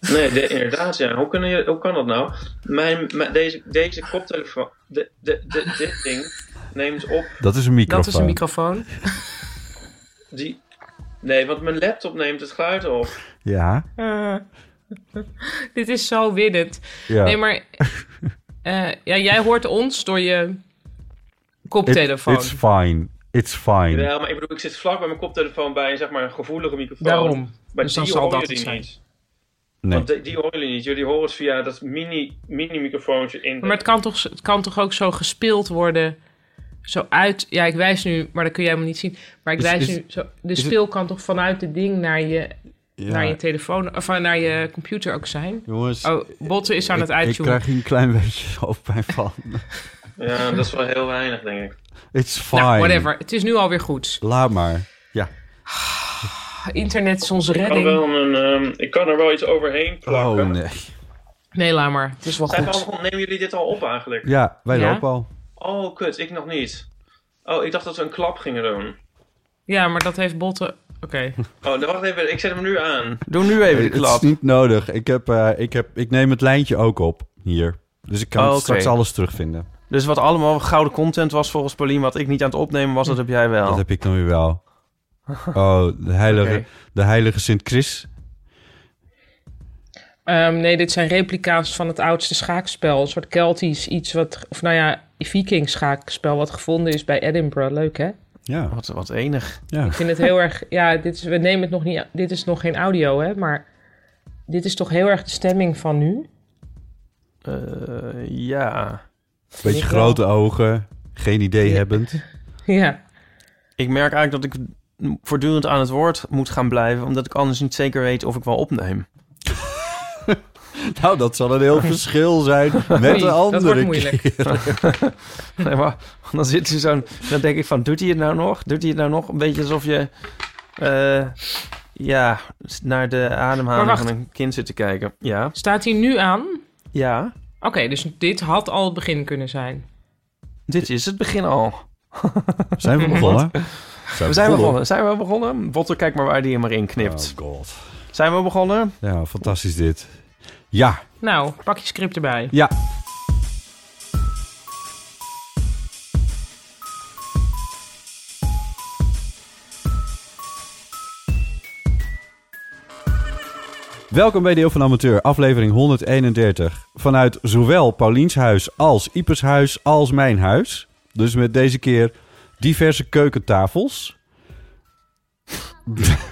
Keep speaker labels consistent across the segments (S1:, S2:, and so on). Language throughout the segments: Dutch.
S1: Nee, de- inderdaad, ja. Hoe, kunnen je, hoe kan dat nou? Mijn, mijn- deze, deze koptelefoon, de, de, de, dit ding, neemt op
S2: Dat is een microfoon.
S3: Dat is een microfoon.
S1: die... Nee, want mijn laptop neemt het geluid op.
S2: Ja.
S3: Eh, dit is zo winnend.
S2: ja.
S3: Nee, maar eh, ja, jij hoort ons door je
S2: It-
S3: koptelefoon.
S2: It's fine. It's fine.
S1: Ja, maar ik bedoel, ik zit vlak bij mijn koptelefoon bij een, zeg maar, een gevoelige microfoon.
S3: Daarom.
S1: Maar
S3: Dus
S1: die
S3: dan zal
S1: horen
S3: dat
S1: jullie
S3: het zijn.
S1: niet.
S2: Nee.
S3: eh,
S1: Want die, die horen jullie niet. Jullie horen het via dat mini, mini microfoontje in. de-
S3: Maar het kan, toch, het kan toch ook zo gespeeld worden? Zo uit. Ja, ik wijs nu, maar dat kun jij helemaal niet zien. Maar ik
S2: Is-
S3: wijs
S2: is-
S3: nu. Zo, de
S2: is het-
S3: speel kan toch vanuit het ding naar je,
S2: Ja.
S3: naar je telefoon. Of naar je computer ook zijn?
S2: Jongens,
S3: Oh, Botten is aan
S2: ik,
S3: het
S2: ik
S3: uittunen.
S2: krijg hier een klein beetje hoofdpijn van.
S1: Ja, dat is wel heel weinig, denk ik.
S2: It's fine.
S3: Nou, whatever. Het is nu alweer goed.
S2: Laat maar.
S3: Internet is onze
S1: Ik kan,
S3: redding.
S1: Oh, wel een, ehm, ik kan er wel iets overheen plakken.
S2: Oh nee.
S3: Nee, laat maar. Het is wel
S1: Zijn we
S3: goed.
S1: al begonnen? nemen jullie dit al op eigenlijk?
S2: Ja, wij
S3: Ja?
S2: lopen al.
S1: Oh, kut, ik nog niet. Oh, ik dacht dat we een klap gingen doen.
S3: Ja, maar dat heeft Botten. Oké.
S1: Oh, dan wacht even, ik zet hem nu aan.
S2: Doe nu
S4: even de
S2: Het is
S4: klap.
S2: niet nodig. Ik, heb, eh, ik, heb, ik neem het lijntje ook op hier. Dus ik kan
S4: Oh, oké.
S2: straks alles terugvinden.
S3: Oh.
S4: Dus wat allemaal gouden content was volgens Paulien, wat ik niet aan het opnemen was, dat heb jij wel.
S2: Dat heb ik dan weer wel. Oh, de heilige,
S4: Oké.
S2: de heilige Sint-Chris.
S3: Ehm, nee, dit zijn replica's van het oudste schaakspel. Een soort Keltisch iets wat... Of nou ja, Viking schaakspel wat gevonden is bij Edinburgh. Leuk, hè?
S2: Ja,
S4: Wat, wat enig.
S2: ja.
S3: Ik vind het heel erg... Ja, dit is, we nemen het nog niet... Dit is nog geen audio, hè? Maar dit is toch heel erg de stemming van nu?
S4: Eh, ja.
S2: Beetje
S3: ik
S2: grote ogen, geen idee
S3: Ja.
S2: hebbend.
S3: Ja.
S4: Ik merk eigenlijk dat ik voortdurend aan het woord moet gaan blijven, omdat ik anders niet zeker weet of ik wel opneem.
S2: Nou, dat zal een heel verschil zijn
S3: Oei,
S2: met de
S3: dat
S2: andere
S3: wordt
S2: keer.
S3: moeilijk.
S4: Nee, maar dan zit je zo'n... Dan denk ik van, doet hij het nou nog? Doet hij het nou nog? Een beetje alsof je... eh, ja, naar de
S3: Maar
S4: ademhaling
S3: wacht.
S4: van een kind zit te kijken. Ja,
S3: Staat hij nu aan?
S4: ja.
S3: Oké, dus dit had al het begin kunnen zijn.
S4: Dit is het begin al.
S2: Zijn we begonnen?
S4: We zijn begonnen. Zijn we begonnen? Botter, kijk maar waar die hem maar in knipt.
S2: Oh god.
S4: Zijn we begonnen?
S2: Ja, fantastisch dit. Ja,
S3: Nou, pak je script erbij.
S2: ja. Welkom bij Deel van Amateur, aflevering 131. Vanuit zowel Pauliens huis als Ipers huis als mijn huis. Dus met deze keer diverse keukentafels.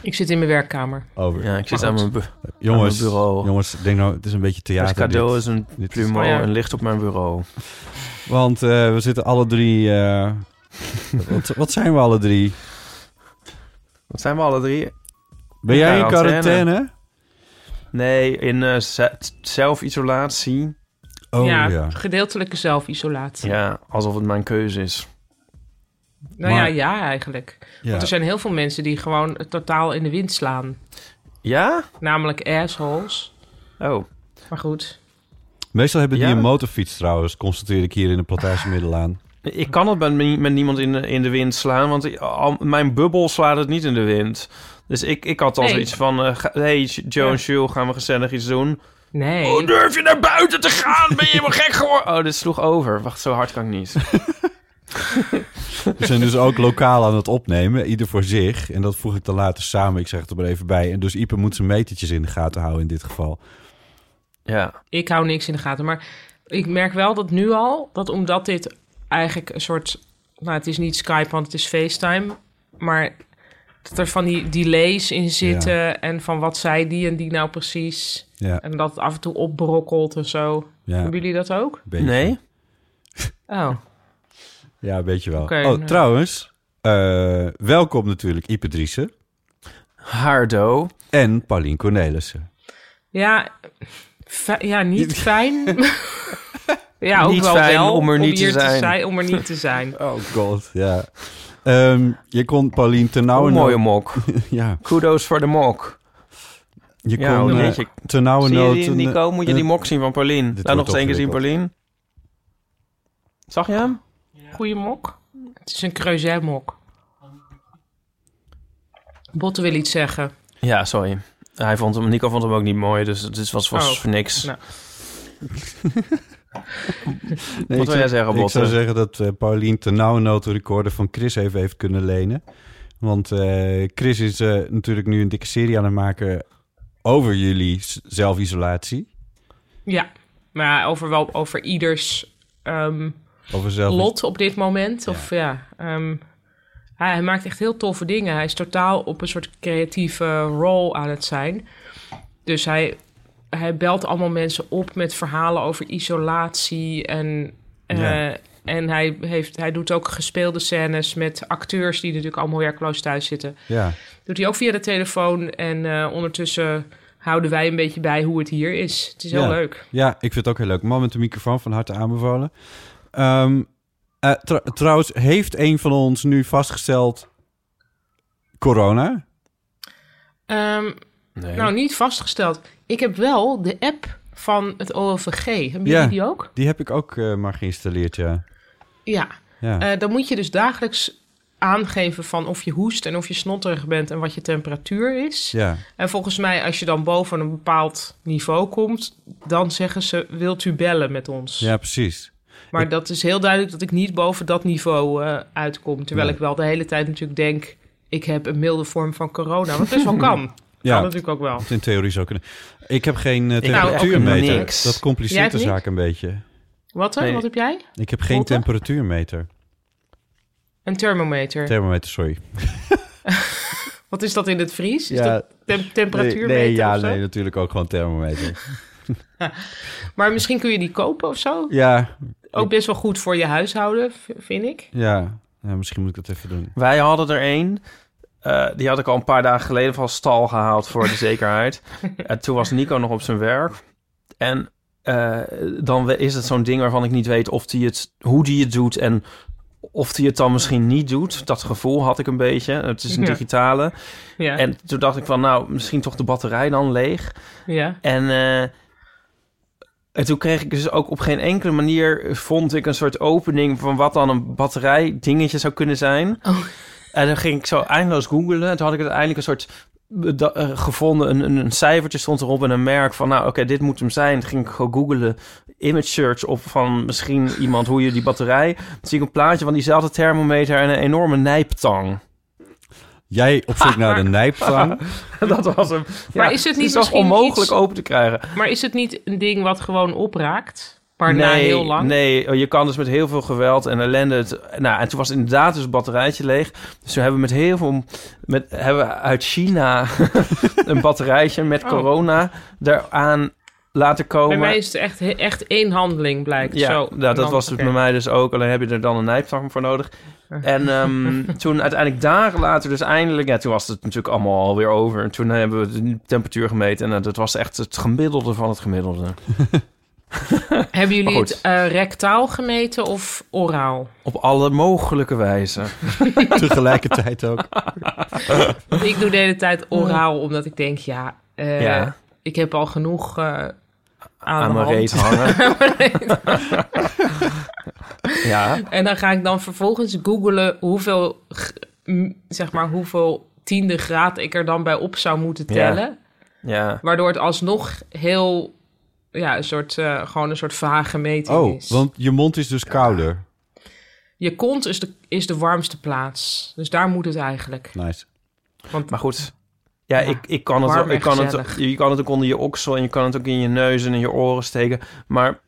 S3: Ik zit in mijn werkkamer.
S2: Over.
S4: Ja, ik zit
S3: Maar
S4: aan
S3: goed.
S4: mijn, bu-
S2: jongens,
S4: Aan mijn bureau.
S2: jongens, denk nou, het is een beetje
S4: mijn
S2: theater.
S4: cadeau
S2: dit.
S4: is een
S2: dit is-
S4: plumeau
S3: Oh ja.
S4: en ligt op mijn bureau.
S2: Want eh, we zitten alle drie. eh, wat, wat zijn we alle drie?
S4: Wat zijn we alle drie?
S2: Ben jij in
S4: Quarantaine.
S2: quarantaine?
S4: Nee, in eh, ze- zelfisolatie.
S2: Oh
S3: ja,
S2: ja.
S3: gedeeltelijke zelfisolatie.
S4: Ja, alsof het mijn keuze is.
S3: Nou
S2: Maar-
S3: ja, ja eigenlijk.
S2: Ja.
S3: Want er zijn heel veel mensen die gewoon totaal in de wind slaan.
S4: Ja?
S3: Namelijk assholes.
S4: Oh,
S3: Maar goed.
S2: Meestal hebben die
S4: Ja.
S2: een motorfiets trouwens, constateer ik hier in de plantage Middelaan.
S4: ik kan het met, nie- met niemand in de, in de wind slaan, want i- al- mijn bubbel slaat het niet in de wind. Dus ik, ik had al
S3: Nee.
S4: zoiets van, eh, ga- hey Joe en
S3: Ja.
S4: Jules, gaan we gezellig iets doen?
S3: Nee.
S4: Hoe durf je naar buiten te gaan? Ben je helemaal gek geworden? Oh, dit sloeg over. Wacht, zo hard kan ik niet.
S2: We zijn dus ook lokaal aan het opnemen, ieder voor zich. En dat voeg ik dan later samen, ik zeg het er maar even bij. En dus Ipe moet zijn metertjes in de gaten houden in dit geval.
S4: Ja,
S3: Ik hou niks in de gaten. Maar ik merk wel dat nu al, dat omdat dit eigenlijk een soort... Nou, het is niet Skype, want het is FaceTime. Maar dat er van die delays in zitten en van wat zei die en die nou precies.
S2: Ja,
S3: En dat het af en toe opbrokkelt en zo.
S2: ja,
S3: Hebben jullie dat ook?
S2: beetje.
S4: Nee?
S3: Oh,
S2: Ja, een beetje wel.
S3: Oké,
S2: oh,
S3: nou.
S2: trouwens. eh, welkom natuurlijk Ipe Driessen
S4: Hardo.
S2: en Paulien Cornelissen.
S3: ja, fi- ja niet fijn. ja, ook
S4: Niet
S3: wel
S4: fijn
S3: wel,
S4: om er niet te
S3: hier
S4: zijn.
S3: Om er niet te zijn.
S2: Oh god, ja. Ehm, je kon Paulien
S4: Nou,
S2: ternauwernood...
S4: mooie mok.
S2: Ja,
S4: Kudos voor de mok.
S2: je
S4: Ja,
S2: kon
S4: een
S2: eh,
S4: beetje- Zie je
S2: ternauwernood...
S4: die,
S2: een, eh,
S4: Nico? Moet je die
S2: een-
S4: mok zien van Paulien?
S2: dit
S4: Laat nog
S2: wordt
S4: eens één keer zien,
S2: ingewikkeld.
S4: Paulien. Zag je hem?
S3: Goeie mok. Het is een creuset mok. Botte wil iets zeggen.
S4: Ja, sorry. Hij vond hem, Nico vond hem ook niet mooi, dus het is- was, was
S3: Oh.
S4: voor niks.
S3: Nou.
S2: Nee,
S4: Wat
S2: ik
S4: wil jij
S2: zou-
S4: zeggen,
S2: Ik zou
S4: Botte?
S2: zeggen dat eh Paulien ternauwernood de recorder van Chris even heeft kunnen lenen. Want eh, Chris is eh, natuurlijk nu een dikke serie aan het maken over jullie s- zelfisolatie.
S3: Ja, maar over, wel, over ieders ehm,
S2: Over zelf...
S3: lot op dit moment. Of ja, ehm, hij, hij maakt echt heel toffe dingen. Hij is totaal op een soort creatieve rol aan het zijn. Dus hij, hij belt allemaal mensen op met verhalen over isolatie. En, eh,
S2: Ja.
S3: en hij, heeft, hij doet ook gespeelde scènes met acteurs die natuurlijk allemaal werkloos thuis zitten.
S2: Ja,
S3: Doet hij ook via de telefoon. En eh, ondertussen houden wij een beetje bij hoe het hier is. Het is heel
S2: Ja.
S3: leuk.
S2: Ja, ik vind het ook heel leuk. Man met de microfoon van harte aanbevolen. Ehm, eh, tr- trouwens, heeft een van ons nu vastgesteld corona?
S3: Ehm,
S4: Nee.
S3: Nou, niet vastgesteld. Ik heb wel de app van het OLVG. Hebben jullie
S2: Ja.
S3: die ook?
S2: Die heb ik ook eh, maar geïnstalleerd, ja.
S3: Ja.
S2: ja.
S3: Eh, dan moet je dus dagelijks aangeven van of je hoest en of je snotterig bent en wat je temperatuur is.
S2: ja.
S3: En volgens mij, als je dan boven een bepaald niveau komt, dan zeggen ze: wilt u bellen met ons?
S2: ja, precies.
S3: Maar dat is heel duidelijk dat ik niet boven dat niveau eh, uitkom. Terwijl
S2: Nee.
S3: ik wel de hele tijd natuurlijk denk: ik heb een milde vorm van corona. Wat best wel kan.
S2: Ja,
S3: Kan natuurlijk ook wel.
S2: dat in theorie zou kunnen. Ik heb geen eh,
S4: heb
S3: ook
S2: temperatuurmeter.
S4: niks.
S2: Dat
S3: Jij
S2: compliceert
S3: hebt
S2: de
S3: niks?
S2: zaak een beetje.
S3: Wat, hè?
S4: Nee.
S3: wat heb jij?
S2: Ik heb geen
S3: Botte?
S2: temperatuurmeter.
S3: Een thermometer.
S2: Thermometer, sorry.
S3: Wat is dat in het Fries? Is
S2: Ja,
S3: dat tem- temperatuurmeter
S2: nee, nee, ja,
S3: of zo?
S2: nee, natuurlijk ook gewoon thermometer.
S3: Maar misschien kun je die kopen of zo.
S2: ja,
S3: Ook best wel goed voor je huishouden, v- vind ik.
S2: ja, ja, misschien moet ik dat even doen.
S4: Wij hadden er één. Eh, die had ik al een paar dagen geleden van stal gehaald voor de zekerheid. En toen was Nico nog op zijn werk. En eh, dan we- is het zo'n ding waarvan ik niet weet of die het, hoe die het doet en of die het dan misschien niet doet. Dat gevoel had ik een beetje. Het is een
S3: Ja.
S4: digitale.
S3: Ja,
S4: En toen dacht ik van, nou, misschien toch de batterij dan leeg.
S3: ja.
S4: En, eh, en toen kreeg ik dus ook op geen enkele manier... vond ik een soort opening van wat dan een batterij dingetje zou kunnen zijn.
S3: Oh.
S4: En dan ging ik zo eindeloos googelen. En toen had ik uiteindelijk een soort da- eh, gevonden. Een, een, een cijfertje stond erop en een merk van... nou, oké, dit moet hem zijn. Toen ging ik gewoon googelen image search op van misschien iemand... hoe je die batterij... Toen zie ik een plaatje van diezelfde thermometer... en een enorme nijptang.
S2: Jij op zoek naar de nijptang.
S4: Dat was hem.
S3: Maar is het niet
S4: toch
S3: misschien
S4: onmogelijk
S3: iets-
S4: open te krijgen?
S3: Maar is het niet een ding wat gewoon opraakt? Maar na heel lang?
S4: Nee, je kan dus met heel veel geweld en ellende. Het, nou, en toen was inderdaad dus het batterijtje leeg. Dus toen hebben we met heel veel. Met, hebben we uit China een batterijtje met
S3: Oh.
S4: corona eraan laten
S3: Bij
S4: komen.
S3: mij is het echt, he- echt één handeling, blijkt.
S4: Oh, ja,
S3: zo.
S4: nou,
S3: En
S4: dat
S3: dan-
S4: was het
S3: oké.
S4: bij mij dus ook. Alleen heb je er dan een nijptang voor nodig. En ehm, toen uiteindelijk dagen later, dus eindelijk... Ja, toen was het natuurlijk allemaal alweer over. En toen hebben we de temperatuur gemeten. En eh, dat was echt het gemiddelde van het gemiddelde.
S3: Hebben jullie
S4: Maar goed.
S3: het eh, rectaal gemeten of oraal?
S4: Op alle mogelijke wijzen.
S2: Tegelijkertijd ook.
S3: ik doe de hele tijd oraal, omdat ik denk, ja, eh,
S4: Ja.
S3: ik heb al genoeg eh, aan,
S4: aan
S3: de
S4: mijn
S3: hand.
S4: reet hangen. ja.
S3: En dan ga ik dan vervolgens googelen hoeveel, g- m, zeg maar, hoeveel tiende graad ik er dan bij op zou moeten
S4: Ja.
S3: tellen.
S4: Ja.
S3: Waardoor het alsnog heel, ja, een soort, eh, gewoon een soort vage meting
S2: Oh,
S3: is.
S2: want je mond is dus kouder.
S3: Je kont is de, is de warmste plaats. Dus daar moet het eigenlijk.
S2: Nice.
S3: Want
S4: Maar goed. Ja,
S3: Ja,
S4: ik, ik kan het,
S3: warm
S4: ook- ik
S3: en
S4: kan het,
S3: gezellig.
S4: je kan het ook onder je oksel en je kan het ook in je neus en in je oren steken. Maar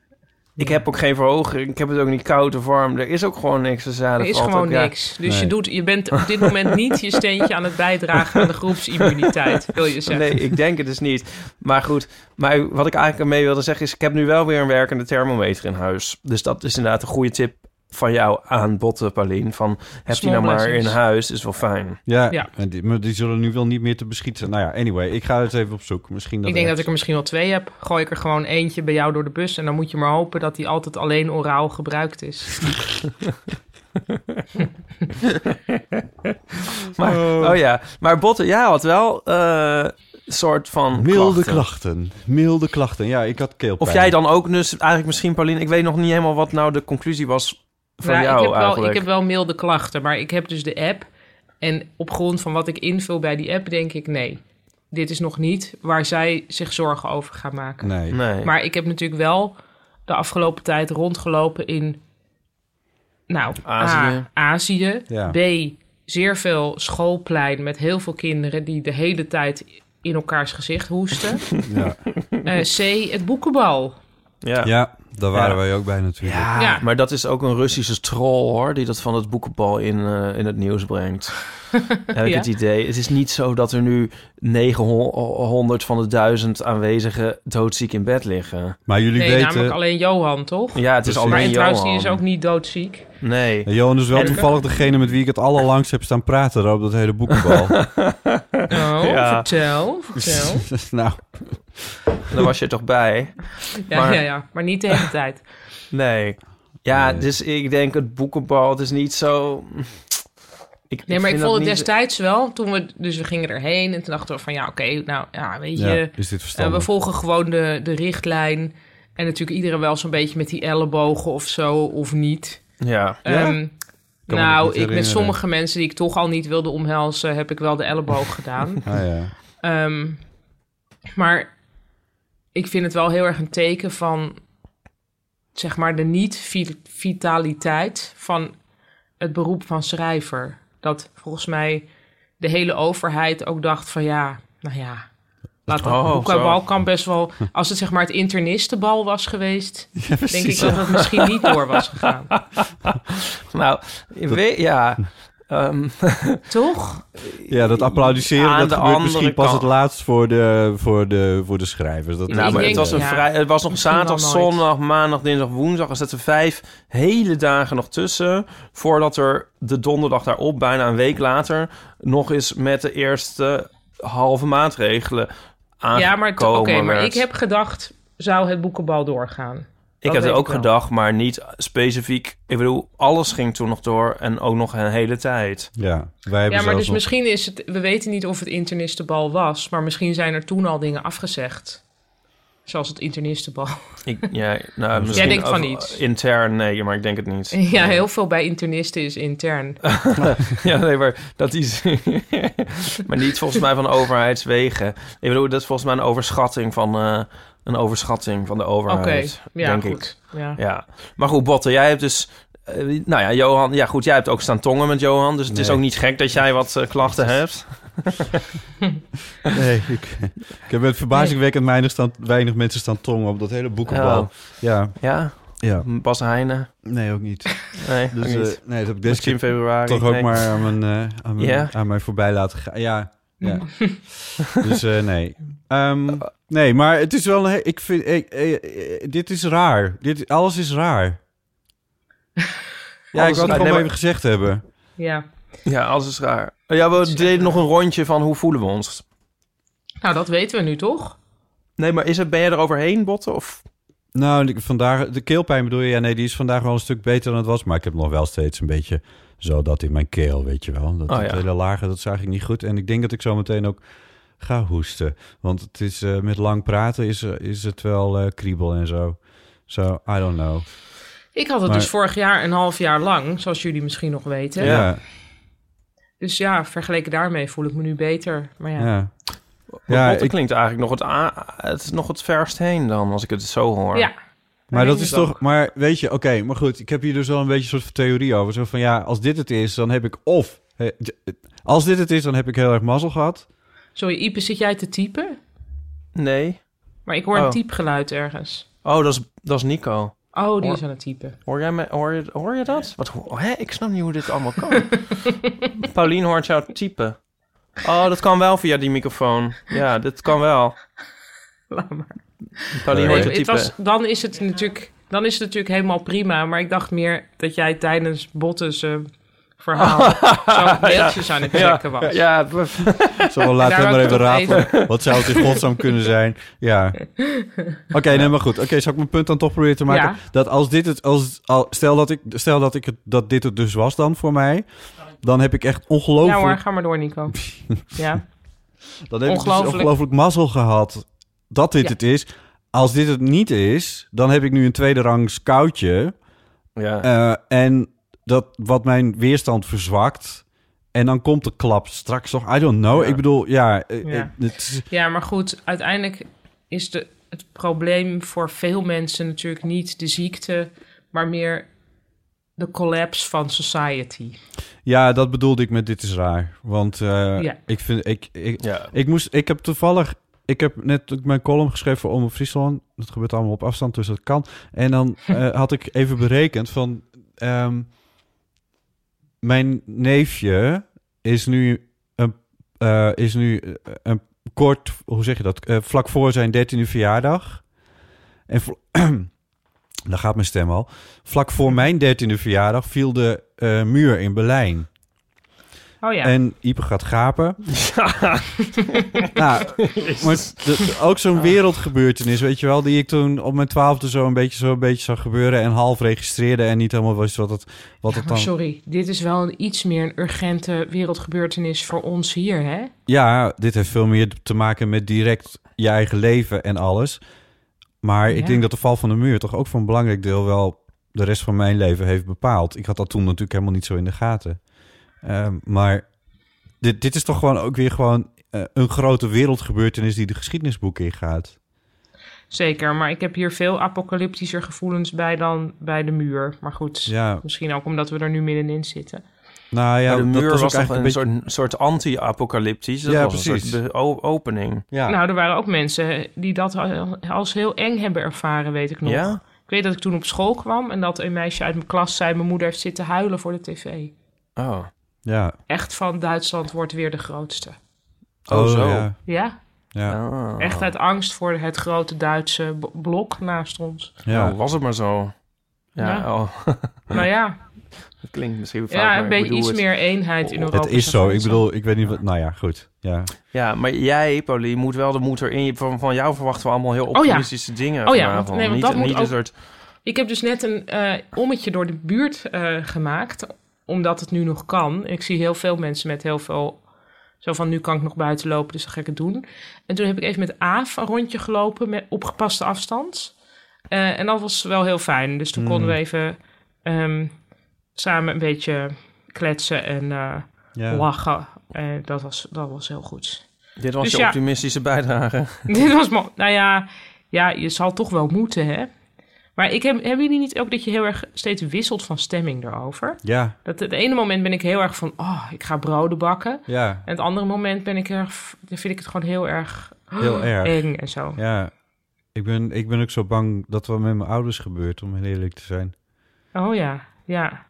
S4: Ik heb ook geen verhoging. Ik heb het ook niet koud of warm. Er is ook gewoon niks. De
S3: Er
S4: zaden
S3: is
S4: valt
S3: gewoon
S4: ook, ja.
S3: niks. Dus je,
S2: Nee.
S3: doet, je bent op dit moment niet je steentje aan het bijdragen aan de groepsimmuniteit, wil je zeggen.
S4: Nee, ik denk het dus niet. Maar goed, maar wat ik eigenlijk ermee wilde zeggen is... ik heb nu wel weer een werkende thermometer in huis. Dus dat is inderdaad een goede tip van jou aan Botte, Paulien. Van, heb die
S3: Small
S4: nou maar in
S3: blessings.
S4: huis, is wel fijn.
S2: Ja,
S3: Ja.
S2: en Die, maar die zullen nu wel niet meer te beschieten zijn. Nou ja, anyway, ik ga het even op zoek. Misschien dat
S3: Ik denk
S2: het-
S3: dat ik er misschien wel twee heb. Gooi ik er gewoon eentje bij jou door de bus. En dan moet je maar hopen dat die altijd alleen oraal gebruikt is.
S4: Maar, oh. ja, maar Botte, ja, had wel een soort van
S2: Milde
S4: klachten.
S2: klachten. Milde klachten. Ja, ik had keelpijn.
S4: Of jij dan ook dus eigenlijk misschien, Paulien... ik weet nog niet helemaal wat nou de conclusie was van
S3: Nou,
S4: jou
S3: ik, heb wel,
S4: eigenlijk.
S3: ik heb wel milde klachten, maar ik heb dus de app. En op grond van wat ik invul bij die app, denk ik nee. Dit is nog niet waar zij zich zorgen over gaan maken.
S2: Nee.
S4: Nee.
S3: Maar ik heb natuurlijk wel de afgelopen tijd rondgelopen in. Nou,
S4: Azië.
S3: A. Azië.
S2: Ja.
S3: B. Zeer veel schoolplein met heel veel kinderen die de hele tijd in elkaars gezicht hoesten.
S2: Ja.
S3: Eh, C. Het boekenbal.
S4: ja.
S2: ja, daar waren
S4: Ja.
S2: wij ook bij natuurlijk.
S5: Ja,
S3: ja.
S4: Maar dat is ook een Russische troll hoor, die dat van het boekenbal in, eh, in het nieuws brengt. Heb ik
S3: Ja.
S4: het idee. Het is niet zo dat er nu 900 van de 1000 aanwezigen doodziek in bed liggen.
S2: Maar jullie
S3: Nee,
S2: weten...
S3: namelijk alleen Johan, toch?
S4: Ja, het is
S2: Precies.
S3: maar
S4: alleen
S3: en trouwens, die
S4: Johan.
S3: is ook niet doodziek.
S4: Nee.
S2: Ja, Johan is wel
S4: En-
S2: toevallig degene met wie ik het allerlangst heb staan praten daar op dat hele boekenbal.
S3: Oh,
S4: Ja.
S3: vertel, vertel.
S2: nou,
S4: Daar was je toch bij?
S3: Ja,
S4: Maar-
S3: ja, ja, maar niet de hele tijd.
S4: Nee. Ja,
S2: Nee.
S4: dus ik denk het boekenbal, het is niet zo... Ik,
S3: Nee, maar ik
S4: vind
S3: vond
S4: dat
S3: het
S4: niet-
S3: destijds wel. Toen we, dus we gingen erheen en toen dachten we van ja, oké, nou ja, weet je.
S2: ja, is dit
S3: Eh, we
S2: verstandig?
S3: volgen gewoon de, de richtlijn. En natuurlijk iedereen wel zo'n beetje met die ellebogen of zo, of niet.
S4: Ja.
S2: Ja?
S3: Ehm,
S2: me niet
S3: nou, ik, met
S2: herinneren.
S3: sommige mensen die ik toch al niet wilde omhelzen, heb ik wel de elleboog gedaan.
S2: ah, ja.
S3: Ehm, maar ik vind het wel heel erg een teken van, zeg maar, de niet-vitaliteit van het beroep van schrijver. Dat volgens mij de hele overheid ook dacht van ja, nou ja, laat dat
S4: Oh,
S3: boekenbal
S4: zo.
S3: kan best wel... Als het zeg maar het internistenbal was geweest, denk ik
S2: precies,
S3: dat het misschien niet door was gegaan.
S4: Nou, ik weet, ja. Ehm,
S3: Toch?
S2: Ja, dat applaudisseren,
S4: Aan
S2: dat
S4: de
S2: gebeurt
S4: andere
S2: misschien pas
S4: kant.
S2: het laatst voor de, voor de, voor de schrijvers. Dat eh,
S4: Nou,
S3: Ik
S4: maar
S3: denk-
S4: het was, een
S3: ja.
S4: vrij, het was nog
S3: Misschien wel
S4: zaterdag,
S3: nooit.
S4: zondag, maandag, dinsdag, woensdag. Er zaten vijf hele dagen nog tussen. Voordat er de donderdag daarop, bijna een week later, nog eens met de eerste halve maatregelen aangekomen
S3: Ja, maar, t- oké, maar
S4: werd.
S3: ik heb gedacht, zou het boekenbal doorgaan?
S4: ik heb
S3: dat
S4: het
S3: weet
S4: ook
S3: ik wel.
S4: gedacht, maar niet specifiek. Ik bedoel, alles ging toen nog door en ook nog een hele tijd.
S2: Ja, wij hebben
S3: Ja, maar
S2: zelfs
S3: dus
S2: nog-
S3: misschien is het... We weten niet of het internistenbal was... maar misschien zijn er toen al dingen afgezegd. Zoals het internistenbal.
S4: Ik, ja, nou, misschien
S3: denkt van
S4: of-
S3: niet.
S4: Intern, nee, maar ik denk het niet.
S3: Ja, heel veel bij internisten is intern.
S4: Ja, nee, maar dat is... maar niet volgens mij van overheidswegen. Ik bedoel, dat is volgens mij een overschatting van, eh, een overschatting van de
S3: Oké,
S4: overheid.
S3: ja,
S4: denk ik.
S3: goed. Ja.
S4: Ja. Maar goed, Botte, jij hebt dus... eh, nou ja, Johan... Ja, goed, jij hebt ook staan tongen met Johan. Dus het is
S2: Nee.
S4: ook niet gek dat jij wat eh, klachten hebt.
S2: Nee, ik, ik heb met verbazingwekkend weinig, staan, weinig mensen staan tongen op dat hele boekenbal.
S4: Oh.
S2: Ja,
S4: Ja,
S2: ja.
S4: Bas Heijnen.
S2: Nee, ook niet.
S4: Nee,
S2: Dus,
S4: ook
S2: eh,
S4: niet.
S2: nee, dat heb ik deze
S4: Misschien
S2: keer
S4: februari.
S2: toch ook
S4: nee.
S2: maar aan mijn, eh, aan, mijn,
S4: Ja?
S2: aan mij voorbij laten gaan. Ja,
S3: Hm.
S2: ja.
S3: Mm.
S2: dus eh, nee.
S4: Oh.
S2: Ehm, nee, maar het is wel... Een, he- ik vind... ik- eh, eh, dit is raar. Dit, alles is raar. Ja,
S4: Alles is
S2: ik wou het
S4: raar.
S2: gewoon
S4: Nee,
S2: maar
S4: maar-
S2: even gezegd hebben.
S3: Ja.
S4: Ja, alles is raar. Oh, Dus- Ja, we deden nog een rondje van hoe voelen we ons.
S3: Nou, dat weten we nu toch?
S4: Nee, maar is het, ben je er overheen, Botte? Of...
S2: Nou, ik- vandaag, de keelpijn bedoel je? Ja, nee, die is vandaag wel een stuk beter dan het was. Maar ik heb nog wel steeds een beetje zo dat in mijn keel, weet je wel. Dat
S4: Oh,
S2: dat
S4: ja.
S2: hele lage, dat zag ik niet goed. En ik denk dat ik zo meteen ook ga hoesten. Want het is, eh, met lang praten is, eh, is het wel eh, kriebel en zo. Zo, I don't know.
S3: Ik had het
S2: Maar-
S3: dus vorig jaar een half jaar lang, zoals jullie misschien nog weten.
S2: Ja,
S3: Dus ja, vergeleken daarmee voel ik me nu beter. Maar ja,
S2: ja.
S4: Ja,
S2: Ja,
S4: Botte
S2: ik-
S4: klinkt eigenlijk nog het, a- het is nog het verst heen dan, als ik het zo hoor.
S3: ja.
S2: Maar
S3: denk
S2: dat
S3: ik
S2: is toch, maar weet je, oké, maar goed, ik heb hier dus wel een beetje een soort van theorie over. Zo van ja, als dit het is, dan heb ik of, eh, d- eh, als dit het is, dan heb ik heel erg mazzel gehad.
S3: Sorry, Ipe, zit jij te typen?
S4: Nee.
S3: Maar ik hoor
S4: Oh.
S3: een typgeluid ergens.
S4: Oh, dat is, dat is Nico.
S3: Oh, die is aan het typen.
S4: Hoor, jij me, hoor, je, hoor je dat? Wat, ho- hè? Ik snap niet hoe dit allemaal kan. Paulien hoort jou typen. Oh, dat kan wel via die microfoon. Ja, dat kan wel.
S3: Laat maar.
S4: Paulien hoort jou
S3: het
S4: typen.
S3: was, dan, is het natuurlijk, dan is het natuurlijk helemaal prima. Maar ik dacht meer dat jij tijdens Bottes eh, verhaal zo mailtjes aan het checken was.
S4: Ja, pff.
S2: Zo, laat
S3: Daar
S2: hem maar
S3: wou
S2: even
S3: ik nog
S2: rapen. Wat zou het in godsnaam kunnen zijn? Ja. Oké, nee, maar goed. Oké, zal ik mijn punt dan toch proberen te maken?
S3: Ja.
S2: Dat als dit het... Als, al, stel dat, ik, stel dat, ik het, dat dit het dus was dan voor mij. Dan heb ik echt
S3: Ja hoor,
S2: ongelooflijk...
S3: ga maar door Nico. ja.
S2: dan heb ik dus
S3: ongelooflijk.
S2: ongelooflijk mazzel gehad dat dit
S3: Ja.
S2: het is. Als dit het niet is, dan heb ik nu een tweede rangs koudje.
S4: ja.
S2: Eh, en dat wat mijn weerstand verzwakt. En dan komt de klap straks toch. I don't know.
S4: Ja.
S2: Ik bedoel, ja. eh,
S3: Ja.
S2: eh, het is-
S3: ja, maar goed, uiteindelijk is de, het probleem voor veel mensen natuurlijk niet de ziekte, maar meer de collapse van society.
S2: ja, dat bedoelde ik met dit is raar. Want eh,
S3: Ja.
S2: ik vind. Ik, ik,
S4: ja.
S2: ik moest. Ik heb toevallig. Ik heb net ook mijn column geschreven voor Omroep Friesland. Dat gebeurt allemaal op afstand, dus dat kan. En dan eh, had ik even berekend van... ehm, mijn neefje is nu, een, eh, is nu eh, een kort... Hoe zeg je dat? Eh, vlak voor zijn dertiende verjaardag. En vl- daar gaat mijn stem al. Vlak voor mijn dertiende verjaardag viel de eh, muur in Berlijn.
S3: Oh ja,
S2: En Ipe gaat gapen. nou, maar de- ook zo'n wereldgebeurtenis, weet je wel, die ik toen op mijn twaalfde zo een beetje, zo een beetje zag gebeuren en half registreerde en niet helemaal wist wat het, wat
S3: Ja,
S2: het
S3: maar
S2: dan.
S3: sorry, dit is wel een iets meer een urgente wereldgebeurtenis voor ons hier, hè?
S2: Ja, dit heeft veel meer te maken met direct je eigen leven en alles. Maar ik
S3: Ja.
S2: denk dat de val van de muur toch ook voor een belangrijk deel wel de rest van mijn leven heeft bepaald. Ik had dat toen natuurlijk helemaal niet zo in de gaten. Ehm, maar dit, dit is toch gewoon ook weer gewoon eh, een grote wereldgebeurtenis die de geschiedenisboeken ingaat.
S3: Zeker, maar ik heb hier veel apocalyptischer gevoelens bij dan bij de muur. Maar goed,
S2: Ja,
S3: misschien ook omdat we er nu middenin zitten.
S2: nou ja,
S4: Maar de
S2: dat
S4: muur
S2: was,
S4: was,
S2: ook
S4: toch
S2: eigenlijk
S4: een,
S2: een beetje...
S4: soort, soort anti-apocalyptisch. Dat
S2: Ja,
S4: was een
S2: precies.
S4: soort be- o- opening.
S2: Ja.
S3: Nou, er waren ook mensen die dat al- als heel eng hebben ervaren, weet ik nog.
S4: Ja?
S3: Ik weet dat ik toen op school kwam en dat een meisje uit mijn klas zei... mijn moeder heeft zitten huilen voor de tv.
S4: Oh.
S2: ja.
S3: Echt van Duitsland wordt weer de grootste.
S4: Oh, zo.
S2: Ja,
S3: Ja,
S2: ja,
S4: Ah.
S3: echt uit angst voor het grote Duitse b- blok naast ons.
S2: ja.
S4: Nou, was het maar zo. Ja,
S3: Ja.
S4: oh,
S3: Nou ja,
S4: dat klinkt misschien fout,
S3: Ja,
S4: maar
S3: een
S4: ik
S3: beetje
S4: bedoel
S3: iets
S4: het.
S3: meer eenheid in
S4: Het
S3: Europa.
S2: Het is zo.
S3: zou
S2: Ik
S3: goed
S2: bedoel, ik weet niet wat... Nou ja, goed. Ja.
S4: Ja, maar jij, Pauline, moet wel de moed erin. Je- Van, van jou verwachten we allemaal heel
S3: ja.
S4: optimistische dingen
S3: Oh ja,
S4: vanavond.
S3: want- nee, want
S4: niet
S3: dat moet
S4: niet een
S3: ook-
S4: soort...
S3: zijn. Ik heb dus net een eh, ommetje door de buurt eh, gemaakt, omdat het nu nog kan. Ik zie heel veel mensen met heel veel... Zo van, nu kan ik nog buiten lopen, dus dan ga ik het doen. En toen heb ik even met Aaf een rondje gelopen met opgepaste afstand. Eh, en dat was wel heel fijn. Dus toen konden we even ehm, samen een beetje kletsen en eh,
S2: ja.
S3: lachen. Eh, dat, was, dat was heel goed.
S4: Dit was
S3: Dus
S4: je
S3: ja.
S4: optimistische bijdrage.
S3: Dit was mo- Nou ja, ja, je zal toch wel moeten, hè? Maar ik heb, hebben jullie niet ook dat je heel erg steeds wisselt van stemming erover?
S2: Ja,
S3: Dat het ene moment ben ik heel erg van, oh, ik ga broden bakken. En
S2: ja.
S3: het andere moment ben ik heel erg, dan vind ik het gewoon heel erg
S2: Heel erg.
S3: eng en zo.
S2: Ja, ik ben, ik ben ook zo bang dat wat met mijn ouders gebeurt, om heel eerlijk te zijn.
S3: Oh ja, ja.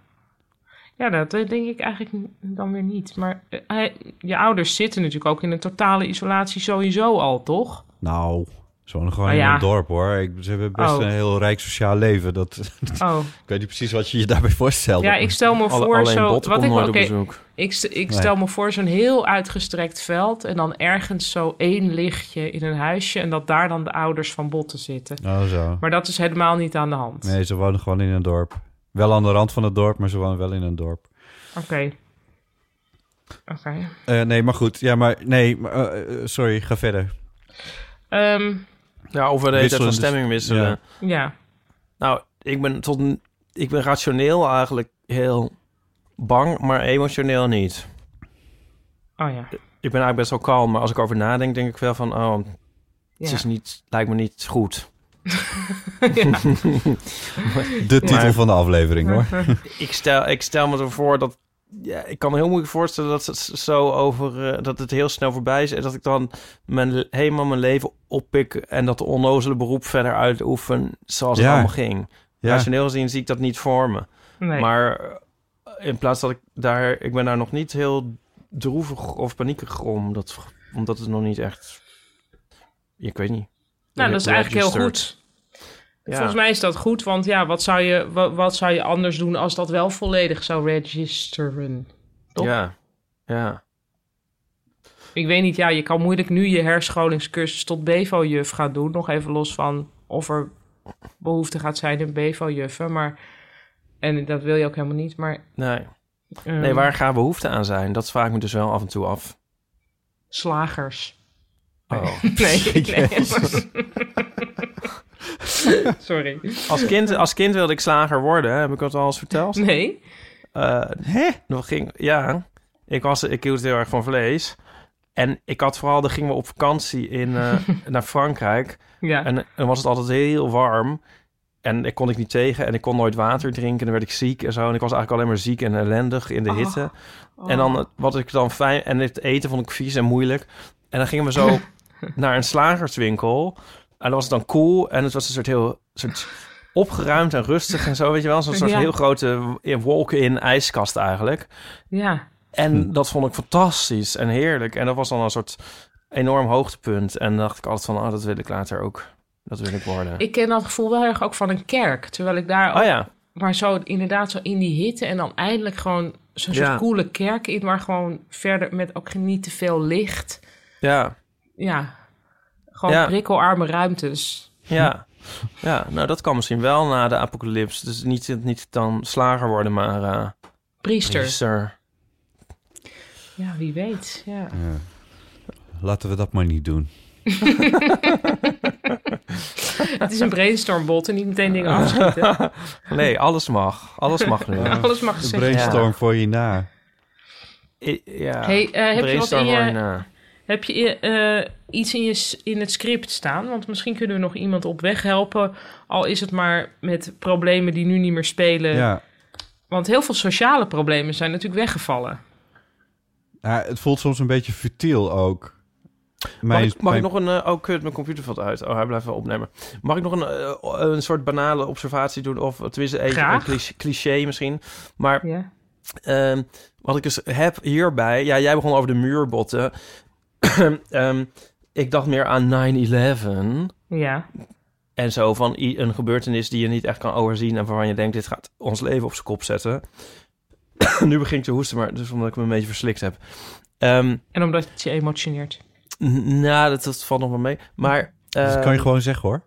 S3: Ja, dat eh, denk ik eigenlijk n- dan weer niet. Maar eh, hij- je ouders zitten natuurlijk ook in een totale isolatie sowieso al, toch?
S2: Nou, zo'n gewoon
S3: Oh
S2: in
S3: ja.
S2: een dorp hoor. Ik, ze hebben best
S3: Oh.
S2: een heel rijk sociaal leven. Dat,
S3: Oh,
S2: ik weet niet precies wat je je daarbij voorstelt.
S3: ja, ik stel me
S4: Alle,
S3: voor
S4: alleen
S3: zo...
S4: Botten
S3: Wat ik
S4: komt nooit
S3: wel-
S4: op
S3: oké,
S4: bezoek.
S3: Ik, st- ik stel me voor zo'n heel uitgestrekt veld en dan ergens zo één lichtje in een huisje en dat daar dan de ouders van botten zitten.
S2: Oh zo.
S3: Maar dat is helemaal niet aan de hand.
S2: Nee, ze wonen gewoon in een dorp. Wel aan de rand van het dorp, maar ze wonen wel in een dorp.
S3: Oké. Oké.
S2: Eh, nee, maar goed. Ja, maar nee, maar, eh, eh, sorry, ga verder.
S3: Ehm,
S4: Ja, of we de hele tijd van
S2: Wisselende-
S4: stemming wisselen.
S2: Ja.
S3: ja.
S4: Nou, ik ben, tot, n- ik ben rationeel eigenlijk heel bang, maar emotioneel niet.
S3: Oh ja.
S4: Ik ben eigenlijk best wel kalm, maar als ik over nadenk, denk ik wel van... Oh, het
S3: Ja.
S4: is niet, lijkt me niet goed.
S3: Ja.
S2: De titel van de aflevering hoor.
S4: Ik stel, ik stel me ervoor dat... Ja, ik kan me heel moeilijk voorstellen dat het zo over... eh, dat het heel snel voorbij is en dat ik dan mijn, le- helemaal mijn leven oppik... en dat de onnozele beroep verder uitoefen zoals het
S2: Ja.
S4: allemaal ging.
S2: Ja.
S4: Rationeel gezien zie ik dat niet voor me.
S3: Nee.
S4: Maar eh, in plaats dat ik daar... Ik ben daar nog niet heel droevig of paniekerig om. Dat, omdat het nog niet echt... Ik weet niet.
S3: nou, dat is eigenlijk heel
S4: Registered.
S3: goed.
S4: Ja.
S3: Volgens mij is dat goed, want ja, wat zou, je, wa- wat zou je anders doen als dat wel volledig zou registeren? toch?
S4: Ja, ja.
S3: Ik weet niet, ja, je kan moeilijk nu je herscholingscursus tot BVO-juf gaan doen. Nog even los van of er behoefte gaat zijn in BVO-juffen. Maar, en dat wil je ook helemaal niet, maar...
S4: Nee.
S3: ehm,
S4: nee, waar gaan behoefte aan zijn? Dat vraag ik me dus wel af en toe af.
S3: Slagers.
S4: Oh.
S3: Nee, nee. Sorry.
S4: Als, kind, als kind wilde ik slager worden, hè? heb ik dat al eens verteld?
S3: Nee.
S4: Eh, nog ging, ja, ik, was, ik hield heel erg van vlees. En ik had vooral, dan gingen we op vakantie in, eh, naar Frankrijk.
S3: Ja.
S4: En dan was het altijd heel warm. En ik kon ik niet tegen. En ik kon nooit water drinken. En dan werd ik ziek en zo. En ik was eigenlijk alleen maar ziek en ellendig in de
S3: Oh.
S4: hitte. En dan eh, wat ik dan fijn... En het eten vond ik vies en moeilijk. En dan gingen we zo naar een slagerswinkel. En dat was dan cool. En het was een soort heel... Soort opgeruimd en rustig en zo, weet je wel. Zo'n soort
S3: Ja.
S4: heel grote walk-in ijskast eigenlijk.
S3: Ja.
S4: En dat vond ik fantastisch en heerlijk. En dat was dan een soort enorm hoogtepunt. En dan dacht ik altijd van, ah, dat wil ik later ook. Dat wil ik worden.
S3: Ik ken dat gevoel wel heel erg ook van een kerk. Terwijl ik daar
S4: Oh ja,
S3: Maar zo inderdaad zo in die hitte en dan eindelijk gewoon zo'n
S4: Ja.
S3: soort coole kerk in... waar gewoon verder met ook niet te veel licht.
S4: ja,
S3: Ja, gewoon
S4: Ja.
S3: prikkelarme ruimtes.
S4: ja. Ja, nou dat kan misschien wel na de apocalyps. Dus niet, niet dan slager worden, maar eh
S3: Priester.
S4: priester.
S3: Ja, wie weet. Ja.
S2: Ja. Laten we dat maar niet doen.
S3: Het is een brainstormbot en niet meteen dingen afschieten.
S4: Nee, alles mag. Alles mag nu. Ja.
S3: Alles mag
S2: De
S3: gezegd worden.
S2: brainstorm voor je na.
S4: I- ja.
S3: Hey, eh, heb je wat in
S4: Brainstorm
S3: je-
S4: worden, ja.
S3: Heb je eh, iets in, je, s- in het script staan? Want misschien kunnen we nog iemand op weg helpen. Al is het maar met problemen die nu niet meer spelen.
S2: Ja.
S3: Want heel veel sociale problemen zijn natuurlijk weggevallen.
S2: Ja, het voelt soms een beetje futiel ook.
S4: Mag,
S2: Mijn-
S4: ik, mag
S2: mijn-
S4: ik nog een... eh, oh, kut, mijn computer valt uit. Oh, hij blijft wel opnemen. Mag ik nog een, eh, een soort banale observatie doen? Of tenminste, even een
S3: Graag.
S4: cliché, cliché misschien. Maar
S3: Ja.
S4: Ehm, wat ik dus heb hierbij... Ja, jij begon over de muurbotten. Ehm, ik dacht meer aan 9-11.
S3: Ja.
S4: En zo van i- een gebeurtenis die je niet echt kan overzien... en waarvan je denkt, dit gaat ons leven op zijn kop zetten. nu begin ik te hoesten, maar dus omdat ik me een beetje verslikt heb. Ehm,
S3: En omdat het je emotioneert.
S4: n- nou, dat, dat valt nog wel mee. Maar...
S2: dus Dat
S4: ehm,
S2: kan je gewoon zeggen hoor.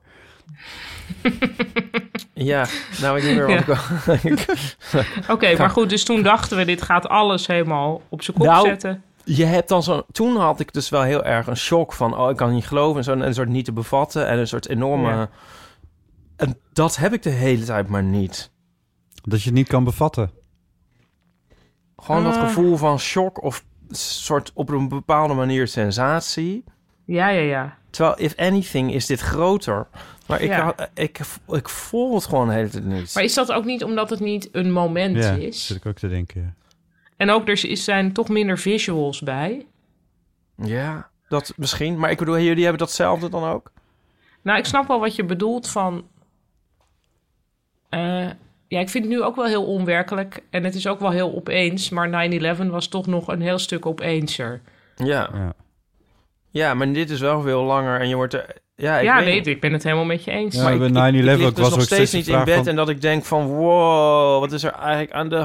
S4: Ja, nou, ik weet niet meer wat ik wou-
S3: Oké, maar goed, dus toen dachten we, dit gaat alles helemaal op zijn kop
S4: Nou,
S3: zetten.
S4: Je hebt dan zo'n... Toen had ik dus wel heel erg een shock van... Oh, ik kan niet geloven. En zo'n een soort niet te bevatten. En een soort enorme...
S3: Ja.
S4: En dat heb ik de hele tijd maar niet.
S2: Dat je het niet kan bevatten.
S4: Gewoon dat
S3: Ah.
S4: gevoel van shock of soort op een bepaalde manier sensatie.
S3: Ja, ja, ja.
S4: Terwijl, if anything, is dit groter. Maar ik,
S3: Ja.
S4: had- ik, ik voel het gewoon de hele tijd niet.
S3: Maar is dat ook niet omdat het niet een moment
S2: Ja,
S3: is?
S2: zit ik ook te denken.
S3: En ook, er is- zijn toch minder visuals bij.
S4: Ja, dat misschien. Maar ik bedoel, jullie hebben datzelfde dan ook?
S3: Nou, ik snap wel wat je bedoelt van... eh, ja, ik vind het nu ook wel heel onwerkelijk. En het is ook wel heel opeens. Maar 9-11 was toch nog een heel stuk opeenser.
S4: Ja.
S2: Ja.
S4: Ja, maar dit is wel veel langer. En je wordt er... Ja, ik
S3: ja,
S4: weet
S3: nee,
S4: niet.
S3: ik ben het helemaal met je eens.
S2: Ja, bij
S4: ik-
S2: 9-11
S4: ik lig
S2: ook
S4: dus
S2: was
S4: nog steeds
S2: ook steeds
S4: niet
S2: de
S4: in
S2: vraag
S4: bed
S2: van-
S4: en dat ik denk van wow, wat is er eigenlijk aan de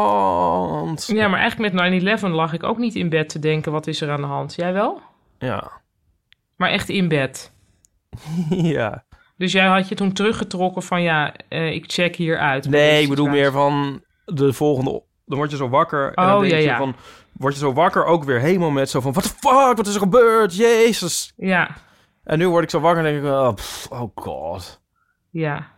S4: hand?
S3: Ja, maar eigenlijk met 9-11 lag ik ook niet in bed te denken... wat is er aan de hand? Jij wel?
S4: Ja.
S3: Maar echt in bed.
S4: ja.
S3: Dus jij had je toen teruggetrokken van ja, eh, ik check hier uit.
S4: Nee, ik bedoel meer van de volgende. o- Dan word je zo wakker en dan
S3: Oh,
S4: denk
S3: ja,
S4: je
S3: ja.
S4: van word je zo wakker ook weer helemaal met zo van what the fuck, wat is er gebeurd? Jezus.
S3: Ja,
S4: En nu word ik zo wakker en denk ik oh, pff, oh god.
S3: ja.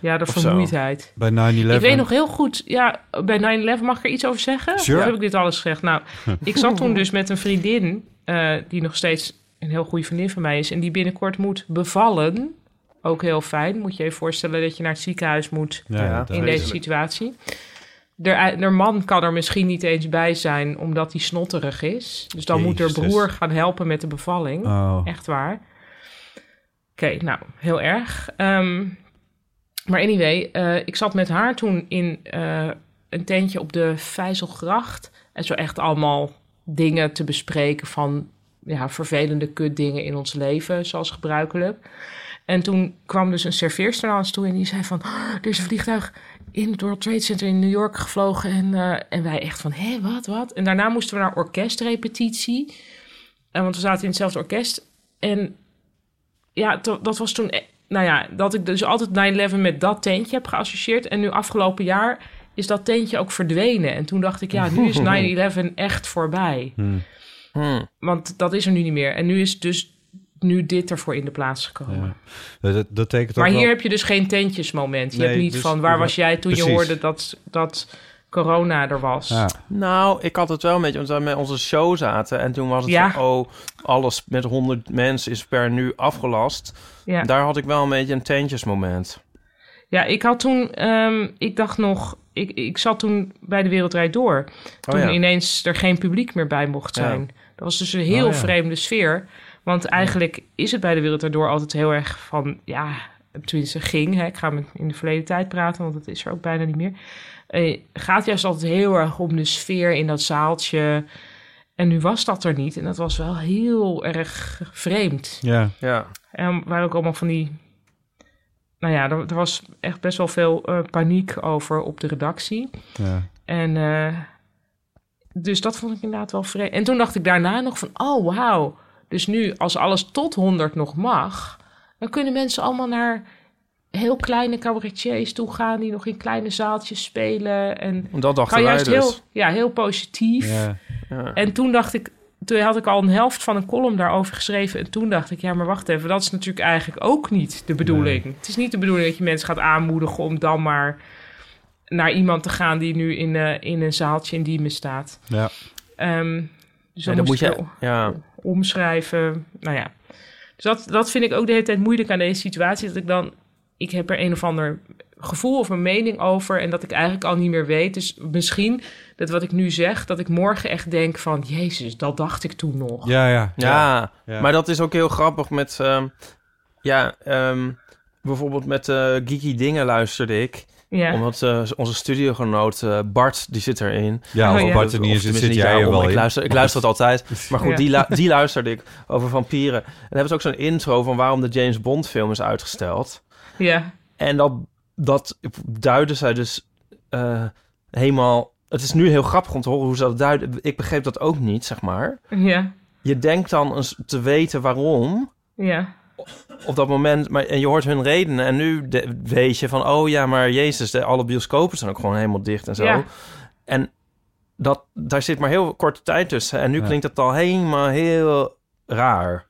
S3: Ja, de
S4: Of zo.
S3: vermoeidheid.
S2: Bij 9-11.
S3: Ik weet nog heel goed, ja, bij 9-11 mag ik er iets over zeggen?
S2: Sure.
S3: Of heb ik dit alles gezegd? Nou, ik zat toen dus met een vriendin, eh, die nog steeds een heel goede vriendin van mij is... en die binnenkort moet bevallen. Ook heel fijn. Moet je je voorstellen dat je naar het ziekenhuis moet...
S2: Ja,
S4: Ja.
S2: dat-
S3: in deze situatie. De, de man kan er misschien niet eens bij zijn omdat hij snotterig is. Dus dan moet
S2: Jezus.
S3: haar broer gaan helpen met de bevalling.
S2: Oh.
S3: Echt waar. Oké, nou, heel erg. Ehm, Maar anyway, eh, ik zat met haar toen in eh, een tentje op de Vijzelgracht. En zo echt allemaal dingen te bespreken van ja, vervelende kutdingen in ons leven, zoals gebruikelijk. En toen kwam dus een serveerster naar ons toe en die zei van... "Oh, er is een vliegtuig in het World Trade Center in New York gevlogen. En, eh, en wij echt van, hé, wat, wat? En daarna moesten we naar orkestrepetitie. En want we zaten in hetzelfde orkest. En ja, to- dat was toen. eh, Nou ja, dat ik dus altijd 9-11 met dat tentje heb geassocieerd. En nu afgelopen jaar is dat tentje ook verdwenen. En toen dacht ik, ja, nu is 9-11 echt voorbij.
S4: Hmm.
S3: Want dat is er nu niet meer. En nu is dus nu dit ervoor in de plaats gekomen.
S2: Ja. Dat, dat tekent
S3: Maar
S2: ook
S3: hier
S2: wel-
S3: heb je dus geen tentjesmoment. Je
S2: Nee,
S3: hebt niet
S2: dus-
S3: van, waar was jij toen je
S2: precies.
S3: hoorde dat, dat corona er was?
S2: Ja.
S4: Nou, ik had het wel een beetje, want we met onze show zaten en toen was het
S3: Ja.
S4: van, oh, alles met 100 mensen is per nu afgelast.
S3: Ja.
S4: Daar had ik wel een beetje een tentjesmoment. Oh
S3: Ja, ik had toen, ehm, ik dacht nog, ik, ik zat toen bij de Wereldrijd Door.
S2: Oh
S3: Toen
S4: ja.
S3: ineens er geen publiek meer bij mocht
S4: Ja.
S3: zijn. Dat was dus een heel
S2: Oh, ja.
S3: vreemde sfeer. Want eigenlijk is het bij de Wereldrijd Door altijd heel erg van, ja, tenminste ging. Hè, ik ga met in de verleden tijd praten, want dat is er ook bijna niet meer. Eh, gaat juist altijd heel erg om de sfeer in dat zaaltje. En nu was dat er niet. En dat was wel heel erg vreemd.
S2: Ja.
S4: Ja,
S3: En waren ook allemaal van die. Nou ja, er, er was echt best wel veel eh, paniek over op de redactie.
S2: ja.
S3: En eh, dus dat vond ik inderdaad wel vreemd. En toen dacht ik daarna nog van, oh wauw. Dus nu, als alles tot 100 nog mag, dan kunnen mensen allemaal naar heel kleine cabaretiers toe gaan die nog in kleine zaaltjes spelen. En
S4: dat dacht
S3: kan
S4: wij
S3: juist
S4: dus.
S3: heel, ja, heel positief.
S2: ja.
S4: Ja.
S3: En toen dacht ik, toen had ik al een helft van een column daarover geschreven. En toen dacht ik, ja, maar wacht even, dat is natuurlijk eigenlijk ook niet de bedoeling. Het is niet de bedoeling dat je mensen gaat aanmoedigen om dan maar naar iemand te gaan die nu in, eh, in een zaaltje in Diemen staat.
S2: Ja.
S3: Ehm, dus
S4: Nee,
S3: dan
S4: dat
S3: moest
S4: moet
S3: je
S4: je- ja.
S3: omschrijven. Nou ja. Dus dat, dat vind ik ook de hele tijd moeilijk aan deze situatie. Dat ik dan, ik heb er een of ander gevoel of een mening over. En dat ik eigenlijk al niet meer weet. Dus misschien dat wat ik nu zeg, dat ik morgen echt denk van... Jezus, dat dacht ik toen nog.
S2: Ja, ja,
S4: Ja,
S2: Ja.
S4: maar dat is ook heel grappig met... ehm, ja, ehm, bijvoorbeeld met eh, Geeky Dingen luisterde ik.
S3: Ja.
S4: Omdat eh, onze studiogenoot eh, Bart, die zit erin.
S2: Ja,
S3: Oh,
S2: als
S3: ja.
S2: Bart er niet
S4: Of
S2: is,
S4: tenminste
S2: zit
S4: niet
S2: jij er
S4: daarom.
S2: wel
S4: ik
S2: in.
S4: luister, ik luister het altijd. Maar goed,
S3: Ja.
S4: die, lu- die luisterde ik over vampieren. En dan hebben ze ook zo'n intro van waarom de James Bond film is uitgesteld.
S3: ja.
S4: En dat, dat duiden zij dus eh, helemaal... Het is nu heel grappig om te horen hoe ze dat duiden. Ik begreep dat ook niet, zeg maar.
S3: Ja.
S4: Je denkt dan eens te weten waarom
S3: Ja.
S4: op dat moment, maar, en je hoort hun redenen. En nu de- weet je van, oh ja, maar Jezus, de, alle bioscopen zijn ook gewoon helemaal dicht en zo.
S3: Ja.
S4: En dat, daar zit maar heel korte tijd tussen. En nu
S2: Ja.
S4: klinkt het al helemaal heel raar.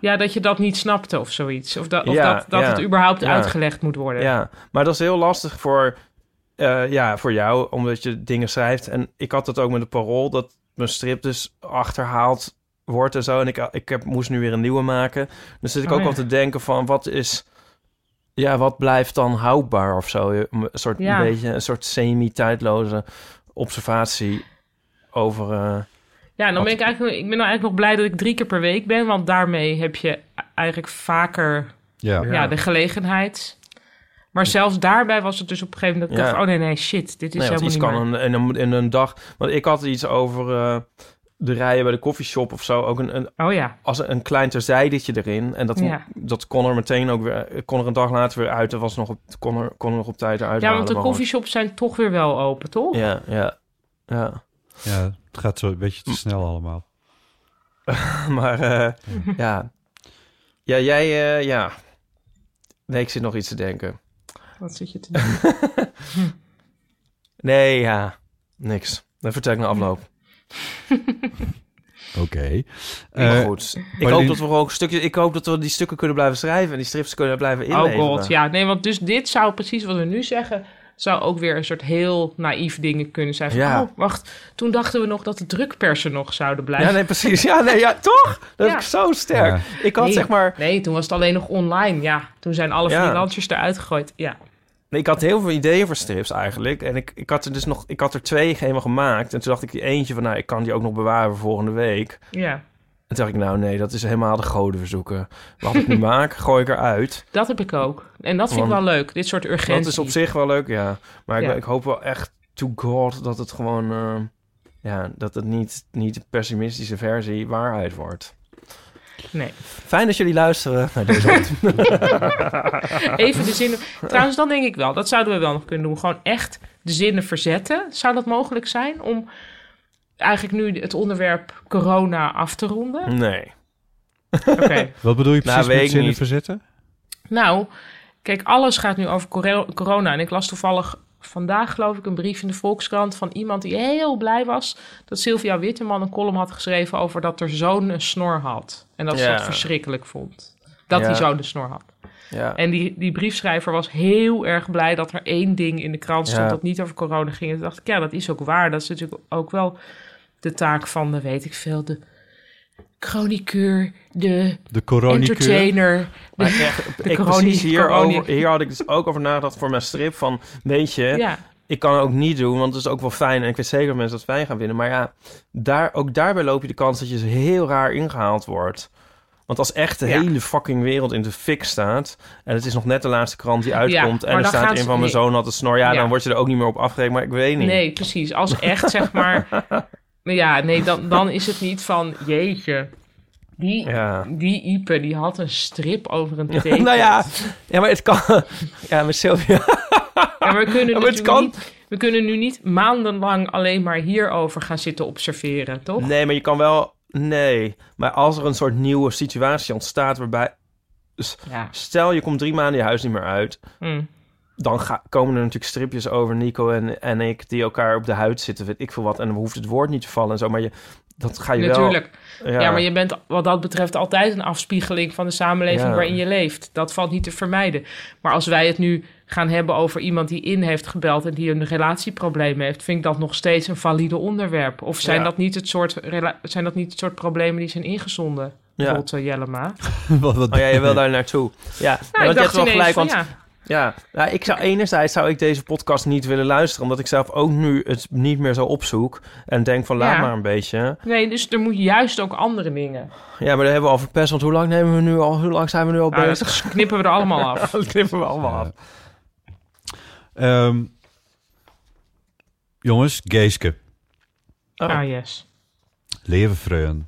S3: Ja, dat je dat niet snapte of zoiets. Of dat, of
S4: Ja,
S3: dat, dat
S4: ja.
S3: het überhaupt
S4: Ja.
S3: uitgelegd moet worden.
S4: Ja, maar dat is heel lastig voor, eh, ja, voor jou, omdat je dingen schrijft. En ik had dat ook met de parool, dat mijn strip dus achterhaald wordt en zo. En ik, ik heb, moest nu weer een nieuwe maken. Dus zit ik
S3: Oh,
S4: ook
S3: ja.
S4: al te denken van, wat is... Ja, wat blijft dan houdbaar of zo? Je- Een soort,
S3: Ja.
S4: een beetje, een soort semi-tijdloze observatie over... eh,
S3: Ja, dan
S4: Wat-
S3: ben ik eigenlijk, ik ben nou eigenlijk nog blij dat ik drie keer per week ben. Want daarmee heb je eigenlijk vaker
S2: Ja.
S3: ja. de gelegenheid. Maar zelfs daarbij was het dus op een gegeven moment dat ik
S4: Ja.
S3: dacht... oh nee, nee, shit, dit is
S4: nee, want
S3: helemaal
S4: iets
S3: niet
S4: kan
S3: meer.
S4: een, in, een, in een dag... Want ik had iets over eh, de rijen bij de koffieshop of zo. Ook een, een,
S3: Oh ja,
S4: als een klein terzijdetje erin. En dat,
S3: Ja.
S4: dat kon er meteen ook weer, kon er een dag later weer uit. Dat was nog op, kon, er, kon er nog op tijd eruit
S3: ja
S4: halen,
S3: want de
S4: maar
S3: koffieshops zijn toch weer wel open, toch?
S4: gewoon- Ja, ja, ja.
S2: Ja, het gaat zo een beetje te snel allemaal.
S4: Maar eh, ja. Ja, jij, eh, ja. Nee, ik zit nog iets te denken.
S3: Wat zit je te doen?
S4: Nee, ja. Niks. Dan vertel ik na afloop.
S2: Oké.
S4: maar
S2: Eh,
S4: goed. Ik
S2: maar
S4: hoop
S2: die-
S4: dat we ook stukjes... Ik hoop dat we die stukken kunnen blijven schrijven... en die strips kunnen blijven
S3: oh
S4: inleveren.
S3: god, ja. Nee, want dus dit zou precies wat we nu zeggen... zou ook weer een soort heel naïef dingen kunnen zijn. Van,
S4: Ja.
S3: Oh, wacht, toen dachten we nog dat de drukpersen nog zouden blijven.
S4: Ja, nee, precies. Ja, nee, ja, toch? Dat
S3: Ja.
S4: is zo sterk. Ik had
S3: Nee.
S4: zeg maar...
S3: Nee, toen was het alleen nog online, ja. Toen zijn alle
S4: Ja.
S3: freelancers eruit gegooid, ja.
S4: Nee, Ik had heel veel ideeën voor strips eigenlijk. En ik, ik had er dus nog, ik had er twee helemaal gemaakt. En toen dacht ik die eentje van, nou, ik kan die ook nog bewaren voor volgende week.
S3: Ja,
S4: En toen dacht ik, nou nee, dat is helemaal de goden verzoeken. Wat ik nu maak, gooi ik eruit.
S3: Dat heb ik ook. En dat vind ik
S4: Want-
S3: wel leuk. Dit soort urgentie.
S4: Dat is op zich wel leuk, ja. Maar ik,
S3: Ja.
S4: ik hoop wel echt, to god, dat het gewoon... eh, ja, dat het niet, niet de pessimistische versie waarheid wordt.
S3: Nee.
S4: Fijn dat jullie luisteren naar deze
S3: Even de zinnen. Trouwens, dan denk ik wel. Dat zouden we wel nog kunnen doen. Gewoon echt de zinnen verzetten. Zou dat mogelijk zijn om eigenlijk nu het onderwerp corona af te ronden?
S4: Nee.
S3: Oké.
S2: Wat bedoel je
S4: Nou,
S2: precies
S4: weet
S2: met
S4: ik
S2: zinnen
S4: niet.
S2: verzetten?
S3: Nou, kijk, alles gaat nu over coro- corona. En ik las toevallig vandaag, geloof ik, een brief in de Volkskrant van iemand die heel blij was dat Sylvia Witteman een column had geschreven over dat haar zoon een snor had. En dat ze
S4: Ja.
S3: dat verschrikkelijk vond. Dat
S4: Ja.
S3: die zoon een snor had.
S4: Ja.
S3: En die, die briefschrijver was heel erg blij dat er één ding in de krant stond
S4: Ja.
S3: dat niet over corona ging. En toen dacht ik, ja, dat is ook waar. Dat is natuurlijk ook wel de taak van de, weet ik veel, de chroniqueur, de
S2: De coronicure.
S3: entertainer.
S4: Maar
S3: de-
S4: ik echt, ik
S3: chroniek-
S4: precies hier,
S3: chroniek.
S4: over, hier had ik dus ook over nagedacht voor mijn strip van... Weet je,
S3: ja,
S4: ik kan het ook niet doen, want het is ook wel fijn. En ik weet zeker dat mensen dat fijn gaan vinden. Maar ja, daar, ook daarbij loop je de kans dat je heel raar ingehaald wordt. Want als echt de
S3: Ja.
S4: hele fucking wereld in de fik staat... en het is nog net de laatste krant die uitkomt...
S3: maar
S4: en er
S3: dan gaan
S4: staat in
S3: ze-
S4: van mijn
S3: nee.
S4: zoon had een snor... Ja,
S3: Ja.
S4: dan word je er ook niet meer op afgerekend, maar ik weet niet.
S3: nee, precies. Als echt, zeg maar. Maar Ja, nee, dan, dan is het niet van, jeetje, die,
S4: Ja.
S3: die Ipe, die had een strip over een teken.
S4: nou ja, ja, maar het kan... Ja, maar Sylvia...
S3: Ja, maar we kunnen,
S4: Ja, maar het
S3: natuurlijk
S4: kan.
S3: Niet, we kunnen nu niet maandenlang alleen maar hierover gaan zitten observeren, toch?
S4: Nee, maar je kan wel... Nee, maar als er een soort nieuwe situatie ontstaat waarbij...
S3: Ja.
S4: Stel, je komt drie maanden je huis niet meer uit...
S3: Mm.
S4: dan ga- komen er natuurlijk stripjes over Nico en, en ik die elkaar op de huid zitten, weet ik veel wat. En dan hoeft het woord niet te vallen en zo, maar je, dat ga je
S3: Natuurlijk.
S4: wel...
S3: Ja. maar je bent wat dat betreft altijd een afspiegeling van de samenleving
S4: Ja.
S3: waarin je leeft. Dat valt niet te vermijden. Maar als wij het nu gaan hebben over iemand die in heeft gebeld en die een relatieprobleem heeft, vind ik dat nog steeds een valide onderwerp. Of zijn,
S4: Ja.
S3: dat, niet het soort rela- zijn dat niet het soort problemen die zijn ingezonden? Bijvoorbeeld eh, Jellema.
S2: Wat- wat-
S4: Oh ja, je wil daar naartoe. Ja,
S3: Nou,
S4: want
S3: ik
S4: je hebt
S3: dacht
S4: wel
S3: ineens
S4: gelijk,
S3: van,
S4: want ja.
S3: ja.
S4: nou, ik zou, enerzijds zou ik deze podcast niet willen luisteren, omdat ik zelf ook nu het niet meer zo opzoek en denk van laat
S3: Ja.
S4: maar een beetje.
S3: Nee, dus er moet juist ook andere dingen.
S4: Ja, maar dat hebben we al verpest, want hoe lang nemen we nu al, hoe lang zijn we nu al
S3: Nou,
S4: bezig?
S3: dat knippen we er allemaal af.
S4: Dat knippen we allemaal af.
S2: Eh, Ehm, jongens, Geeske,
S4: Oh.
S3: Ah, yes.
S2: levenvreun.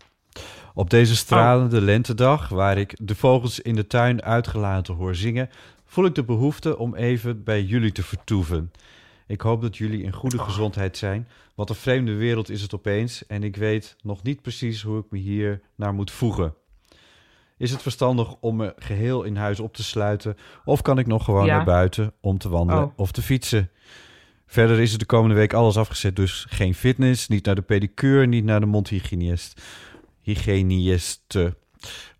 S2: Op deze stralende lentedag, waar ik de vogels in de tuin uitgelaten hoor zingen, voel ik de behoefte om even bij jullie te vertoeven. Ik hoop dat jullie in goede gezondheid zijn. Wat een vreemde wereld is het opeens en ik weet nog niet precies hoe ik me hier naar moet voegen. Is het verstandig om me geheel in huis op te sluiten of kan ik nog gewoon
S3: Ja.
S2: naar buiten om te wandelen
S3: Oh.
S2: of te fietsen? Verder is er de komende week alles afgezet, dus geen fitness, niet naar de pedicure, niet naar de mondhygiënist. Hygiëniste.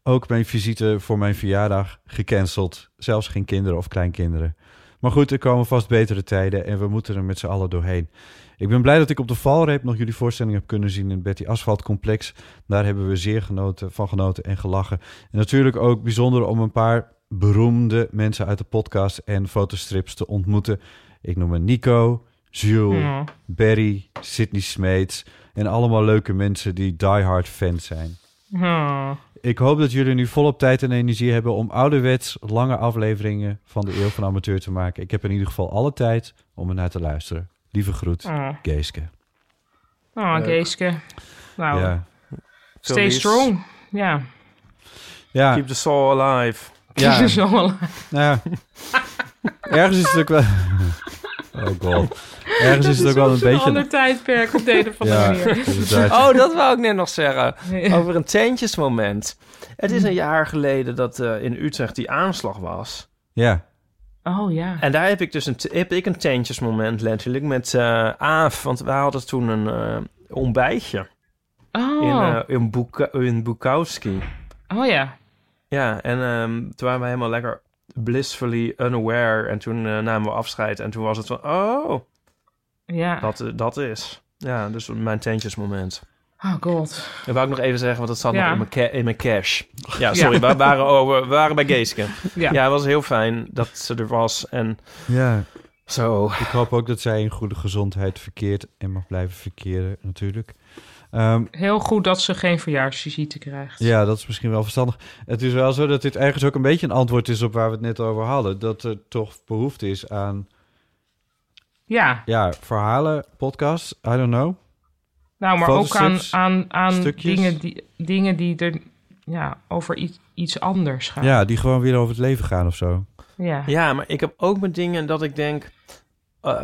S2: Ook mijn visite voor mijn verjaardag gecanceld. Zelfs geen kinderen of kleinkinderen. Maar goed, er komen vast betere tijden en we moeten er met z'n allen doorheen. Ik ben blij dat ik op de valreep nog jullie voorstelling heb kunnen zien in het Betty Asphalt Complex. Daar hebben we zeer genoten, van genoten en gelachen. En natuurlijk ook bijzonder om een paar beroemde mensen uit de podcast en fotostrips te ontmoeten. Ik noem me Nico, Jules,
S3: Ja.
S2: Barry, Sydney Smeets en allemaal leuke mensen die diehard fans zijn.
S3: Ja.
S2: Ik hoop dat jullie nu volop tijd en energie hebben om ouderwets lange afleveringen van de Eeuw van Amateur te maken. Ik heb in ieder geval alle tijd om ernaar te luisteren. Lieve groet,
S3: Oh,
S2: Geeske.
S3: oh
S4: Leuk.
S3: Geeske. Nou,
S2: Ja.
S4: Zo
S3: stay
S4: lief.
S3: strong. Ja.
S2: Ja,
S4: Keep the soul alive.
S2: ja,
S3: Zo wel.
S2: nou ja. Ergens is het ook wel... Oh god. Ergens is het ook wel een
S3: Een ander
S2: beetje...
S3: tijdperk op de een of andere
S2: Ja,
S3: manier.
S2: inderdaad.
S4: Oh, dat wou ik net nog zeggen.
S3: Nee.
S4: Over een teentjesmoment. Het is een jaar geleden dat eh, in Utrecht die aanslag was.
S2: Ja,
S3: Oh ja.
S4: En daar heb ik dus een, t- heb ik een teentjesmoment letterlijk met eh Aaf. Want wij hadden toen een eh, ontbijtje
S3: Oh,
S4: in, eh, in, Boeka- in Bukowski.
S3: oh ja.
S4: Ja, en ehm, toen waren we helemaal lekker blissfully unaware. En toen eh, namen we afscheid. En toen was het van, oh,
S3: Ja.
S4: dat, eh, dat is. Ja, dus mijn teentjesmoment.
S3: Oh god.
S4: Dat wou ik nog even zeggen, want dat zat
S3: Ja.
S4: nog in mijn, ca- in mijn cash. Ja, sorry, We, waren, oh, we waren bij Geeske. Ja.
S3: Ja.
S4: het was heel fijn dat ze er was. En
S2: ja.
S4: Zo.
S2: Ik hoop ook dat zij in goede gezondheid verkeert en mag blijven verkeren, natuurlijk. Ehm,
S3: Heel goed dat ze geen verjaarsvisite krijgt.
S2: ja, dat is misschien wel verstandig. Het is wel zo dat dit ergens ook een beetje een antwoord is op waar we het net over hadden. Dat er toch behoefte is aan
S3: Ja,
S2: ja, verhalen, podcasts, I don't know.
S3: nou, maar ook aan,
S2: Fotostrips,
S3: aan, aan
S2: stukjes.
S3: dingen, die, dingen die er ja, over iets, iets anders gaan.
S2: Ja, die gewoon weer over het leven gaan of zo.
S3: Ja.
S4: Ja, maar ik heb ook mijn dingen dat ik denk eh,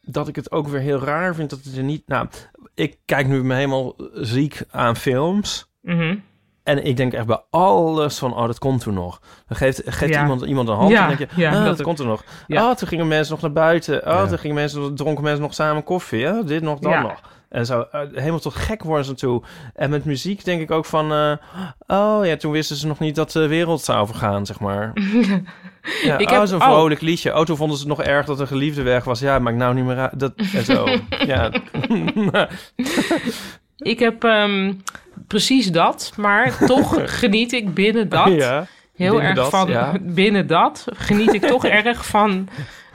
S4: dat ik het ook weer heel raar vind dat het er niet. Nou, ik kijk nu me helemaal ziek aan films.
S3: Mhm.
S4: En ik denk echt bij alles van, oh, dat komt toen nog. Dan geeft, geeft
S3: Ja.
S4: iemand, iemand een hand
S3: Ja,
S4: en denk je,
S3: ja,
S4: ah,
S3: dat
S4: dat,
S3: ook.
S4: komt er nog.
S3: Ja.
S4: Oh, toen gingen mensen nog naar buiten. Oh,
S2: Ja.
S4: toen gingen mensen, dronken mensen nog samen koffie. hè? Dit nog, dan
S3: Ja.
S4: nog. En zo, eh, helemaal tot gek worden ze toe. En met muziek denk ik ook van, eh, oh ja, toen wisten ze nog niet dat de wereld zou vergaan, zeg maar. Ja,
S3: Ik
S4: oh,
S3: heb-
S4: zo'n
S3: oh.
S4: vrolijk liedje. Oh, toen vonden ze het nog erg dat een geliefde weg was. Ja, maakt nou niet meer uit. Dat, en zo, ja.
S3: Ik heb ehm, precies dat, maar toch geniet ik binnen dat
S4: ja.
S3: heel
S4: binnen
S3: erg
S4: dat,
S3: van.
S4: ja.
S3: Binnen dat geniet ik toch erg van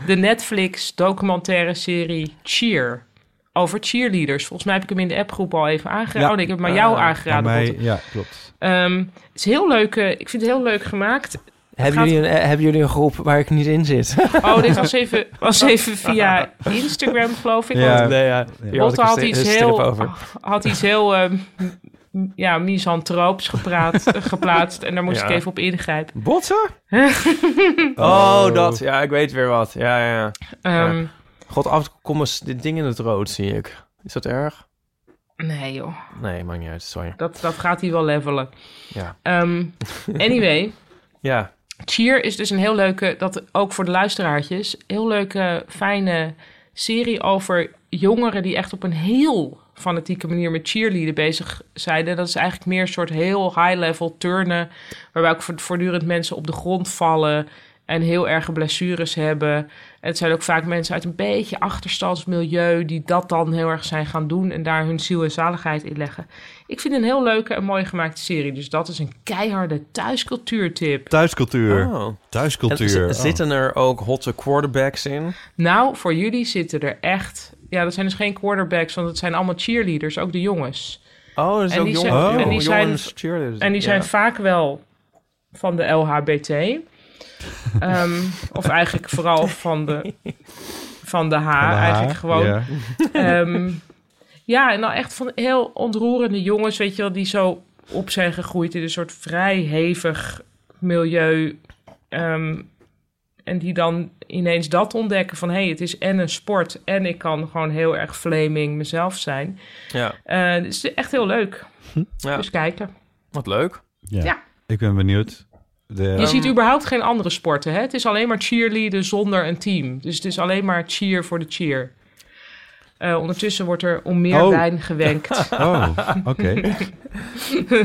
S3: de Netflix documentaire serie Cheer. Over cheerleaders. Volgens mij heb ik hem in de appgroep al even aangeraden.
S2: Ja.
S3: Oh nee, ik heb hem aan jou
S4: Ah,
S2: Aan
S3: aangeraden.
S2: mij,
S3: Botte.
S2: ja, klopt.
S3: Ehm, het is heel leuk. eh, ik vind het heel leuk gemaakt.
S4: Hebben,
S3: gaat-
S4: jullie een, eh, hebben jullie een groep waar ik niet in zit?
S3: Oh, dit was even, was even via Instagram, geloof ik.
S2: Ja.
S3: want
S4: nee, ja. Hier had ik
S3: Botte
S4: een
S3: had
S4: sti-
S3: iets
S4: een strip
S3: heel, Oh.
S4: over.
S3: had iets heel ehm, m- ja, misanthroops gepraat, geplaatst. En daar moest
S4: Ja.
S3: ik even op ingrijpen.
S4: Botten? oh, dat. Ja, ik weet weer wat. Ja, ja, ja.
S3: Ehm,
S4: God, af en toe komen s- dit ding in het rood, zie ik. Is dat erg?
S3: Nee joh,
S4: Nee, maakt niet uit. Sorry.
S3: dat, dat gaat hij wel levelen.
S4: Ja.
S3: Ehm, anyway,
S4: Ja.
S3: Cheer is dus een heel leuke, dat ook voor de luisteraartjes, heel leuke, fijne serie over jongeren die echt op een heel fanatieke manier met cheerleaden bezig zijn. En dat is eigenlijk meer een soort heel high-level turnen, waarbij ook vo- voortdurend mensen op de grond vallen en heel erge blessures hebben. En het zijn ook vaak mensen uit een beetje achterstandsmilieu die dat dan heel erg zijn gaan doen en daar hun ziel en zaligheid in leggen. Ik vind het een heel leuke en mooi gemaakte serie, dus dat is een keiharde thuiscultuurtip.
S2: Thuiscultuur.
S4: Oh. En
S2: Thuiscultuur.
S4: z- Zitten er ook hotte quarterbacks in?
S3: Nou, voor jullie zitten er echt. Ja, dat zijn dus geen quarterbacks, want het zijn allemaal cheerleaders, ook de jongens.
S4: Oh, dat is
S3: En
S4: ook
S3: die
S4: jongen.
S3: zijn-
S2: en
S3: die zijn-
S4: jongens cheerleaders.
S3: En die
S4: Ja.
S3: zijn vaak wel van de LHBT. Ehm, of eigenlijk vooral van de, van de H. eigenlijk gewoon.
S2: Ja.
S3: Ehm, ja, en dan echt van heel ontroerende jongens, weet je wel, die zo op zijn gegroeid in een soort vrij hevig milieu. Ehm, en die dan ineens dat ontdekken van hé, hey, het is en een sport en ik kan gewoon heel erg flaming mezelf zijn.
S4: Ja.
S3: Eh, dus het is echt heel leuk.
S4: Hm? Ja.
S3: Dus kijken.
S4: Wat leuk.
S2: Ja.
S3: Ja.
S2: Ik ben benieuwd. De, ehm,
S3: Je ziet überhaupt geen andere sporten. Hè? Het is alleen maar cheerleaden zonder een team. Dus het is alleen maar cheer voor de cheer. Eh, ondertussen wordt er om meer
S2: Oh.
S3: wijn gewenkt.
S2: Oh, oké.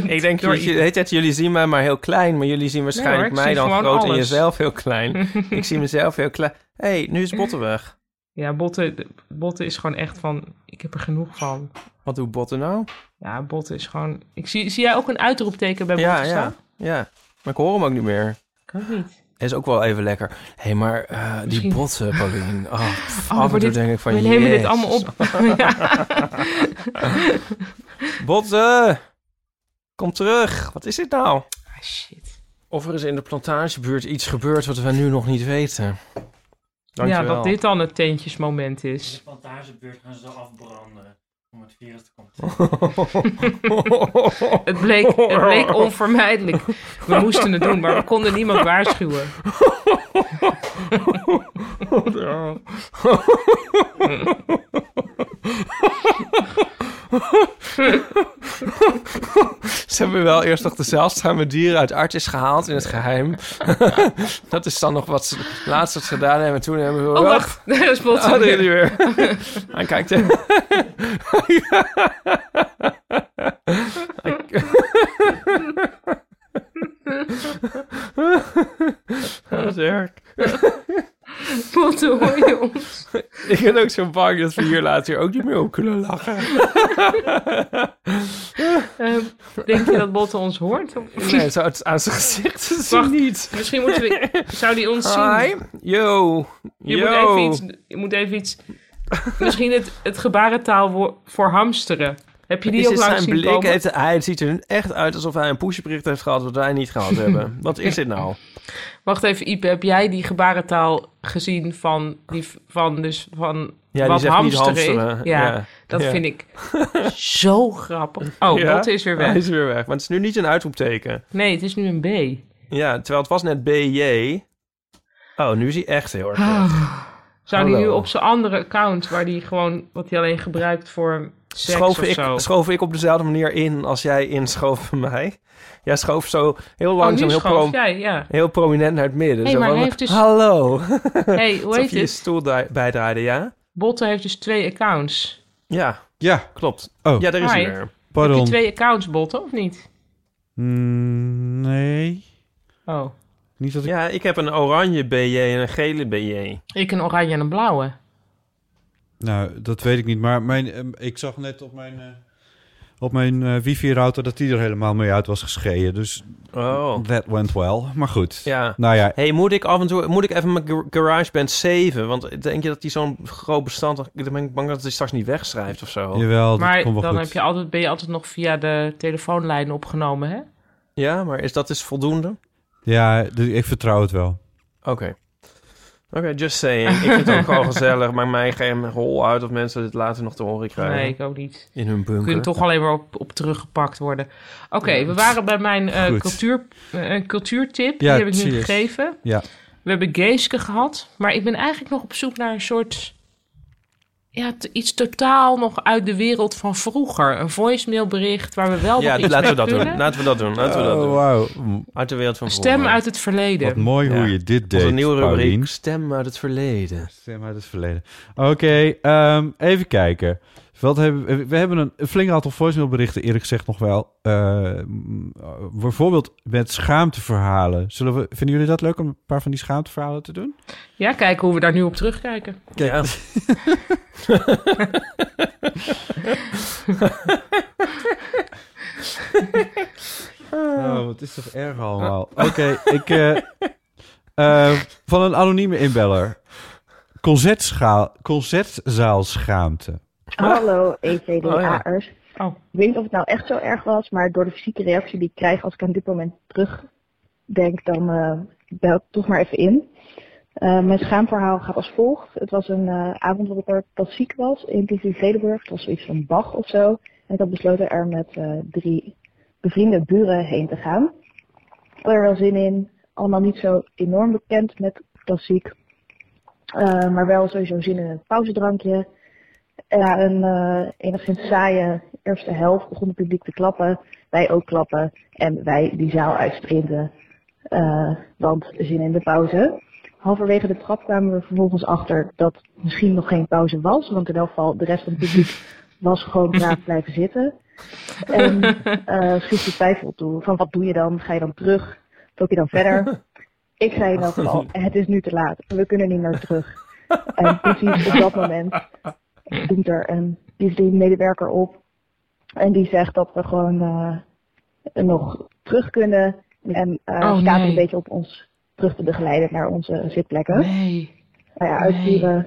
S4: Ik denk,
S3: Door-
S4: jullie, heet het, jullie zien mij maar heel klein, maar jullie zien waarschijnlijk
S3: Nee hoor,
S4: mij
S3: ik zie
S4: dan
S3: gewoon
S4: groot en
S3: alles.
S4: jezelf heel klein. ik zie mezelf heel klein. Hé, hey, nu is Botten weg.
S3: Ja, botten, botten is gewoon echt van, ik heb er genoeg van.
S4: Wat doet Botten nou?
S3: Ja, botten is gewoon... Ik zie, zie jij ook een uitroepteken bij
S4: Ja,
S3: botten
S4: ja,
S3: staan?
S4: ja. Maar ik hoor hem ook niet meer.
S3: Kan ook niet.
S4: Is ook wel even lekker. Hé, hey, maar eh, die
S3: Misschien-
S4: botten, Paulien. Oh, pff,
S3: Oh,
S4: af en
S3: maar
S4: toe
S3: dit-
S4: denk ik van,
S3: We nemen dit
S4: jezus.
S3: allemaal op. ja.
S4: Botten! Kom terug! Wat is dit nou?
S3: Ah, shit.
S4: Of er is in de plantagebuurt iets gebeurd wat we nu nog niet weten.
S3: Ja,
S4: Dankjewel.
S3: dat dit dan het teentjesmoment is.
S6: plantagebeurt gaan ze zo afbranden. Om het virus te komen.
S3: Het bleek, het bleek onvermijdelijk. We moesten het doen, maar we konden niemand waarschuwen.
S4: Oh,
S3: Oh,
S4: Ze hebben wel eerst nog de zeldzame dieren uit Artis gehaald in het geheim. dat is dan nog wat ze laatst wat ze gedaan hebben. En toen hebben we...
S3: Oh, wacht. Daar is
S4: Oh,
S3: botten
S4: daar is
S3: weer.
S4: hij weer. Hij kijkt even. Dat is erg.
S3: Botten, hoor je ons?
S4: Ik ben ook zo bang dat we hier later ook niet meer op kunnen lachen.
S3: Ehm, denk je dat Botte ons hoort? Of-
S4: Nee, zo uit- aan zijn gezicht te zien
S3: Wacht.
S4: niet.
S3: Misschien moeten we... Zou die ons zien?
S4: Hi. Yo.
S3: Je moet
S4: Yo.
S3: even iets... Je moet even iets misschien het, het gebarentaal wo- voor hamsteren. Heb je die
S4: Is
S3: ook
S4: dit
S3: langs
S4: zijn
S3: zien
S4: blik?
S3: komen?
S4: Het, hij ziet er echt uit alsof hij een pushbericht heeft gehad wat wij niet gehad hebben. Wat is dit nou?
S3: Wacht even, Ipe. Heb jij die gebarentaal gezien van... Die, van, dus van
S4: Ja,
S3: wat
S4: die zegt niet
S3: hamsteren is?
S4: hamsteren.
S3: Ja, dat
S4: Ja.
S3: vind ik zo grappig. Oh,
S4: Ja?
S3: Botte is weer
S4: Hij
S3: weg.
S4: is weer weg. Want het is nu niet een uitroepteken.
S3: Nee, het is nu een B.
S4: Ja, terwijl het was net BJ. Oh, nu is hij echt heel erg.
S3: Ah,
S4: weg.
S3: Zou die
S4: Hallo.
S3: nu op zijn andere account, waar die gewoon, wat hij alleen gebruikt voor seks
S4: schoof
S3: of
S4: ik,
S3: zo.
S4: schoof ik op dezelfde manier in als jij inschoof bij mij. Jij schoof zo heel
S3: Oh, nu
S4: langzaam, heel,
S3: schoof
S4: pro-
S3: jij, ja.
S4: heel prominent naar het midden.
S3: Hey,
S4: zo
S3: maar
S4: van,
S3: hij heeft dus-
S4: Hallo.
S3: hey, hoe
S4: Alsof
S3: heet
S4: je je
S3: het?
S4: stoel dra- bijdraaide, ja?
S3: Botte heeft dus twee accounts.
S4: Ja,
S2: Ja,
S4: klopt.
S2: Oh.
S4: Ja, daar is
S3: Hi.
S4: hij weer.
S3: Heb je
S2: pardon.
S3: twee accounts, Botte, of niet?
S2: Mm, nee,
S3: Oh,
S2: niet dat ik...
S4: Ja, ik heb een oranje BJ en een gele BJ.
S3: ik een oranje en een blauwe.
S2: Nou, dat weet ik niet, maar mijn, ehm, ik zag net op mijn, eh, op mijn eh, wifi-router dat die er helemaal mee uit was gescheiden. Dus
S4: Oh.
S2: that went well. Maar goed.
S4: Ja.
S2: Nou ja,
S4: hey, moet ik af en toe moet ik even mijn gar- GarageBand saven? Want denk je dat die zo'n groot bestand... Dan ben ik bang dat hij straks niet wegschrijft of zo. Ja,
S2: jawel, dat
S3: maar
S2: komt wel
S3: dan
S2: goed.
S3: heb je altijd, ben je altijd nog via de telefoonlijn opgenomen, hè?
S4: maar is dat is voldoende?
S2: Ja, dus ik vertrouw het wel.
S4: Oké. Oké, just saying. Ik vind het ook gewoon gezellig, maar mij geen rol uit of mensen dit later nog te horen krijgen.
S3: Nee, ik ook niet.
S4: In hun
S3: Je
S4: bunker.
S3: kunt toch alleen maar op, op teruggepakt worden. Oké, we waren bij mijn eh,
S2: Goed.
S3: cultuur, eh, een cultuurtip.
S2: Ja,
S3: Die heb ik nu
S2: cheers.
S3: gegeven.
S2: Ja.
S3: We hebben Geeske gehad, maar ik ben eigenlijk nog op zoek naar een soort... Ja, t- iets totaal nog uit de wereld van vroeger. Een voicemailbericht waar we wel
S4: Ja,
S3: nog Oh, iets
S4: laten
S3: mee
S4: we dat
S3: kunnen.
S4: doen. Nou, Laten we dat doen. Laten we dat
S2: Oh,
S4: doen.
S2: wauw.
S4: Uit de wereld van
S3: Een Stem
S4: vroeger.
S3: uit het
S2: Wat
S3: verleden.
S2: mooi hoe
S4: Ja.
S2: je dit deed,
S4: Onze nieuwe rubriek.
S2: Paulien.
S4: Stem uit het verleden.
S2: Stem uit het verleden. Oké, ehm, even kijken. Wat hebben, we hebben een, een flink aantal voicemailberichten, eerlijk gezegd nog wel. Eh, m, bijvoorbeeld met schaamteverhalen. Zullen we, vinden jullie dat leuk om een paar van die schaamteverhalen te doen?
S3: Ja, kijken hoe we daar nu op terugkijken.
S4: Ja.
S2: Oh, wat is toch erg allemaal. Oké, ik... eh, eh, van een anonieme inbeller. Concertscha- Concertzaalschaamte.
S7: Hallo, E EVDA'ers.
S3: Oh.
S7: Ik weet niet of het nou echt zo erg was, maar door de fysieke reactie die ik krijg als ik aan dit moment terugdenk, dan eh bel ik toch maar even in. Eh, mijn schaamverhaal gaat als volgt. Het was een eh, avond waarop er klassiek was in TV Vredenburg. Het was zoiets van Bach of zo. En ik had besloten er met eh, drie bevriende buren heen te gaan. Ik had er wel zin in. Allemaal niet zo enorm bekend met klassiek. Eh, maar wel sowieso zin in een pauzedrankje. Ja, een eh, enigszins saaie eerste helft begon het publiek te klappen. Wij ook klappen en wij die zaal uitsprinten. eh, want zin in de pauze. Halverwege de trap kwamen we vervolgens achter dat misschien nog geen pauze was. Want in elk geval de rest van het publiek was gewoon braaf blijven zitten. En eh schiet de twijfel toe van wat doe je dan? Ga je dan terug? Loop je dan verder? Ik zei in elk geval, het is nu te laat. We kunnen niet meer terug. En precies op dat moment doet er een medewerker op. En die zegt dat we gewoon eh, nog terug kunnen. En eh,
S3: Oh,
S7: staat
S3: nee.
S7: een beetje op ons terug te begeleiden naar onze zitplekken.
S3: Nee.
S7: Nou ja, uit
S3: Nee.
S7: pure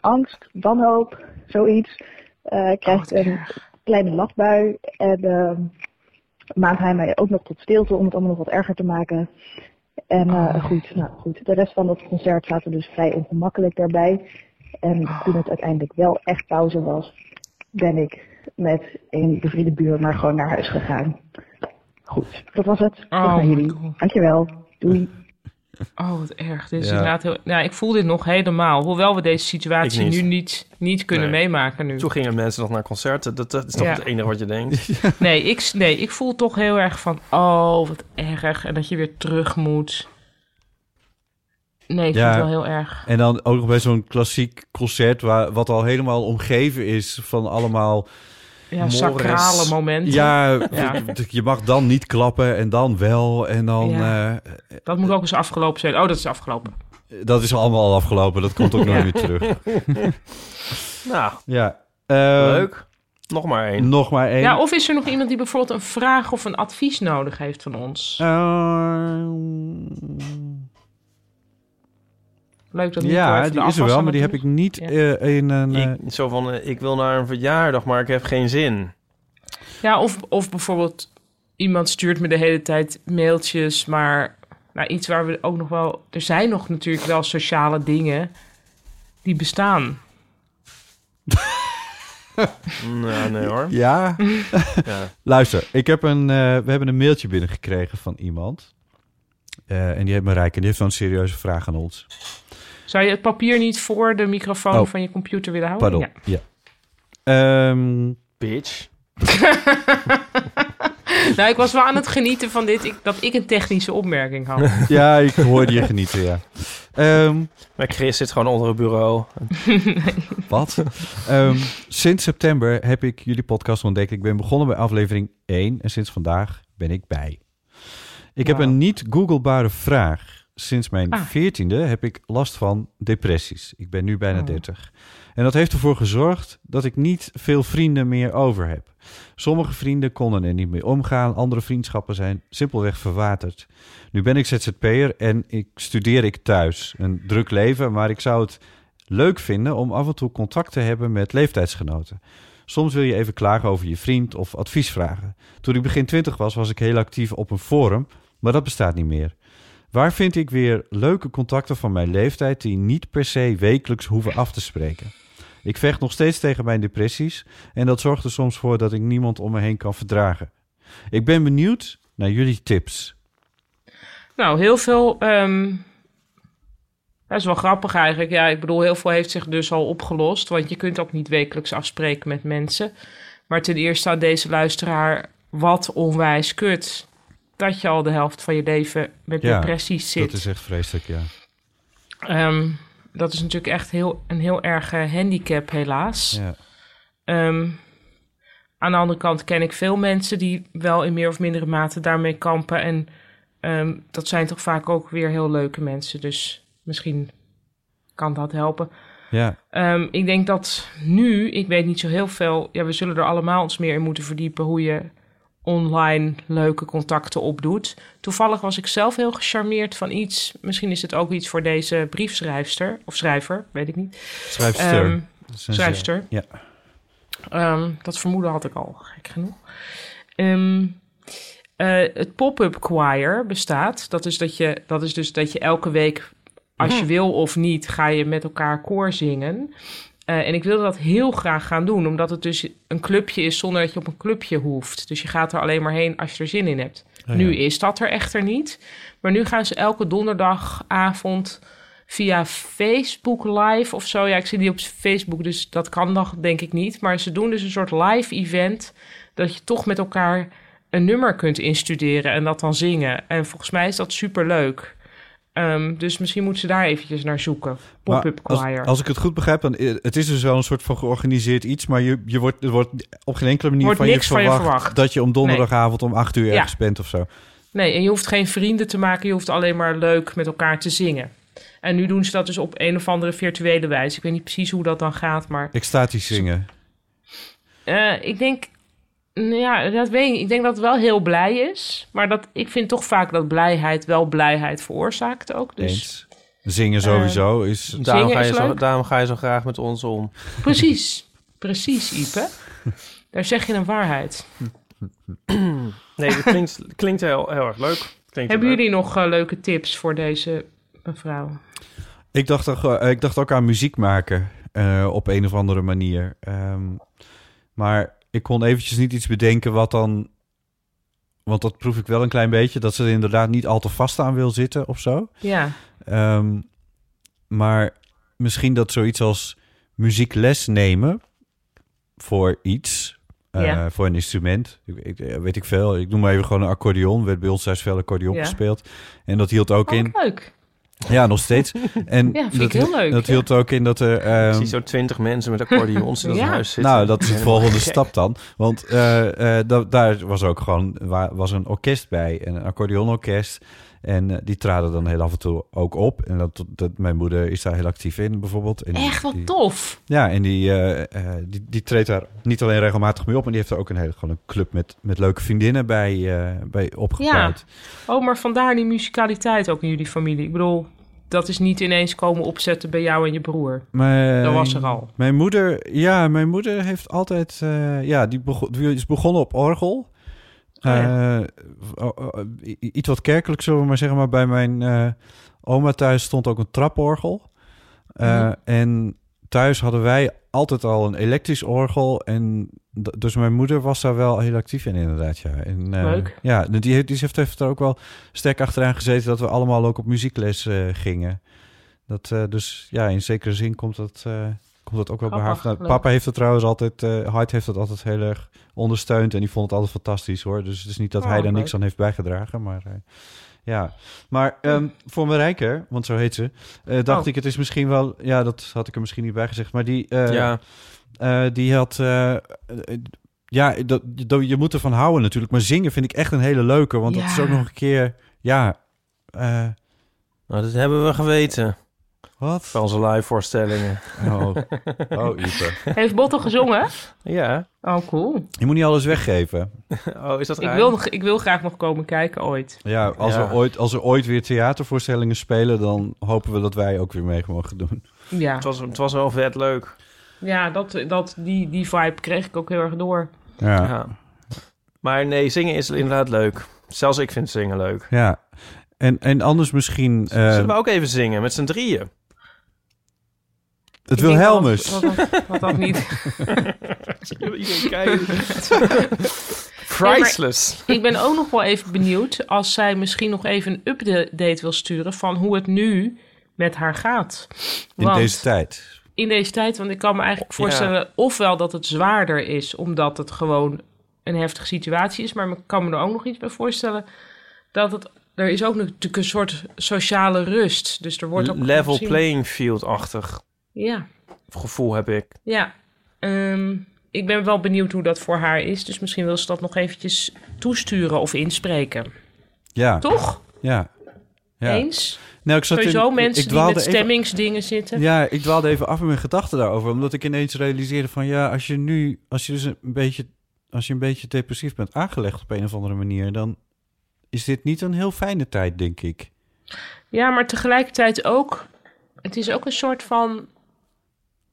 S7: angst, wanhoop, zoiets. eh krijgt
S3: Oh, wat
S7: een kleine lachbui. En ehm, maakt hij mij ook nog tot stilte om het allemaal nog wat erger te maken. En eh,
S3: Oh, nee.
S7: goed, nou goed. De rest van dat concert zaten we dus vrij ongemakkelijk daarbij. En
S3: Oh.
S7: toen het uiteindelijk wel echt pauze was, ben ik met een bevriende buur maar gewoon naar huis gegaan. Goed, dat was het. Terug
S3: Oh,
S7: naar
S3: my
S7: jullie.
S3: God.
S7: Dankjewel. Doei.
S3: Oh, wat erg. Dit is
S2: Ja.
S3: inderdaad heel... Nou, ik voel dit nog helemaal. Hoewel we deze situatie
S4: Ik niet.
S3: nu niet, niet kunnen
S4: Nee.
S3: meemaken nu.
S4: Toen gingen mensen nog naar concerten. Dat, dat is toch
S3: Ja.
S4: het enige wat je denkt.
S3: Nee ik, nee, ik voel toch heel erg van... Oh, wat erg. En dat je weer terug moet. Nee, ik
S2: Ja.
S3: vind het wel heel erg.
S2: En dan ook nog bij zo'n klassiek concert, waar, wat al helemaal omgeven is van allemaal...
S3: Ja,
S2: Morris.
S3: sacrale momenten.
S2: Ja,
S3: Ja.
S2: je mag dan niet klappen en dan wel. En dan,
S3: Ja.
S2: eh,
S3: Dat moet ook eens afgelopen zijn. Oh, dat is afgelopen.
S2: dat is allemaal al afgelopen. Dat komt ook nooit
S3: Ja.
S2: meer terug.
S4: Nou,
S2: Ja. ehm,
S4: leuk. Nog maar één.
S2: Nog maar één.
S3: Ja, of is er nog iemand die bijvoorbeeld een vraag of een advies nodig heeft van ons?
S2: Ehm,
S3: Leuk dat Nico
S2: ja,
S3: even
S2: die
S3: de
S2: is er
S3: afwas
S2: wel,
S3: aan
S2: maar die
S3: het
S2: heb ik niet
S3: Ja.
S2: eh, in een... eh,
S4: Ik, zo van, eh, ik wil naar een verjaardag, maar ik heb geen zin.
S3: Ja, of, of bijvoorbeeld iemand stuurt me de hele tijd mailtjes, maar nou, iets waar we ook nog wel... Er zijn nog natuurlijk wel sociale dingen die bestaan.
S4: Nou, nee hoor.
S2: Ja.
S4: Ja.
S2: Luister, ik heb een, eh, we hebben een mailtje binnengekregen van iemand. Eh, en die heeft me rijk en die heeft wel een serieuze vraag aan ons.
S3: Zou je het papier niet voor de microfoon
S2: Oh.
S3: van je computer willen houden?
S2: Pardon.
S3: Ja.
S2: Ja. Ehm,
S4: Bitch.
S3: Nou, ik was wel aan het genieten van dit, ik, dat ik een technische opmerking had.
S2: ja, ik hoorde je genieten, ja. Ehm,
S4: Maar Chris zit gewoon onder het bureau.
S2: Wat? Ehm, sinds september heb ik jullie podcast ontdekt. Ik ben begonnen bij aflevering 1 en sinds vandaag ben ik bij. Ik heb
S3: Wauw.
S2: een niet googlebare vraag. Sinds mijn
S3: Ah.
S2: veertiende heb ik last van depressies. Ik ben nu bijna
S3: Oh.
S2: 30. En dat heeft ervoor gezorgd dat ik niet veel vrienden meer over heb. Sommige vrienden konden er niet mee omgaan. Andere vriendschappen zijn simpelweg verwaterd. Nu ben ik ZZP'er en ik studeer ik thuis. Een druk leven, maar ik zou het leuk vinden om af en toe contact te hebben met leeftijdsgenoten. Soms wil je even klagen over je vriend of advies vragen. Toen ik begin 20 was, was ik heel actief op een forum, maar dat bestaat niet meer. Waar vind ik weer leuke contacten van mijn leeftijd die niet per se wekelijks hoeven af te spreken? Ik vecht nog steeds tegen mijn depressies en dat zorgt er soms voor dat ik niemand om me heen kan verdragen. Ik ben benieuwd naar jullie tips.
S3: Nou, heel veel. ehm, dat is wel grappig eigenlijk. Ja, ik bedoel, heel veel heeft zich dus al opgelost. Want je kunt ook niet wekelijks afspreken met mensen. Maar ten eerste staat deze luisteraar wat onwijs kut. Dat je al de helft van je leven met
S2: Ja,
S3: depressies zit.
S2: Dat is echt vreselijk, ja.
S3: Ehm, dat is natuurlijk echt heel, een heel erg eh, handicap, helaas.
S2: ja.
S3: Ehm, aan de andere kant ken ik veel mensen die wel in meer of mindere mate daarmee kampen. En ehm, dat zijn toch vaak ook weer heel leuke mensen. Dus misschien kan dat helpen.
S2: ja.
S3: Ehm, ik denk dat nu, ik weet niet zo heel veel. Ja, we zullen er allemaal ons meer in moeten verdiepen hoe je online leuke contacten opdoet. Toevallig was ik zelf heel gecharmeerd van iets. Misschien is het ook iets voor deze briefschrijfster of schrijver, weet ik niet.
S2: Schrijfster.
S3: Ehm,
S2: Dat is een-
S3: schrijfster.
S2: Ja.
S3: Ehm, dat vermoeden had ik al, gek genoeg. Ehm, eh, het pop-up choir bestaat. Dat is, dat, je, dat is dus dat je elke week, als je wil of niet, ga je met elkaar koor zingen. Eh, en ik wilde dat heel graag gaan doen, omdat het dus een clubje is zonder dat je op een clubje hoeft. Dus je gaat er alleen maar heen als je er zin in hebt.
S2: ja.
S3: Nu is dat er echter niet. Maar nu gaan ze elke donderdagavond via Facebook live of zo. Ja, ik zie die op Facebook, dus dat kan dan denk ik niet. Maar ze doen dus een soort live event dat je toch met elkaar een nummer kunt instuderen en dat dan zingen. En volgens mij is dat superleuk. Ehm dus misschien moeten ze daar eventjes naar zoeken.
S2: Maar
S3: Pop-up
S2: als-
S3: choir.
S2: Als, ik het goed begrijp, dan i- het is dus wel een soort van georganiseerd iets, maar je, je wordt, er wordt op geen enkele manier
S3: Wordt
S2: van, je
S3: niks van je
S2: verwacht
S3: verwacht.
S2: dat je om donderdagavond om 8 uur
S3: Ja.
S2: ergens bent of zo.
S3: Nee, en je hoeft geen vrienden te maken, je hoeft alleen maar leuk met elkaar te zingen. En nu doen ze dat dus op een of andere virtuele wijze. Ik weet niet precies hoe dat dan gaat, maar
S2: Extatisch zingen.
S3: eh, ik denk, nou ja, dat weet ik. niet. Ik denk dat het wel heel blij is, maar dat ik vind toch vaak dat blijheid wel blijheid veroorzaakt ook. Dus Ehm,
S2: Eens. Zingen sowieso is.
S4: Daarom ga,
S3: is
S4: je zo,
S3: leuk.
S4: daarom ga je zo graag met ons om.
S3: precies, precies, Ipe. Daar zeg je een waarheid.
S4: Nee, dat klinkt, klinkt heel, heel erg leuk. Klinkt
S3: Hebben
S4: heel leuk.
S3: jullie nog eh, leuke tips voor deze mevrouw?
S2: Ik dacht, toch, eh, ik dacht ook aan muziek maken eh, op een of andere manier. Ehm, maar ik kon eventjes niet iets bedenken wat dan. Want dat proef ik wel een klein beetje, dat ze er inderdaad niet al te vast aan wil zitten of zo.
S3: Ja,
S2: Ehm, maar misschien dat zoiets als muziekles nemen voor iets, eh,
S3: Ja.
S2: voor een instrument, ik, ik- eh, weet ik veel. Ik noem maar even gewoon een accordeon. Werd bij ons thuis veel accordeon
S3: Ja.
S2: gespeeld. En dat hield ook
S3: oh,
S2: in.
S3: leuk.
S2: Ja, nog steeds. En
S3: Ja, vind ik
S2: dat,
S3: heel leuk,
S2: Dat
S3: ja.
S2: hield ook in dat er. ehm,
S4: Ik zie zo twintig mensen met accordeons in dat
S3: Ja.
S4: huis zitten.
S2: nou, dat is de
S4: Helemaal
S2: volgende
S4: gek.
S2: stap dan. Want eh, eh, da- daar was ook gewoon wa- was een orkest bij. Een accordeonorkest. En eh, die traden dan heel af en toe ook op. En dat, dat, mijn moeder is daar heel actief in, bijvoorbeeld. En die-
S3: Echt wat
S2: die-
S3: tof.
S2: Ja, en die, eh, eh, die, die treedt daar niet alleen regelmatig mee op, maar die heeft er ook een hele gewoon een club met, met leuke vriendinnen bij, eh, bij opgebouwd.
S3: Oh, maar vandaar die musicaliteit ook in jullie familie. Ik bedoel, dat is niet ineens komen opzetten bij jou en je broer.
S2: Maar,
S3: Dat was er al.
S2: Mijn moeder, ja, mijn moeder heeft altijd, eh, ja, die, begon, die is begonnen op orgel.
S3: Oh ja.
S2: Eh, o- o- i- iets wat kerkelijk, zullen we maar zeggen. Maar bij mijn eh, oma thuis stond ook een traporgel. Eh,
S3: Mhm.
S2: En thuis hadden wij altijd al een elektrisch orgel. En d- dus mijn moeder was daar wel heel actief in, inderdaad. Ja. En, eh,
S3: Leuk.
S2: Ja, die, heeft- die heeft, heeft er ook wel sterk achteraan gezeten dat we allemaal ook op muziekles eh, gingen. Dat, eh, dus ja, in zekere zin komt dat, eh, komt dat ook wel bij haar.
S3: Grappig,
S2: vandaan.
S3: leuk.
S2: Papa heeft het trouwens altijd, eh Hart heeft het altijd heel erg ondersteund. En die vond het altijd fantastisch hoor. Dus het is niet dat
S3: Oh,
S2: hij daar
S3: leuk.
S2: niks aan heeft bijgedragen. Maar eh, ja. Maar ehm, voor Marijke, want zo heet ze, eh, dacht
S3: Oh.
S2: ik, het is misschien wel. Ja, dat had ik er misschien niet bij gezegd. Maar die, eh,
S4: ja,
S2: eh, die had. eh, eh, ja, dat, dat- je moet ervan houden natuurlijk. Maar zingen vind ik echt een hele leuke. Want dat is
S3: Ja.
S2: ook nog een keer. Ja. eh,
S4: nou, dat hebben we geweten.
S2: wat?
S4: Van onze live voorstellingen.
S2: Oh, oh Ipe.
S3: Heeft Botte gezongen?
S4: Ja.
S3: Oh, cool.
S2: Je moet niet alles weggeven.
S4: Oh, is dat
S3: Ik
S4: raar?
S3: wil, nog- ik wil graag nog komen kijken ooit.
S2: Ja, als,
S4: Ja.
S2: We ooit, als er ooit weer theatervoorstellingen spelen... dan hopen we dat wij ook weer mee mogen doen.
S3: Ja,
S4: Het was, het was wel vet leuk.
S3: ja dat, dat, die, die vibe kreeg ik ook heel erg door.
S2: Ja.
S4: Ja. Maar nee, zingen is inderdaad leuk. Zelfs ik vind zingen leuk.
S2: Ja, en, en anders misschien eh,
S4: Zullen we ook even zingen met z'n drieën?
S2: het
S3: Ik denk wel
S2: Wilhelmus.
S3: Wat, wat, wat dat niet.
S4: Iedereen kijkt. Priceless.
S3: Ik ben ook nog wel even benieuwd als zij misschien nog even een update wil sturen van hoe het nu met haar gaat.
S2: in
S3: Want-
S2: deze tijd.
S3: in deze tijd. Want ik kan me eigenlijk voorstellen, ofwel dat het zwaarder is, omdat het gewoon een heftige situatie is. Maar ik kan me er ook nog iets bij voorstellen dat het. Er is ook natuurlijk een soort sociale rust. Dus er wordt ook.
S4: Level
S3: gezien-
S4: playing field-achtig
S3: Ja,
S4: gevoel heb ik.
S3: ja. Ehm, ik ben wel benieuwd hoe dat voor haar is. Dus misschien wil ze dat nog eventjes toesturen of inspreken.
S2: Ja,
S3: Toch?
S2: ja. ja.
S3: Eens?
S2: Nou, ik zat
S3: Sowieso
S2: in-
S3: mensen die
S2: dwaalde
S3: met
S2: even-
S3: stemmingsdingen zitten.
S2: Ja, ik dwaalde even af in mijn gedachten daarover. Omdat ik ineens realiseerde van ja, als je nu, als je dus een beetje, als je een beetje depressief bent aangelegd op een of andere manier, dan is dit niet een heel fijne tijd, denk ik.
S3: Ja, maar tegelijkertijd ook. Het is ook een soort van.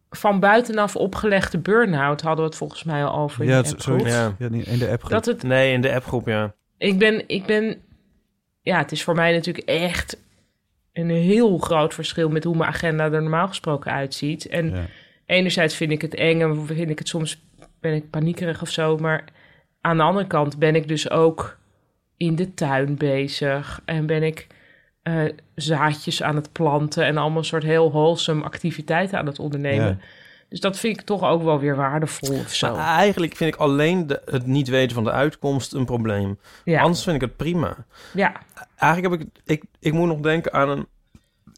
S3: van buitenaf opgelegde burn-out. Hadden we het volgens mij al over. in
S2: Ja,
S3: de
S2: zo-
S3: appgroep.
S2: zoiets.
S4: Ja.
S2: Ja, in de app. groep.
S3: Dat het.
S4: Nee, in de appgroep, ja.
S3: Ik ben. Ik ben. Ja, het is voor mij natuurlijk echt. een heel groot verschil met hoe mijn agenda er normaal gesproken uitziet. En
S2: Ja.
S3: enerzijds vind ik het eng en vind ik het soms. ben ik paniekerig of zo. Maar aan de andere kant ben ik dus ook in de tuin bezig. En ben ik eh, zaadjes aan het planten. En allemaal soort heel wholesome activiteiten aan het ondernemen. Dus dat vind ik toch ook wel weer waardevol of zo.
S4: Maar eigenlijk vind ik alleen de- het niet weten van de uitkomst een probleem.
S3: ja.
S4: Anders vind ik het prima.
S3: ja,
S4: Eigenlijk heb ik, ik... Ik moet nog denken aan een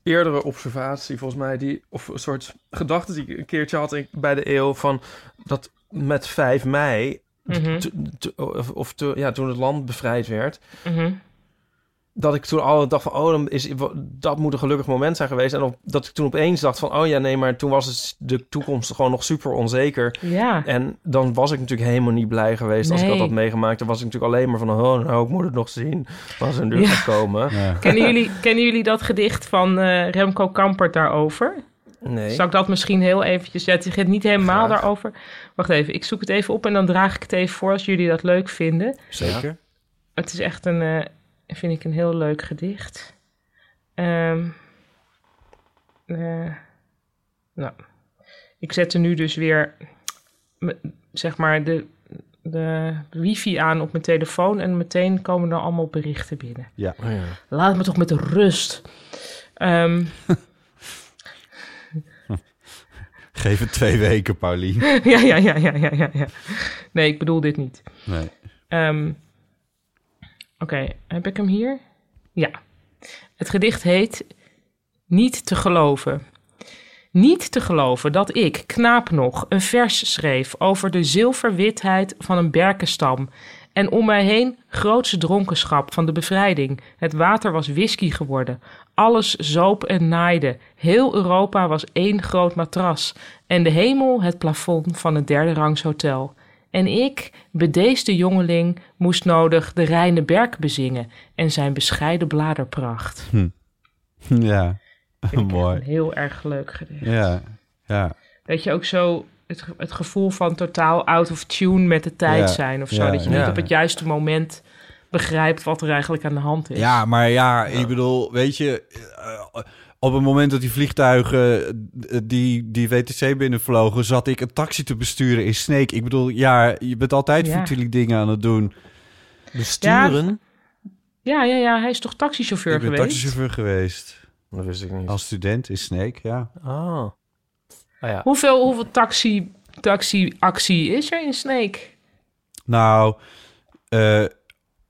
S4: eerdere observatie, volgens mij. Die, of een soort gedachte die ik een keertje had in- bij de eeuw... van dat met 5 mei...
S3: Mhm.
S4: te- te- of, of te- ja, toen het land bevrijd werd...
S3: mhm.
S4: dat ik toen al dacht van... oh, dan is, dat moet een gelukkig moment zijn geweest. En op- dat ik toen opeens dacht van... oh ja, nee, maar toen was het, de toekomst gewoon nog super onzeker...
S3: ja.
S4: En dan was ik natuurlijk helemaal niet blij geweest als ik dat
S3: Nee.
S4: had meegemaakt. Dan was ik natuurlijk alleen maar van, oh, nou, ik moet het nog zien. Als er dus nu
S3: Ja.
S4: gaat komen.
S2: Ja.
S3: Kennen jullie, kennen jullie dat gedicht van eh, Remco Kampert daarover?
S4: Nee.
S3: Zal ik dat misschien heel eventjes... Ja, het gaat niet helemaal
S4: Graag.
S3: daarover. Wacht even, ik zoek het even op en dan draag ik het even voor als jullie dat leuk vinden.
S2: Zeker.
S3: Het is echt een, eh, vind ik een heel leuk gedicht. Ehm, eh, nou, ik zet er nu dus weer, m- zeg maar, de, de wifi aan op mijn telefoon en meteen komen er allemaal berichten binnen.
S2: Ja.
S4: Oh ja.
S3: Laat me toch met de rust. Ehm,
S2: Geef het twee weken, Paulien.
S3: ja, ja, ja, ja, ja, ja, ja. Nee, ik bedoel dit niet.
S2: Nee.
S3: Ehm, Oké, heb ik hem hier? Ja. Het gedicht heet Niet te geloven. Niet te geloven dat ik, knaap nog, een vers schreef over de zilverwitheid van een berkenstam En om mij heen grootse dronkenschap van de bevrijding. Het water was whisky geworden. Alles zoop en naaide. Heel Europa was één groot matras. En de hemel het plafond van het derde rangs hotel. En ik, bedeesde jongeling, moest nodig de reine berk bezingen en zijn bescheiden bladerpracht.
S2: Ja,
S3: Vind ik echt
S2: mooi.
S3: een heel erg leuk gedicht.
S2: Ja, ja.
S3: Dat je ook zo het, ge- het gevoel van totaal out of tune met de tijd
S2: Ja,
S3: zijn of zo.
S2: ja,
S3: dat je
S2: ja.
S3: niet op het juiste moment begrijpt wat er eigenlijk aan de hand is.
S2: Ja, maar ja, ik bedoel, weet je, eh, op het moment dat die vliegtuigen eh, die, die WTC binnenvlogen, zat ik een taxi te besturen in Sneek. Ik bedoel, ja, je bent altijd
S3: Ja.
S2: futiele dingen aan het doen.
S4: Besturen?
S3: ja, ja, ja. Hij is toch taxichauffeur
S2: ik ben
S3: geweest?
S2: taxichauffeur geweest.
S4: Dat wist ik niet.
S2: Als student in Sneek, ja.
S4: Ah. Ah ja.
S3: Hoeveel, hoeveel taxi, taxi-actie is er in Sneek?
S2: Nou, eh,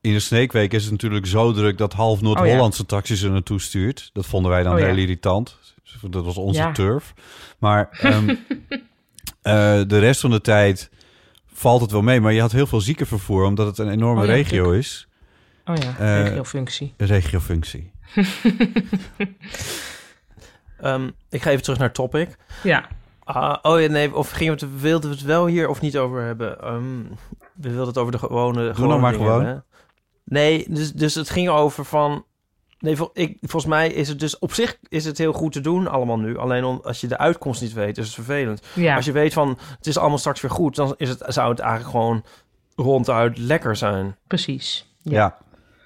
S2: in de Sneekweek is het natuurlijk zo druk dat half Noord-Hollandse taxis er naartoe stuurt. Dat vonden wij dan
S3: Oh ja.
S2: heel irritant. Dat was onze
S3: Ja.
S2: turf. Maar ehm, eh, de rest van de tijd valt het wel mee. Maar je had heel veel ziekenvervoer, omdat het een enorme
S3: Oh ja,
S2: regio is.
S3: Oh ja,
S2: Eh,
S3: regiofunctie.
S2: Een regiofunctie.
S4: Ehm, ik ga even terug naar topic.
S3: Ja,
S4: Ah, oh ja, nee, of gingen we het, wilden we het wel hier of niet over hebben? Ehm, we wilden het over de gewone. gewone
S2: nou maar
S4: dingen
S2: gewoon.
S4: hebben, hè? Nee, dus, dus het ging over van. Nee, vol- ik, volgens mij is het dus op zich is het heel goed te doen allemaal nu. Alleen om, als je de uitkomst niet weet, is het vervelend.
S3: ja.
S4: Als je weet van het is allemaal straks weer goed, dan is het, zou het eigenlijk gewoon ronduit lekker zijn.
S3: precies. Ja.
S2: Ja.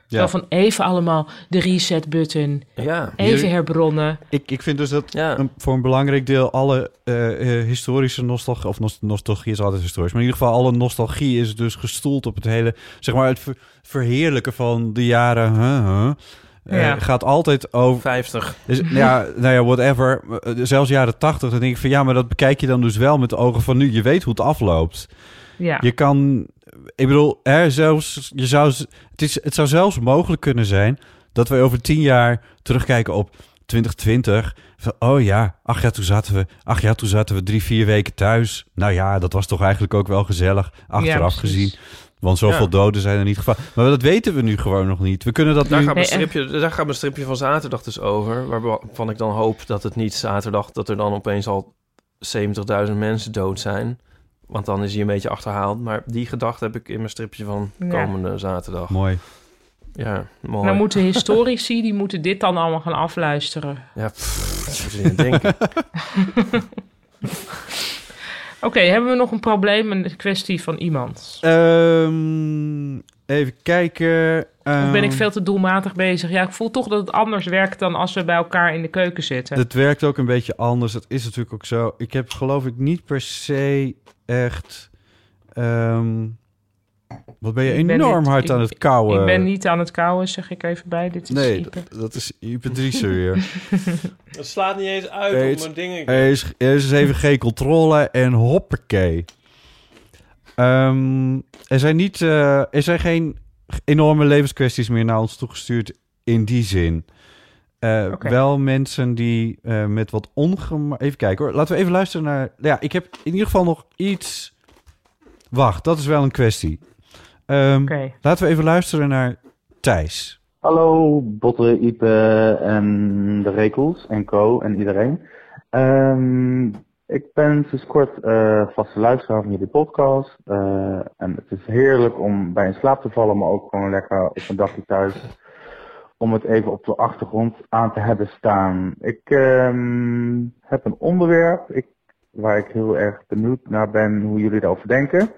S2: ja.
S3: Zo van even allemaal de reset-button,
S4: Ja,
S3: even
S2: Jullie-
S3: herbronnen.
S2: Ik, ik vind dus dat
S4: ja.
S2: een- voor een belangrijk deel alle eh, eh, historische nostalgie, of nos- nostalgie is altijd historisch, maar in ieder geval alle nostalgie is dus gestoeld op het hele, zeg maar, het ver- verheerlijken van de jaren. huh, huh, eh,
S3: Ja.
S2: gaat altijd over.
S4: 50.
S2: Dus, ja, nou ja, whatever. eh, Zelfs jaren 80. Dan denk ik van ja, maar dat bekijk je dan dus wel met de ogen van nu. Je weet hoe het afloopt.
S3: Ja,
S2: Je kan, ik bedoel, hè, zelfs, je zou, het, is, het zou zelfs mogelijk kunnen zijn dat wij over tien jaar terugkijken op 2020. Van, oh ja, acht jaar toen zaten we, acht jaar toen zaten we drie, vier weken thuis. Nou ja, dat was toch eigenlijk ook wel gezellig,
S3: Ja,
S2: achteraf
S3: precies.
S2: gezien. Want zoveel
S4: Ja.
S2: doden zijn er niet gevallen. Maar dat weten we nu gewoon nog niet. We kunnen dat
S4: Daar
S2: nu...
S4: gaat, mijn
S3: Nee, en-
S4: stripje, daar gaat mijn stripje van zaterdag dus over. Waarvan ik dan hoop dat het niet zaterdag... dat er dan opeens al 70.000 mensen dood zijn. Want dan is hij een beetje achterhaald. Maar die gedachte heb ik in mijn stripje van
S3: Ja.
S4: komende zaterdag.
S2: Mooi.
S4: Ja, mooi.
S3: dan Nou, moeten historici, die moeten dit dan allemaal gaan afluisteren.
S4: Ja, pff, dat moet je niet denken.
S3: Oké, hebben we nog een probleem, een kwestie van iemand?
S2: Ehm, even kijken.
S3: Of
S2: Ehm,
S3: ben ik veel te doelmatig bezig? Ja, ik voel toch dat het anders werkt dan als we bij elkaar in de keuken zitten.
S2: Het werkt ook een beetje anders. Dat is natuurlijk ook zo. Ik heb geloof ik niet per se echt. ehm, wat ben je
S3: Ik ben
S2: enorm
S3: niet-
S2: hard
S3: ik-
S2: aan het kouwen?
S3: Ik ben niet aan het kouwen, zeg ik even bij. Dit is
S2: eh, Nee,
S3: Ipe.
S2: dat, dat is hyperdrice weer.
S6: Het slaat niet eens uit
S2: Nee,
S6: om
S2: het-
S6: mijn dingen.
S2: Er is, er is even geen controle en hoppakee. Ehm, er, zijn niet, eh, er zijn geen enorme levenskwesties meer naar ons toegestuurd in die zin. Eh,
S3: Oké.
S2: Wel mensen die eh, met wat ongemak... Even kijken hoor. Laten we even luisteren naar... nou Ja, ik heb in ieder geval nog iets... Wacht, dat is wel een kwestie. Ehm,
S3: Oké.
S2: Laten we even luisteren naar Thijs.
S8: Hallo Botte, Ipe en de Rekels en Co en iedereen. Ehm, ik ben sinds kort eh, vaste luisteraar van jullie podcast. eh, en het is heerlijk om bij in slaap te vallen, maar ook gewoon lekker op een dagje thuis. Om het even op de achtergrond aan te hebben staan. Ik ehm, heb een onderwerp ik, waar ik heel erg benieuwd naar ben hoe jullie daarover denken.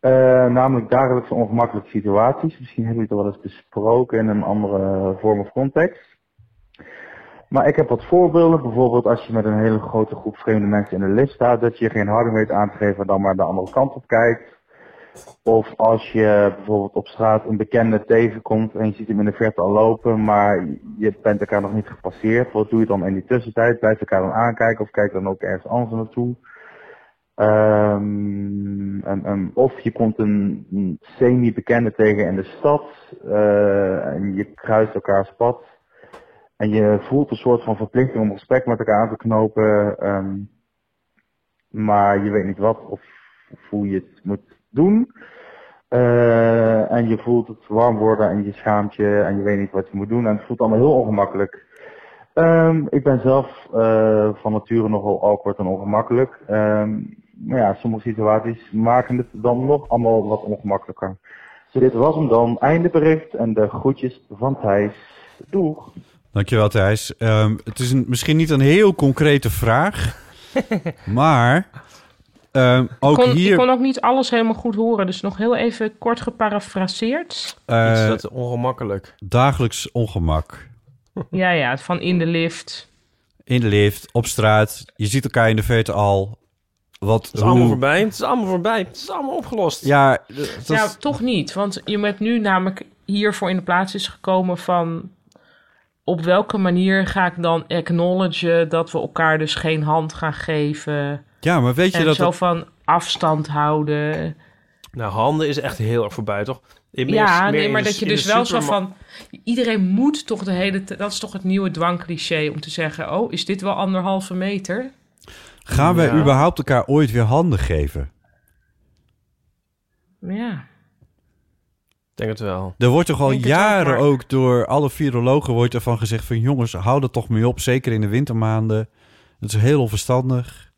S8: Eh, namelijk dagelijkse ongemakkelijke situaties. Misschien hebben jullie het al wel eens besproken in een andere vorm of context. Maar ik heb wat voorbeelden. Bijvoorbeeld als je met een hele grote groep vreemde mensen in de lift staat, dat je geen harder weet aan te geven en dan maar de andere kant op kijkt. Of als je bijvoorbeeld op straat een bekende tegenkomt en je ziet hem in de verte al lopen, maar je bent elkaar nog niet gepasseerd. Wat doe je dan in die tussentijd? Blijf elkaar dan aankijken of kijk dan ook ergens anders naartoe? Ehm, en- en of je komt een een semi-bekende tegen in de stad eh, en je kruist elkaars pad. En je voelt een soort van verplichting om een gesprek met elkaar aan te knopen. ehm, maar je weet niet wat of, of hoe je het moet doen. Eh, en je voelt het warm worden en je schaamt je en je weet niet wat je moet doen. En het voelt allemaal heel ongemakkelijk. Ehm, ik ben zelf eh, van nature nogal awkward en ongemakkelijk. Ehm, maar ja, sommige situaties maken het dan nog allemaal wat ongemakkelijker. Dus dit was hem dan. Einde bericht en de groetjes van Thijs. Doeg!
S2: Dankjewel, Thijs. Ehm, het is een, misschien niet een heel concrete vraag, maar ehm, ook
S3: kon,
S2: hier...
S3: Ik kon ook niet alles helemaal goed horen, dus nog heel even kort geparafraseerd.
S2: eh,
S4: Iets dat ongemakkelijk.
S2: Dagelijks ongemak.
S3: Ja, ja, van in de lift.
S2: In de lift, op straat. Je ziet elkaar in de verte al. Wat,
S4: Het is allemaal
S2: hoe-
S4: voorbij. Het is allemaal voorbij. Het is allemaal opgelost.
S2: Ja, dat,
S3: Nou, toch niet, want je bent nu namelijk hiervoor in de plaats is gekomen van... Op welke manier ga ik dan acknowledgen dat we elkaar dus geen hand gaan geven?
S2: ja, maar weet je
S3: En
S2: dat...
S3: zo
S2: dat-
S3: van afstand houden.
S4: Nou, handen is echt heel erg voorbij, toch? In- meer-
S3: ja,
S4: meer
S3: nee,
S4: in
S3: maar
S4: de-
S3: dat je
S4: in de
S3: dus wel zo
S4: superma-
S3: van... Iedereen moet toch de hele... tijd- Dat is toch het nieuwe dwangcliché om te zeggen... Oh, is dit wel anderhalve meter?
S2: Gaan wij
S4: Ja.
S2: überhaupt elkaar ooit weer handen geven?
S3: Ja.
S4: Ik denk het wel.
S2: Er wordt toch al
S3: Denk het ook,
S2: jaren
S3: maar-
S2: ook, door alle virologen wordt ervan gezegd van... jongens, hou er toch mee op, zeker in de wintermaanden. Dat is heel onverstandig.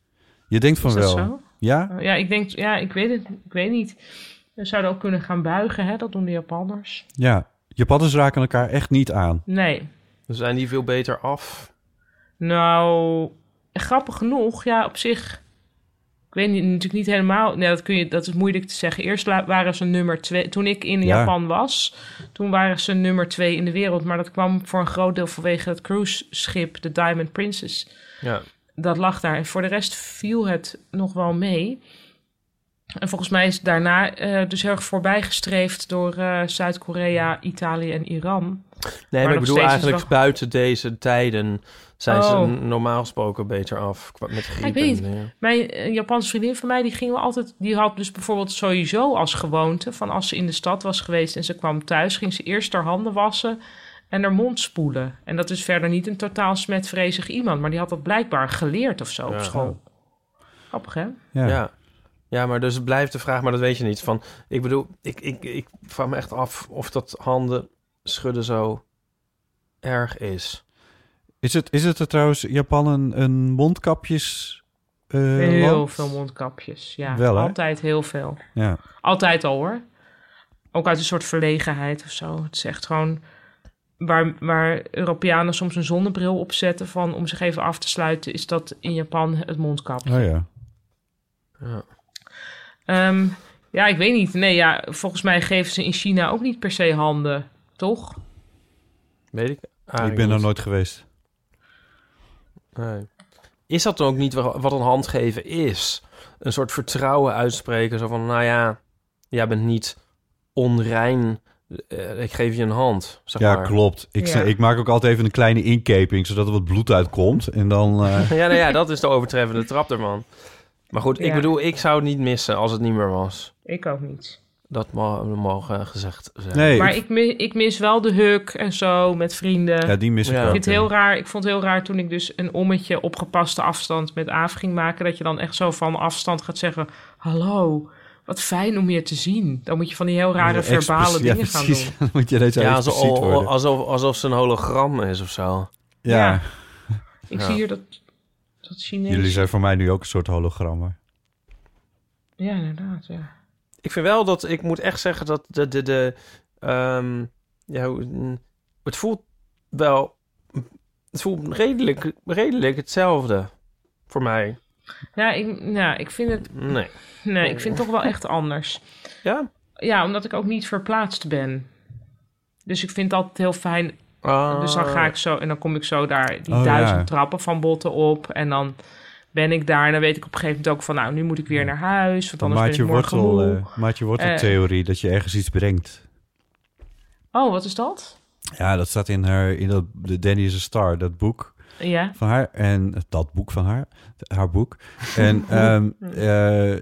S2: Je denkt van
S3: Is dat
S2: wel.
S3: zo?
S2: Ja?
S3: Ja, ik denk... Ja, ik weet het. Ik weet niet. We zouden ook kunnen gaan buigen, hè? Dat doen de Japanners.
S2: Ja. Japanners raken elkaar echt niet aan.
S3: Nee.
S4: Dan zijn die veel beter af.
S3: Nou... Grappig genoeg, ja, op zich... Ik weet niet, natuurlijk niet helemaal... Nee, dat, kun je, dat is moeilijk te zeggen. Eerst la- waren ze nummer twee... Toen ik in
S2: Ja.
S3: Japan was... Toen waren ze nummer twee in de wereld. Maar dat kwam voor een groot deel vanwege het cruiseschip... de Diamond Princess...
S4: Ja.
S3: dat lag daar. En voor de rest viel het nog wel mee. En volgens mij is daarna eh, dus heel erg voorbijgestreefd door eh, Zuid-Korea, Italië en Iran.
S4: Nee, maar,
S3: nog
S4: ik bedoel
S3: steeds is
S4: eigenlijk
S3: wel-
S4: buiten deze tijden zijn
S3: Oh.
S4: ze normaal gesproken beter af qua- met griep.
S3: ik weet
S4: en, ja.
S3: Mijn eh, Japanse vriendin van mij, die ging wel altijd. Die had dus bijvoorbeeld sowieso als gewoonte. van als ze in de stad was geweest en ze kwam thuis, ging ze eerst haar handen wassen. en haar mond spoelen. En dat is verder niet een totaal smetvrezig iemand. maar die had dat blijkbaar geleerd of zo op
S4: Ja.
S3: school. Grappig, hè?
S2: Ja.
S4: Ja. ja, maar dus het blijft de vraag, maar dat weet je niet. Van, ik bedoel, ik, ik, ik vraag me echt af of dat handen schudden zo erg is.
S2: Is, het, is het er trouwens Japan een, een mondkapjes... eh,
S3: heel
S2: land?
S3: veel mondkapjes. Ja,
S2: Wel, hè?
S3: altijd heel veel.
S2: Ja.
S3: Altijd al hoor. Ook uit een soort verlegenheid of zo. Het is echt gewoon waar, waar Europeanen soms een zonnebril op zetten van om zich even af te sluiten, is dat in Japan het mondkapje.
S2: Oh ja.
S3: Ehm, ja, ik weet niet. Nee, ja, volgens mij geven ze in China ook niet per se handen, toch?
S4: Weet ik? eigenlijk
S2: ik ben er
S4: niet.
S2: nooit geweest.
S4: Nee. Is dat dan ook niet wa- wat een handgeven is? Een soort vertrouwen uitspreken, zo van, nou ja, jij bent niet onrein, eh, ik geef je een hand, zeg
S2: Ja,
S4: maar.
S2: klopt. Ik,
S3: Ja.
S2: ik maak ook altijd even een kleine inkeping, zodat er wat bloed uitkomt. En dan... eh,
S4: Ja, nou ja, dat is de overtreffende trap ervan. Maar goed, ik
S3: Ja.
S4: bedoel, ik zou het niet missen als het niet meer was.
S3: Ik ook niet.
S4: Dat ma- mag eh, gezegd zijn.
S2: nee,
S3: Maar
S2: ik-
S3: ik, mi- ik mis wel de huk en zo met vrienden.
S2: ja, die mis ik
S4: Ja.
S2: ook.
S3: Ik vind het heel raar. Ik vond het heel raar toen ik dus een ommetje op gepaste afstand met Aaf ging maken. Dat je dan echt zo van afstand gaat zeggen: Hallo, wat fijn om je te zien. Dan moet je van die heel rare
S2: Expressie-
S3: verbale
S2: ja,
S3: dingen gaan
S2: precies.
S3: doen.
S2: Dan moet je deze
S4: Ja,
S2: ja,
S4: alsof,
S2: expliciet worden.
S4: alsof, alsof ze een hologram is of zo.
S2: ja,
S3: Ja. Ik
S4: Ja.
S3: zie hier dat, dat Chinees.
S2: jullie zijn voor mij nu ook een soort hologrammen.
S3: Ja, inderdaad. Ja.
S4: Ik vind wel dat, ik moet echt zeggen dat de, de, de ehm, ja, hoe- mm, het voelt wel, het voelt redelijk, redelijk hetzelfde voor mij.
S3: Ja, ik, ja, ik vind het.
S4: Nee.
S3: Nee, ik vind het toch wel echt anders.
S4: Ja?
S3: Ja, omdat ik ook niet verplaatst ben. Dus ik vind het altijd heel fijn
S4: Ah,
S3: Dus dan ga ik zo en dan kom ik zo daar die
S2: Oh,
S3: duizend
S2: ja.
S3: trappen van botten op. En dan ben ik daar en dan weet ik op een gegeven moment ook van... nou, nu moet ik weer naar huis, want anders ben
S2: Maatje
S3: ik morgen
S2: wortel,
S3: moe. Eh.
S2: eh, maatje worteltheorie, dat je ergens iets brengt. eh.
S3: Oh, wat is dat?
S2: Ja, dat staat in haar, in dat, de Danny is a Star, dat boek
S3: Ja,
S2: van haar. En dat boek van haar, haar boek. En ehm, eh,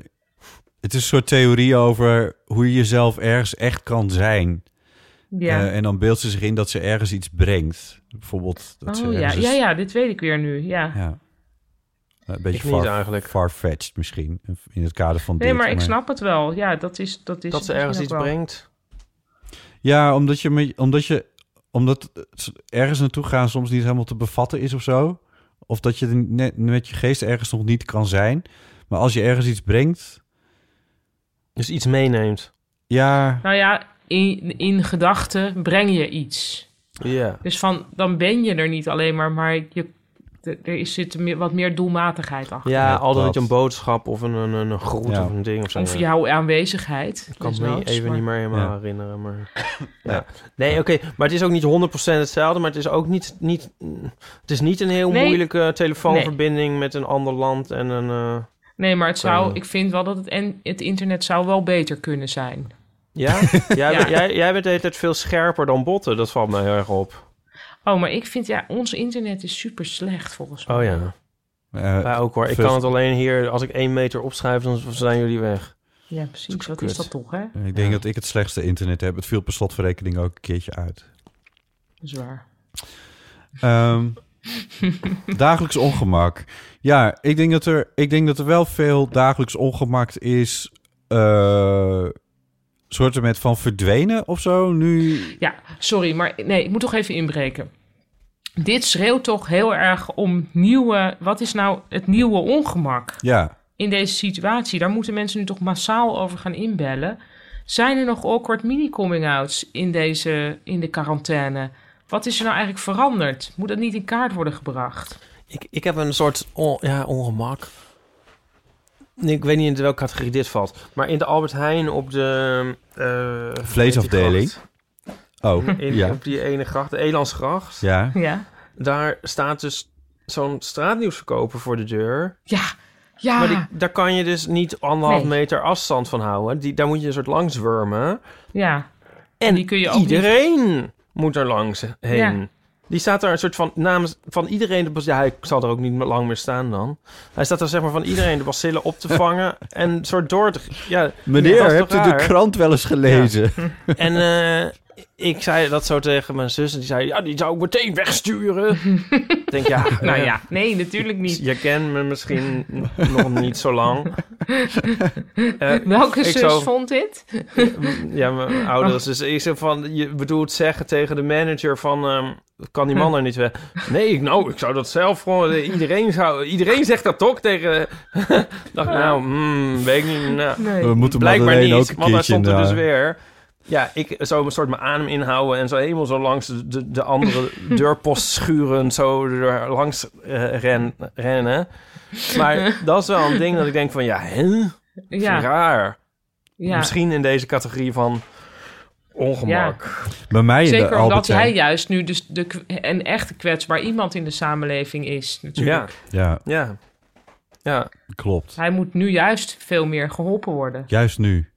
S2: het is een soort theorie over hoe je jezelf ergens echt kan zijn.
S3: ja.
S2: Eh, en dan beeldt ze zich in dat ze ergens dus- iets brengt. Bijvoorbeeld dat ze
S3: oh ja,
S2: ergens-
S3: ja, ja, dit weet ik weer nu, ja.
S2: Ja. Een beetje
S4: Ik niet
S2: far,
S4: eigenlijk.
S2: farfetched misschien, in het kader van
S3: Nee,
S2: dit,
S3: maar ik snap het wel. Ja, dat is. Dat, is
S4: Dat ze
S3: misschien
S4: ergens
S3: ook
S4: iets
S3: wel.
S4: brengt.
S2: Ja, omdat je, me- omdat je omdat het ergens naartoe gaan soms niet helemaal te bevatten is of zo. Of dat je er net met je geest ergens nog niet kan zijn. Maar als je ergens iets brengt,
S4: Dus iets meeneemt.
S2: ja,
S3: Nou ja, in, in gedachten breng je iets.
S4: Ja.
S3: Dus van, dan ben je er niet alleen maar, maar je, er er is- zit meer- wat meer doelmatigheid achter.
S4: Ja,
S2: Ja,
S4: altijd
S2: dat.
S4: een boodschap of een, een, een groet
S2: Ja.
S4: of een ding of zo.
S3: Of
S4: Ja.
S3: jouw aanwezigheid.
S4: Ik kan me
S3: desnoods,
S4: even
S3: maar-
S4: niet meer helemaal
S2: Ja.
S4: herinneren. Maar, ja. Nee, oké. Maar het is ook niet 100% hetzelfde. Maar het is ook niet... niet het is niet een heel
S3: Nee.
S4: moeilijke telefoonverbinding met een ander land. En een, eh,
S3: Nee, maar het zou,
S4: Eh.
S3: ik vind wel dat het, en, het internet zou wel beter kunnen zijn.
S4: ja? jij,
S3: Ja.
S4: bent- Jij, jij bent de hele tijd veel scherper dan botten. Dat valt mij heel erg op.
S3: Oh, maar ik vind, ja, ons internet is super slecht volgens mij.
S4: Oh ja.
S2: eh,
S4: Wij ook hoor. Ik
S2: First-
S4: kan het alleen hier... Als ik één meter opschrijf, dan zijn jullie weg.
S3: Ja, precies. Wat is
S4: kut.
S3: dat toch, hè?
S2: ik denk dat ik het slechtste internet heb. Het viel per slotverrekening ook een keertje uit.
S3: Dat is waar.
S2: Ehm, dagelijks ongemak. Ja, ik denk, dat er, ik denk dat er wel veel dagelijks ongemak is. eh soorten met van verdwenen of zo. Nu.
S3: Ja, sorry, maar nee, ik moet toch even inbreken. Dit schreeuwt toch heel erg om nieuwe... Wat is nou het nieuwe ongemak
S2: Ja,
S3: in deze situatie? Daar moeten mensen nu toch massaal over gaan inbellen. Zijn er nog awkward mini-coming-outs in, deze- in de quarantaine? Wat is er nou eigenlijk veranderd? Moet dat niet in kaart worden gebracht?
S4: Ik, ik heb een soort on- ja, ongemak. Nee, Ik weet niet in welke categorie dit valt. Maar in de Albert Heijn op de... eh,
S2: Vleesafdeling? oh.
S4: In,
S2: ja.
S4: Op die ene gracht, de Elandsgracht.
S2: Ja.
S3: Ja,
S4: Daar staat dus zo'n straatnieuwsverkoper voor de deur.
S3: ja, ja.
S4: Maar die, daar kan je dus niet anderhalf
S3: Ah. Nee.
S4: meter afstand van houden. Die, daar moet je een soort langs wurmen.
S3: ja.
S4: En
S3: die kun je ook
S4: iedereen moet er langs heen.
S3: Ja.
S4: Die staat daar een soort van namens van iedereen de bas- Ja, hij zal er ook niet lang meer staan dan. Hij staat er zeg maar van iedereen de bacillen op te vangen en een soort door te. Ja, dat
S2: Meneer,
S4: is toch
S2: hebt u de
S4: raar?
S2: krant wel eens gelezen?
S4: En eh, ik zei dat zo tegen mijn zus en die zei ja, die zou ik meteen wegsturen. ik denk ja,
S3: Nou
S4: eh,
S3: ja, nee, natuurlijk niet.
S4: Je kent me misschien nog niet zo lang. Eh,
S3: Welke
S4: ik
S3: zus
S4: zou-
S3: vond dit?
S4: ja, mijn ouders. Dus ik zeg van, je bedoelt zeggen tegen de manager van, ehm, kan die man er niet weg? Nee, ik, nou, ik zou dat zelf gewoon, iedereen zou, iedereen zegt dat toch tegen, dacht ik, nou, hmm, weet ik niet, nou,
S3: Nee.
S2: We moeten
S4: blijkbaar
S2: Madeleine
S4: niet,
S2: ook een
S4: want daar
S2: keertje in
S4: stond
S2: de-
S4: er dus weer. Ja, ik zou een soort mijn adem inhouden en zo helemaal zo langs de, de, de andere deurpost schuren, zo er langs eh, ren, rennen. Maar dat is wel een ding dat ik denk van, ja, hè?
S3: Ja,
S4: Raar.
S3: ja.
S4: Misschien in deze categorie van ongemak.
S2: Bij mij in de
S3: Zeker
S2: Albert
S3: omdat hij
S2: Heijn.
S3: juist nu dus de, k- een echt kwetsbaar iemand in de samenleving is.
S4: Ja,
S3: Natuurlijk.
S2: Ja,
S4: ja. Ja,
S2: klopt.
S3: Hij moet nu juist veel meer geholpen worden.
S2: Juist nu.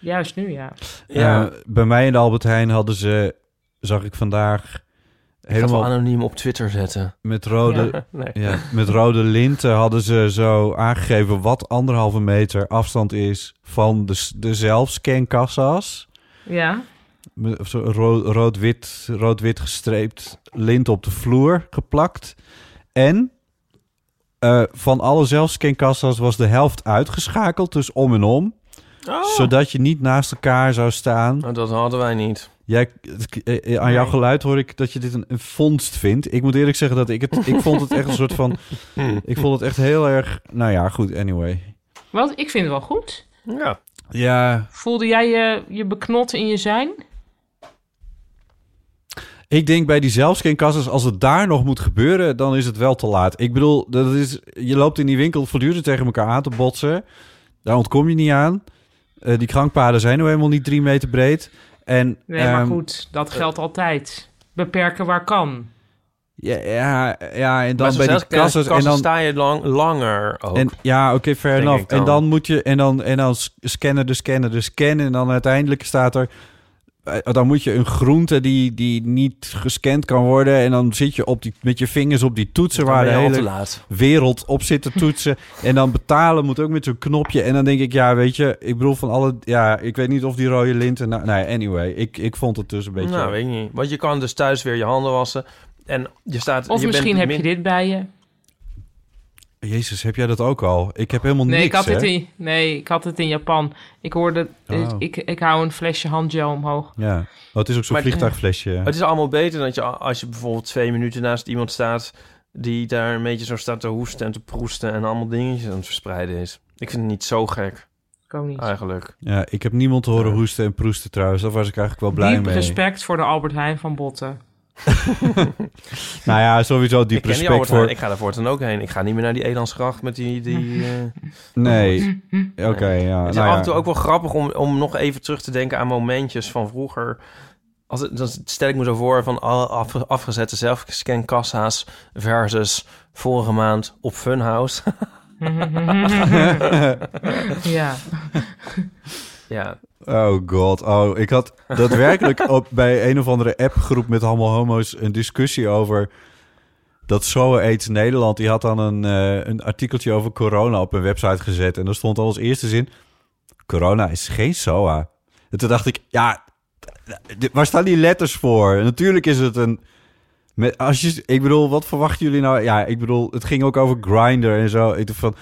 S3: Juist nu, ja.
S4: ja.
S2: Eh, bij mij in de Albert Heijn hadden ze, zag ik vandaag, helemaal
S4: Helemaal anoniem op Twitter zetten.
S2: met rode,
S4: Nee.
S2: Ja, met rode linten hadden ze zo aangegeven wat anderhalve meter afstand is van de, s- de zelfscankassa's.
S3: Ja,
S2: Met zo ro- Rood-wit rood-wit gestreept lint op de vloer geplakt. En eh, van alle zelfscankassa's was de helft uitgeschakeld, dus om en om. Zodat je niet naast elkaar zou staan.
S4: Nou, dat hadden wij niet.
S2: Jij, het- eh, eh, aan jouw
S3: Nee.
S2: geluid hoor ik dat je dit een, een vondst vindt. Ik moet eerlijk zeggen dat ik het... Ik vond het echt een soort van... Ik vond het echt heel erg... Nou ja, goed, anyway.
S3: want ik vind het wel goed.
S4: Ja.
S2: Ja,
S3: Voelde jij je, je beknot in je zijn?
S2: ik denk bij die zelfscankassas... als het daar nog moet gebeuren, dan is het wel te laat. Ik bedoel, dat is, je loopt in die winkel voortdurend tegen elkaar aan te botsen. Daar ontkom je niet aan. Eh, die gangpaden zijn nou helemaal niet drie meter breed. En,
S3: Nee, maar
S2: ehm,
S3: goed, dat geldt altijd. Beperken waar kan.
S2: Ja, ja, ja,
S4: Maar
S2: en dan bij die kassas...
S4: kassen
S2: En dan,
S4: eh, sta je lang, langer ook.
S2: En, ja, oké, fair
S4: Denk
S2: enough.
S4: ik dan.
S2: En dan moet je en dan en dan s- scannen, de scannen, de scannen en dan uiteindelijk staat er eh, dan moet je een groente die, die niet gescand kan worden en dan zit je op die, met je vingers op die toetsen
S4: Dan
S2: waar de
S4: ben je al
S2: hele
S4: te laat.
S2: wereld op zit te toetsen en dan betalen moet ook met zo'n knopje en dan denk ik ja, weet je, ik bedoel van alle ja, ik weet niet of die rode linten nou, nee, anyway, ik, ik vond het dus een beetje
S4: Nou, weet ik niet. Want je kan dus thuis weer je handen wassen. En je staat...
S3: Of
S4: je
S3: misschien
S4: bent
S3: heb
S4: min-
S3: je dit bij je.
S2: Jezus, heb jij dat ook al? Ik heb helemaal
S3: Nee,
S2: niks,
S3: ik had
S2: hè?
S3: het in, nee, ik had het in Japan. Ik hoorde, eh,
S2: Oh.
S3: ik, ik hou een flesje handgel omhoog.
S2: Ja, oh, het is ook zo'n
S4: Maar-
S2: vliegtuigflesje.
S4: Het is allemaal beter dan je, als je bijvoorbeeld twee minuten naast iemand staat... die daar een beetje zo staat te hoesten en te proesten... en allemaal dingetjes aan het verspreiden is. Ik vind het niet zo gek,
S3: Ik ook niet.
S4: eigenlijk.
S2: Ah, Ja, ik heb niemand te horen hoesten en proesten trouwens. Daar was ik eigenlijk wel blij
S3: Diep
S2: mee.
S3: respect voor de Albert Heijn van Botten.
S2: Nou ja, sowieso diep
S4: ik ken die
S2: respect
S4: Albert Heijn,
S2: voor...
S4: Ik ga daar voortaan ook heen. Ik ga niet meer naar die Edansgracht met die... die eh,
S2: Nee, oké, ja.
S4: Het is
S2: nou
S4: af
S2: ja.
S4: en toe ook wel grappig om, om nog even terug te denken aan momentjes van vroeger. Als het, dan stel ik me zo voor van alle af, afgezette zelfscankassa's versus vorige maand op Funhouse.
S3: ja.
S4: ja,
S2: Oh god, oh, ik had daadwerkelijk op, bij een of andere appgroep met allemaal homo's een discussie over dat Zo Aids Nederland. Die had dan een, eh, een artikeltje over corona op een website gezet en daar stond al als eerste zin: corona is geen SOA. En toen dacht ik, ja, d- waar staan die letters voor? En natuurlijk is het een. Met, als je, ik bedoel, wat verwachten jullie nou? Ja, ik bedoel, het ging ook over Grinder en zo. Ik dacht van,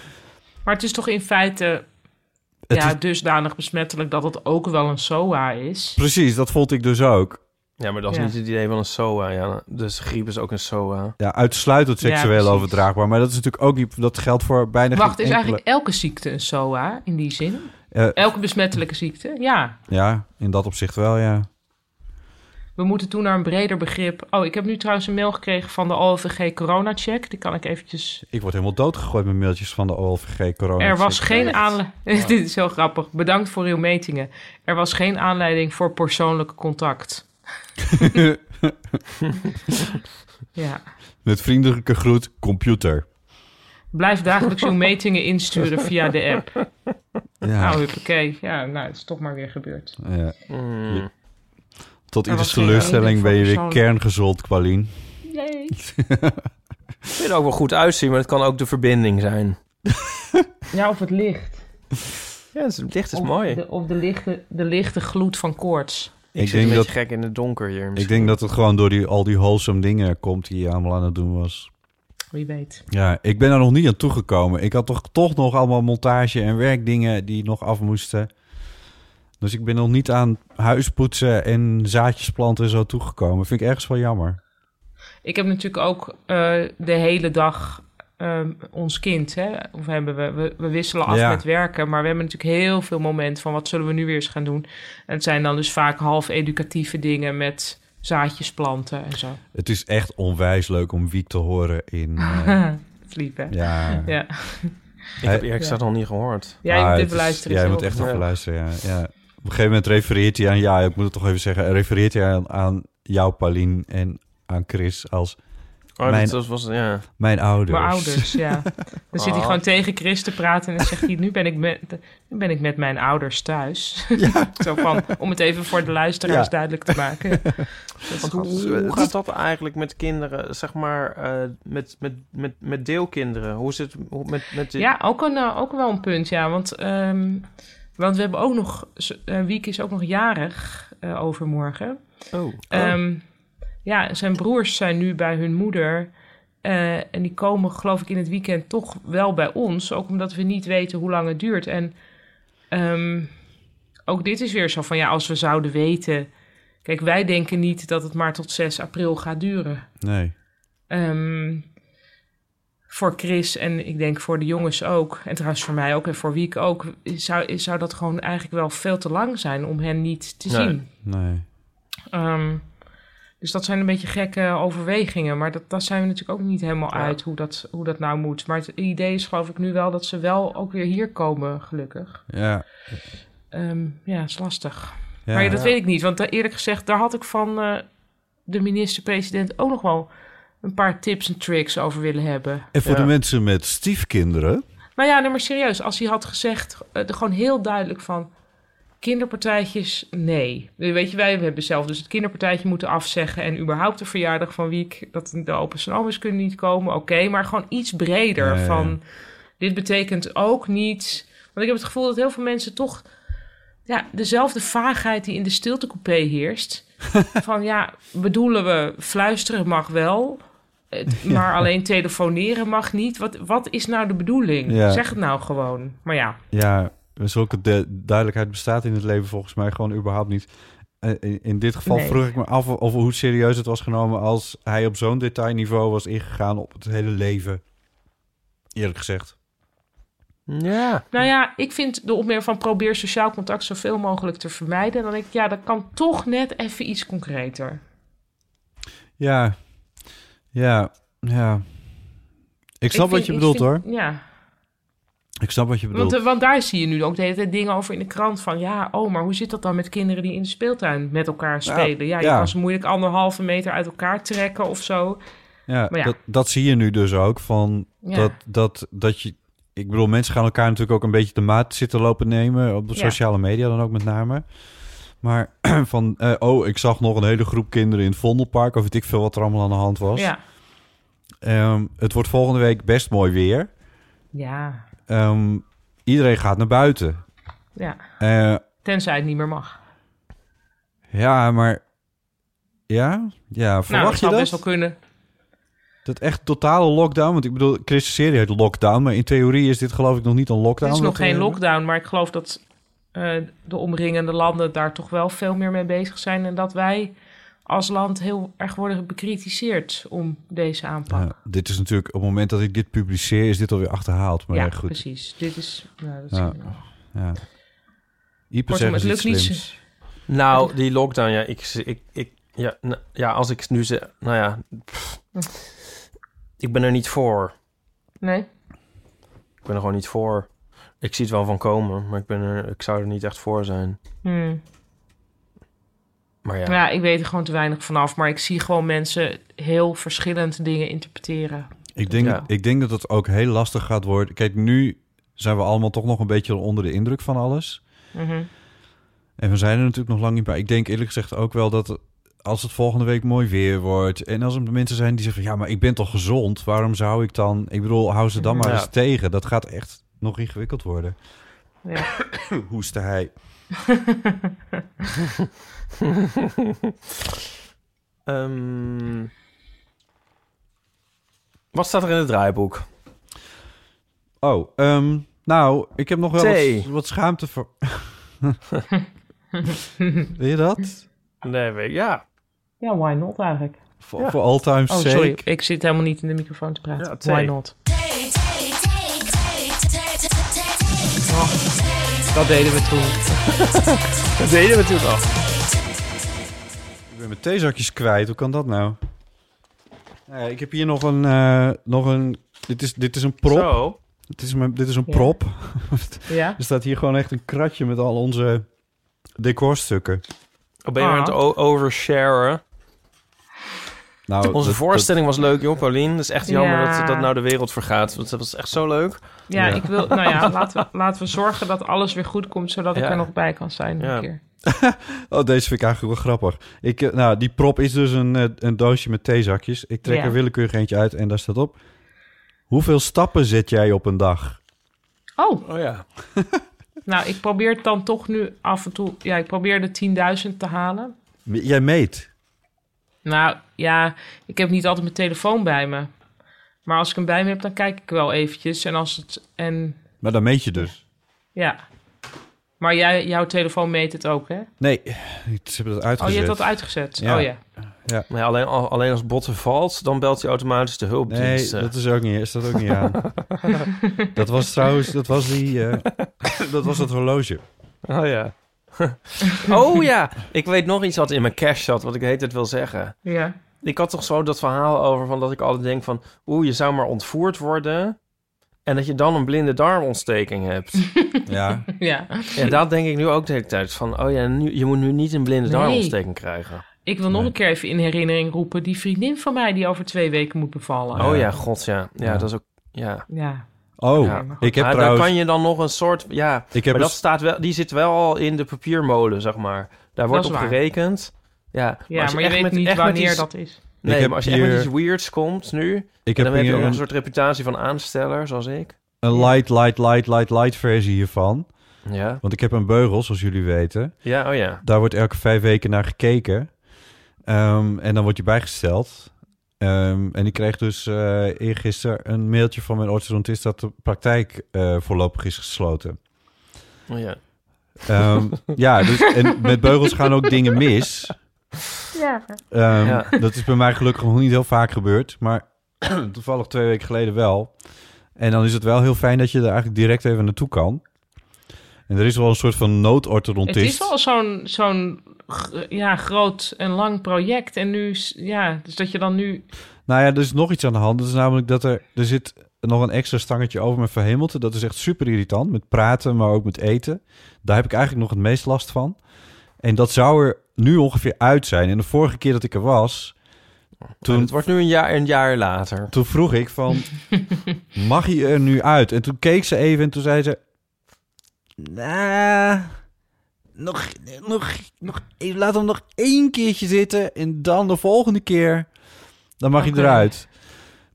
S3: Maar het is toch in feite
S2: het
S3: ja,
S2: is-
S3: dusdanig besmettelijk dat het ook wel een SOA is.
S2: precies, dat vond ik dus ook.
S4: ja maar dat is
S3: Ja.
S4: niet het idee van een SOA. Ja. Dus griep is ook een SOA.
S2: ja, uitsluitend
S3: Ja,
S2: seksueel
S3: precies.
S2: overdraagbaar. Maar dat is natuurlijk ook niet. Dat geldt voor bijna
S3: Wacht,
S2: geen
S3: is
S2: enkele-
S3: eigenlijk elke ziekte een SOA in die zin?
S2: Eh,
S3: Elke besmettelijke ziekte? Ja.
S2: ja, in dat opzicht wel, ja.
S3: We moeten toe naar een breder begrip. Oh, ik heb nu trouwens een mail gekregen van de OVG Corona Check. Die kan ik eventjes...
S2: Ik word helemaal doodgegooid met mailtjes van de OLVG corona.
S3: er was geen aanleiding... Dit is heel grappig. Bedankt voor uw metingen. Er was geen aanleiding voor persoonlijk contact. ja.
S2: Met vriendelijke groet, computer.
S3: Blijf dagelijks uw metingen insturen via de app.
S2: Ja.
S3: Nou, huppakee. Ja, nou, het is toch maar weer gebeurd.
S2: ja.
S4: Mm.
S2: Ja. Tot
S3: Nou, Er was
S2: ieders
S3: geen
S2: teleurstelling
S3: aanleiding
S2: ben je weer
S3: voor
S2: kerngezold, Qualien.
S3: Yay.
S4: Het kan er ook wel goed uitzien, maar het kan ook de verbinding zijn.
S3: Ja, of het licht.
S4: Ja, het is- het licht is
S3: of
S4: mooi.
S3: De, of de lichte, de lichte gloed van koorts.
S4: Ik,
S2: Ik
S4: zit
S2: denk
S4: een beetje
S2: dat-
S4: gek in het donker hier.
S2: Ik
S4: misschien.
S2: denk dat het gewoon door die, al die wholesome dingen komt die je allemaal aan het doen was.
S3: Wie weet.
S2: Ja, ik ben er nog niet aan toegekomen. Ik had toch, toch nog allemaal montage en werkdingen die nog af moesten. Dus ik ben nog niet aan huispoetsen en zaadjes planten en zo toegekomen. Vind ik ergens wel jammer.
S3: Ik heb natuurlijk ook eh, de hele dag ehm, ons kind. Hè? Of hebben we, we, we wisselen af
S2: Ja.
S3: met werken. Maar we hebben natuurlijk heel veel momenten van wat zullen we nu weer eens gaan doen. En het zijn dan dus vaak half educatieve dingen met zaadjes planten en zo.
S2: Het is echt onwijs leuk om Wiek te horen in... eh,
S3: Fliep, hè?
S2: ja.
S3: Ja,
S4: Ik heb eerlijk
S3: Ja.
S4: gezegd nog niet gehoord.
S3: jij
S2: Ah,
S3: moet
S2: het
S3: dit
S2: is-
S3: beluisteren.
S2: Jij
S3: is
S2: moet
S3: heel
S2: echt
S3: goed.
S2: even luisteren, ja. ja. Op een gegeven moment refereert hij aan... Ja, ik moet het toch even zeggen. Refereert hij aan, aan jou, Paulien, en aan Chris als
S4: Oh,
S2: Mijn-
S4: dat was, was- ja.
S2: mijn
S4: Dus.
S2: ouders.
S3: Mijn ouders, ja. Dan zit hij
S4: Ah.
S3: gewoon tegen Chris te praten en dan zegt hij... nu ben ik met, nu ben ik met mijn ouders thuis. Zo van, om het even voor de luisteraars
S2: Ja.
S3: duidelijk te maken.
S4: Want hoe, hoe gaat dat eh, eigenlijk met kinderen, zeg maar, eh, met, met, met, met deelkinderen? Hoe zit hoe, met, met die...
S3: Ja, ook, een, eh, ook wel een punt, ja. Want, ehm, want we hebben ook nog... z- eh Wieke is ook nog jarig eh, overmorgen.
S4: Oh,
S3: Ehm, ja, zijn broers zijn nu bij hun moeder. eh, en die komen, geloof ik, in het weekend toch wel bij ons. Ook omdat we niet weten hoe lang het duurt. En ehm, ook dit is weer zo van ja, als we zouden weten. Kijk, wij denken niet dat het maar tot 6 april gaat duren.
S2: Nee.
S3: Ehm, voor Chris en ik denk voor de jongens ook. En trouwens voor mij ook en voor Wiek ook. Zou, zou dat gewoon eigenlijk wel veel te lang zijn om hen niet te
S4: Nee.
S3: zien.
S2: Nee.
S3: Ehm, dus dat zijn een beetje gekke overwegingen. Maar dat, daar zijn we natuurlijk ook niet helemaal
S4: Ja.
S3: uit hoe dat, hoe dat nou moet. Maar het idee is geloof ik nu wel dat ze wel ook weer hier komen, gelukkig.
S2: Ja.
S3: Ehm, ja, is lastig.
S2: ja.
S3: maar ja, dat weet ik niet. Want daar- eerlijk gezegd, daar had ik van eh, de minister-president ook nog wel een paar tips en tricks over willen hebben.
S2: En voor
S4: Ja.
S2: de mensen met stiefkinderen...
S3: Nou ja, nee, maar serieus, als hij had gezegd, eh, er gewoon heel duidelijk van kinderpartijtjes, nee. Weet je, wij hebben zelf dus het kinderpartijtje moeten afzeggen en überhaupt de verjaardag van Wiek, dat de opa's en oma's kunnen niet komen, oké, maar gewoon iets breder
S2: Ja, ja, ja.
S3: van dit betekent ook niet, want ik heb het gevoel dat heel veel mensen toch ja, dezelfde vaagheid die in de stiltecoupé heerst, van ja, bedoelen we fluisteren mag wel, het- maar alleen telefoneren mag niet. Wat, wat is nou de bedoeling?
S2: Ja.
S3: Zeg het nou gewoon. Maar ja,
S2: Ja, zulke de duidelijkheid bestaat in het leven volgens mij gewoon überhaupt niet. Eh, in, in dit geval
S3: Nee.
S2: vroeg ik me af of, of hoe serieus het was genomen als hij op zo'n detailniveau was ingegaan op het hele leven. Eerlijk gezegd.
S4: Ja.
S3: Nou ja, ik vind de opmerking van probeer sociaal contact zoveel mogelijk te vermijden. Dan denk ik, ja, dat kan toch net even iets concreter.
S2: Ja, ja, ja. Ik snap
S3: vind-
S2: wat je bedoelt
S3: vind-
S2: hoor.
S3: Ja,
S2: Ik snap wat je bedoelt.
S3: want, eh, want daar zie je nu ook de hele tijd dingen over in de krant van... ja, oh, maar hoe zit dat dan met kinderen die in de speeltuin met elkaar spelen? Ja, je
S2: ja.
S3: kan ze moeilijk anderhalve meter uit elkaar trekken of zo.
S2: Ja,
S3: Maar ja.
S2: Dat, dat zie je nu dus ook. Van
S3: Ja.
S2: dat, dat, dat je, ik bedoel, mensen gaan elkaar natuurlijk ook een beetje de maat zitten lopen nemen. Op de
S3: Ja.
S2: sociale media dan ook met name. Maar van, eh, oh, ik zag nog een hele groep kinderen in het Vondelpark. Of weet ik veel wat er allemaal aan de hand was.
S3: Ja,
S2: Ehm, het wordt volgende week best mooi weer.
S3: ja,
S2: Ehm, iedereen gaat naar buiten.
S3: ja.
S2: Eh,
S3: Tenzij het niet meer mag. Nou,
S2: ja, maar... Ja? Ja,
S3: nou, dat
S2: verwacht
S3: zou
S2: je
S3: best
S2: dat?
S3: wel kunnen.
S2: Dat echt totale lockdown? Want ik bedoel, Christus serie heet Lockdown. Maar in theorie is dit geloof ik nog niet een
S3: Het
S2: lockdown. eh,
S3: is nog
S2: wat we
S3: geen
S2: hebben.
S3: lockdown, maar ik geloof dat eh, de omringende landen daar toch wel veel meer mee bezig zijn. En dat wij als land heel erg worden bekritiseerd om deze aanpak.
S2: Ja, dit is natuurlijk, op het moment dat ik dit publiceer, is dit alweer achterhaald. Maar
S3: ja,
S2: ja, goed.
S3: precies. Dit is. Nou, dat is
S2: Ja. Ja. Ieper
S3: Kortom,
S2: zegt
S3: het
S2: iets
S3: lukt niet.
S2: slims.
S4: Nou, die lockdown, ja, ik, ik, ik, ja, nou, ja als ik nu zeg, nou ja, pff, ik ben er niet voor.
S3: Nee.
S4: Ik ben er gewoon niet voor. Ik zie het wel van komen, maar ik, ben er, ik zou er niet echt voor zijn.
S3: Hmm.
S4: Maar ja,
S3: Nou Ja. ik weet er gewoon te weinig vanaf. Maar ik zie gewoon mensen heel verschillend dingen interpreteren.
S2: Ik denk,
S4: Ja.
S2: ik denk dat het ook heel lastig gaat worden. Kijk, nu zijn we allemaal toch nog een beetje onder de indruk van alles.
S3: Mhm.
S2: En we zijn er natuurlijk nog lang niet bij. Ik denk eerlijk gezegd ook wel dat als het volgende week mooi weer wordt... en als er mensen zijn die zeggen van... ja, maar ik ben toch gezond? Waarom zou ik dan... Ik bedoel, hou ze dan
S3: Mm-hmm.
S2: maar
S4: Ja.
S2: eens tegen. Dat gaat echt nog ingewikkeld worden.
S3: Ja.
S2: Hoeste hij.
S4: Ehm, wat staat er in het draaiboek?
S2: Oh, ehm, nou, ik heb nog wel
S4: Thee.
S2: wat, wat schaamte voor. Wil je dat?
S4: Nee, weet ik, ja.
S3: ja, why not eigenlijk?
S2: Voor, voor all time's
S3: Oh,
S2: sake.
S3: sorry. Ik zit helemaal niet in de microfoon te
S4: Ja,
S3: praten.
S4: thee.
S3: why not?
S1: Dat deden we toen.
S4: Dat deden we toen al.
S2: Ik ben mijn theezakjes kwijt. Hoe kan dat nou? Nou ja, ik heb hier nog een. eh, nog een dit, is, dit is een prop.
S4: Zo.
S2: Dit is, mijn, dit is een
S3: Ja.
S2: prop.
S3: Ja?
S2: er staat hier gewoon echt een kratje met al onze decorstukken.
S4: Oh,
S1: Ah.
S4: ben je weer aan het o- oversharen?
S2: Nou, dat-
S4: Onze
S2: dat-
S4: voorstelling was leuk, joh, Paulien. Dat is echt jammer
S3: Ja.
S4: dat, dat nou de wereld vergaat. Want dat was echt zo leuk.
S3: Ja,
S2: Ja.
S3: ik wil. Nou ja, laten we, laten we zorgen dat alles weer goed komt, zodat ik
S4: Ja.
S3: er nog bij kan zijn.
S4: Ja.
S3: Een keer.
S2: Oh, deze vind ik eigenlijk wel grappig. Ik, eh, nou, die prop is dus een, eh, een doosje met theezakjes. Ik trek
S3: Ja.
S2: er willekeurig eentje uit en daar staat op. Hoeveel stappen zet jij op een dag?
S3: Oh,
S4: Oh ja.
S3: nou, ik probeer het dan toch nu af en toe. Ja, ik probeer de 10.000 te halen.
S2: M- Jij meet.
S3: Nou ja, ik heb niet altijd mijn telefoon bij me. Maar als ik hem bij me heb, dan kijk ik wel eventjes. En als het. En
S2: Maar dan meet je dus.
S3: ja. Maar jij, jouw telefoon meet het ook, hè?
S2: Nee, ze hebben dat uitgezet.
S3: Oh, je hebt dat uitgezet.
S2: Ja.
S3: Oh ja.
S4: Maar ja, alleen, al- alleen als botten valt, dan belt hij automatisch de
S2: Nee,
S4: hulpdienst.
S2: dat is ook niet, is dat ook niet aan. dat was trouwens, dat was die, eh, dat was dat horloge.
S4: Oh ja. oh ja, ik weet nog iets wat in mijn cash zat, wat ik heet het wil zeggen.
S3: Ja.
S4: Ik had toch zo dat verhaal over van dat ik altijd denk van... oeh, je zou maar ontvoerd worden... en dat je dan een blinde darmontsteking hebt.
S2: Ja,
S3: Ja.
S4: en dat denk ik nu ook de hele tijd. Van, oh ja, nu, je moet nu niet een blinde
S3: Nee.
S4: darmontsteking krijgen.
S3: Ik wil nog een keer even in herinnering roepen die vriendin van mij die over twee weken moet bevallen.
S4: Oh ja, god ja. Ja,
S2: Ja.
S4: dat is ook... Ja.
S3: Ja.
S2: oh,
S4: Ja, maar
S2: ik heb
S4: Maar
S2: trouwens,
S4: daar kan je dan nog een soort... Ja,
S2: ik heb dus-
S4: maar dat
S2: eens-
S4: staat wel, die zit wel al in de papiermolen, zeg maar. Daar wordt
S3: is
S4: op
S3: waar.
S4: gerekend. Ja,
S3: Ja,
S4: als
S3: maar je
S4: echt
S3: weet
S4: met-
S3: niet
S4: echt met
S3: wanneer
S4: iets-
S3: dat is.
S4: Nee,
S2: heb
S4: maar als je echt
S2: hier-
S4: met iets weirds komt nu...
S2: ik heb
S4: dan heb je
S2: hier
S4: ook een
S2: een,
S4: soort reputatie van aansteller, zoals ik.
S2: een light, light, light, light, light versie hiervan.
S4: Ja.
S2: Want ik heb een beugel, zoals jullie weten.
S4: Ja, oh ja.
S2: Daar wordt elke vijf weken naar gekeken. Ehm, en dan word je bijgesteld. Ehm, en ik kreeg dus eh eergisteren een mailtje van mijn orthodontist dat de praktijk eh, voorlopig is gesloten.
S4: Oh ja.
S2: Ehm, ja, dus en met beugels gaan ook dingen mis.
S7: Ja.
S2: Ehm,
S4: Ja.
S2: Dat is bij mij gelukkig nog niet heel vaak gebeurd, maar toevallig twee weken geleden wel. En dan is het wel heel fijn dat je er eigenlijk direct even naartoe kan. En er is wel een soort van
S3: Het
S2: noodorthodontist.
S3: is wel zo'n zo'n gr- ja, groot en lang project. En nu, is- ja, dus dat je dan nu...
S2: Nou ja, er is nog iets aan de hand. Dat is namelijk dat er, er zit nog een extra stangetje over mijn verhemelte. Dat is echt super irritant. Met praten, maar ook met eten. Daar heb ik eigenlijk nog het meest last van. En dat zou er nu ongeveer uit zijn. En de vorige keer dat ik er was,
S4: Toen...
S2: toen,
S4: Het wordt nu een jaar, een jaar later.
S2: toen vroeg ik van... mag hij er nu uit? En toen keek ze even en toen zei ze... Nou, nog, nog, nog, e-, laat hem nog één keertje zitten en dan de volgende keer, dan mag
S3: Oké.
S2: hij eruit.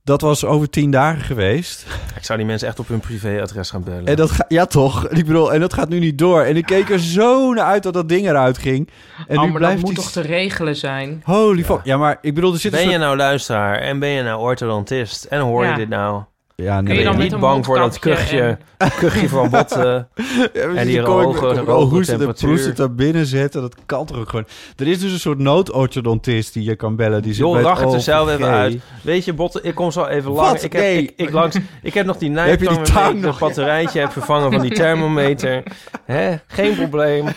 S2: Dat was over tien dagen geweest.
S4: Ik zou die mensen echt op hun privéadres gaan bellen.
S2: En dat ga, ja toch, ik bedoel, en dat gaat nu niet door. En ik keek er zo naar uit dat dat ding eruit ging. En
S3: oh,
S2: nu
S3: maar
S2: blijft
S3: dat moet
S2: die-
S3: toch te regelen zijn?
S2: Holy fuck. Ja, maar ik bedoel, er zit een
S4: Ben je
S2: soort-
S4: nou luisteraar en ben je nou orthodontist en hoor
S3: Ja.
S4: je dit nou?
S2: Ja,
S3: Kun
S2: nee.
S3: je dan
S4: ben je
S3: met
S4: niet
S3: een
S4: bang voor dat
S3: mondkapje
S4: kuchje, kuchje van botten?
S2: Ja, we
S4: En
S2: zitten
S4: die
S2: koken-
S4: hoge-
S2: koken-
S4: hoge
S2: oh, hoe ze de
S4: temperatuur.
S2: proes het daar binnen zetten, dat kan toch ook gewoon. Er is dus een soort noodorthodontist die je kan bellen. Die zit
S4: Joh,
S2: bij
S4: lach het er
S2: OVG.
S4: zelf even uit. Weet je, botten, ik kom zo even lang.
S2: Wat?
S4: Ik heb,
S2: Nee.
S4: ik, ik langs, ik heb nog die
S2: Heb je die
S4: nijptang waarmee
S2: tang
S4: ik
S2: nog?
S4: dat batterijtje heb vervangen van die thermometer. Hè? Geen probleem.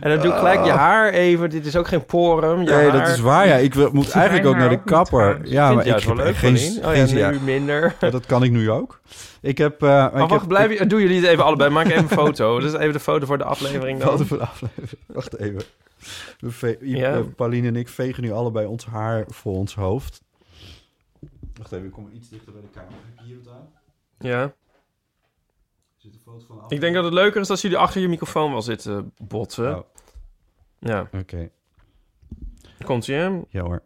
S4: en dan doe ik gelijk je haar even. Dit is ook geen porum. Je
S2: Oh. Nee,
S4: haar.
S2: dat is waar. Ja, ik wil- moet eigenlijk ook
S3: haar
S2: naar de
S3: ook niet
S2: kapper.
S3: trouwens.
S2: Ja,
S4: Vind
S2: maar
S4: je
S2: ik
S4: juist
S2: heb
S4: wel leuk,
S2: geen,
S4: Paulien? Oh ja,
S2: geen zin.
S4: nu minder.
S2: Ja, dat kan ik nu ook. Ik heb. eh
S4: Maar
S2: ik
S4: wacht,
S2: heb,
S4: blijf, je- doen jullie het even allebei. Maak even een foto. Dus even de foto voor de aflevering dan.
S2: Foto van de aflevering. Wacht even. We ve- I-
S4: Ja.
S2: eh, Pauline en ik vegen nu allebei ons haar voor ons hoofd. Wacht even, ik kom iets dichter bij de camera. Heb je hier wat aan?
S4: Ja.
S2: Er zit een foto van
S4: Ik denk dat het leuker is als jullie achter je microfoon wel zitten botsen.
S2: Oh.
S4: Ja,
S2: Oké,
S4: komt ie hè?
S2: ja hoor.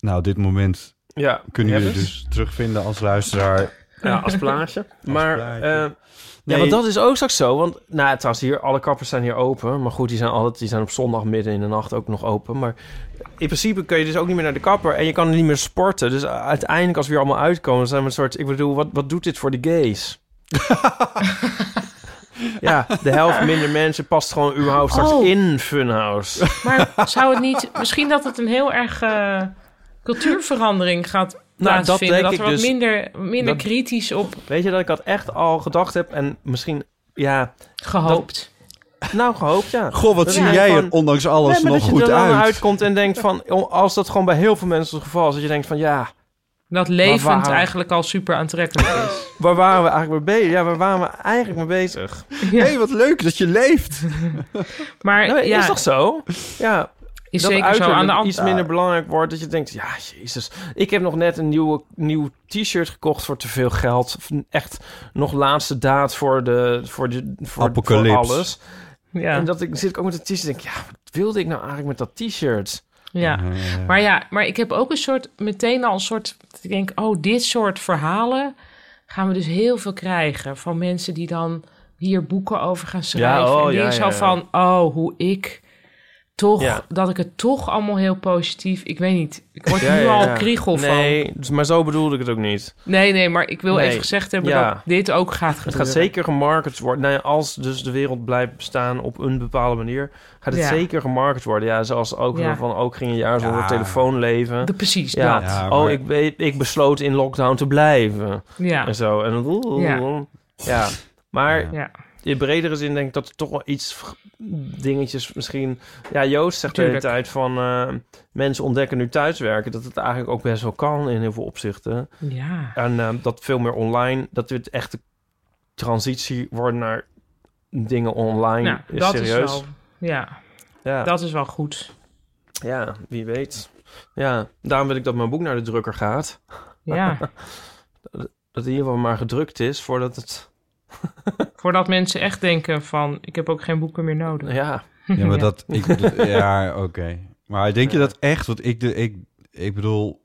S2: Nou, dit moment
S4: Ja,
S2: kunnen
S4: heb
S2: jullie
S4: het.
S2: dus terugvinden als luisteraar.
S4: Ja, als plaatje. maar,
S2: plaatje.
S4: eh,
S2: Nee.
S4: ja, want dat is ook straks zo. Want, nou, trouwens, hier, alle kappers zijn hier open. Maar goed, die zijn, altijd, die zijn op zondag midden in de nacht ook nog open. Maar in principe kun je dus ook niet meer naar de kapper. En je kan niet meer sporten. Dus uh, uiteindelijk, als we hier allemaal uitkomen, dan zijn we een soort... Ik bedoel, wat, wat doet dit voor de gays? ja, de helft minder mensen past gewoon überhaupt straks
S3: Oh.
S4: in Funhouse.
S3: Maar zou het niet... Misschien dat het een heel erg eh, cultuurverandering gaat
S4: Nou, dat
S3: plaatsvinden.
S4: denk
S3: dat,
S4: ik
S3: er wat
S4: dus.
S3: minder, minder
S4: Dat-
S3: kritisch op
S4: Weet je dat ik dat echt al gedacht heb? En misschien, ja,
S3: gehoopt.
S4: nou gehoopt, ja.
S2: Goh, wat
S4: Dat
S2: zie
S4: is
S2: jij
S4: gewoon-
S2: er ondanks alles
S4: Nee, maar
S2: nog
S4: dat je
S2: goed
S4: er dan
S2: uit.
S4: uitkomt en denkt van, oh, als dat gewoon bij heel veel mensen het geval is, dat je denkt van, ja,
S3: Dat, levend
S4: waar-
S3: eigenlijk al super aantrekkelijk is.
S4: waar waren we eigenlijk mee bezig? Ja, waar waren we eigenlijk mee bezig?
S3: Ja.
S2: hey, wat leuk dat je leeft.
S3: Maar
S4: Nou,
S3: ja,
S4: Is toch zo? Ja,
S3: is
S4: dat
S3: zeker zo
S4: uiterlijk
S3: aan de
S4: iets
S3: andere
S4: minder belangrijk wordt, dat je denkt, ja, jezus, ik heb nog net een nieuwe, nieuw t-shirt gekocht voor te veel geld. Echt nog laatste daad voor de, voor de, voor, voor
S2: Apocalypse.
S4: alles. En
S3: Ja.
S4: dat ik, zit ik ook met een t-shirt en denk, ja, wat wilde ik nou eigenlijk met dat t-shirt?
S3: ja. Maar ja, maar ik heb ook een soort, meteen al een soort, dat ik denk, oh, dit soort verhalen gaan we dus heel veel krijgen van mensen die dan hier boeken over gaan schrijven.
S4: oh,
S3: en die
S4: ja,
S3: zo
S4: ja, ja.
S3: van, oh, hoe ik toch,
S4: Ja.
S3: dat ik het toch allemaal heel positief, ik weet niet, ik word
S4: Ja,
S3: nu
S4: ja,
S3: al
S4: ja.
S3: kriegel van.
S4: Nee, dus- maar zo bedoelde ik het ook niet.
S3: Nee, nee, maar ik wil
S4: Nee.
S3: even gezegd hebben
S4: Ja.
S3: dat dit ook gaat gebeuren.
S4: Het gaat zeker gemarket worden. Nou ja, als dus de wereld blijft bestaan op een bepaalde manier, gaat het
S3: Ja.
S4: zeker gemarket worden. Ja, zoals ook
S3: Ja.
S4: van ook ging een jaar zonder
S2: Ja.
S4: telefoon leven.
S3: De- precies,
S4: ja.
S3: dat.
S2: Ja, maar-
S4: oh, ik, weet- ik besloot in lockdown te blijven.
S3: Ja.
S4: En zo. En dan-
S3: Ja.
S4: ja. Maar
S2: Ja.
S3: Ja.
S4: in bredere zin denk ik dat er toch wel iets v- dingetjes misschien... Ja, Joost zegt de hele
S3: Tuurlijk.
S4: tijd van... eh, mensen ontdekken nu thuiswerken. Dat het eigenlijk ook best wel kan in heel veel opzichten.
S3: ja.
S4: En eh, dat veel meer online, dat dit echt de transitie wordt naar dingen online.
S3: Nou,
S4: is
S3: dat
S4: serieus.
S3: is wel, ja,
S4: ja.
S3: dat is wel goed.
S4: ja, wie weet. Ja, daarom wil ik dat mijn boek naar de drukker gaat.
S3: Ja.
S4: Dat in ieder geval maar gedrukt is voordat het.
S3: Voordat mensen echt denken van, ik heb ook geen boeken meer nodig.
S4: Ja,
S2: Ja, maar
S3: Ja.
S2: dat... Ik, dat- ja, oké. Maar denk je dat echt? Want ik, de, ik, ik bedoel...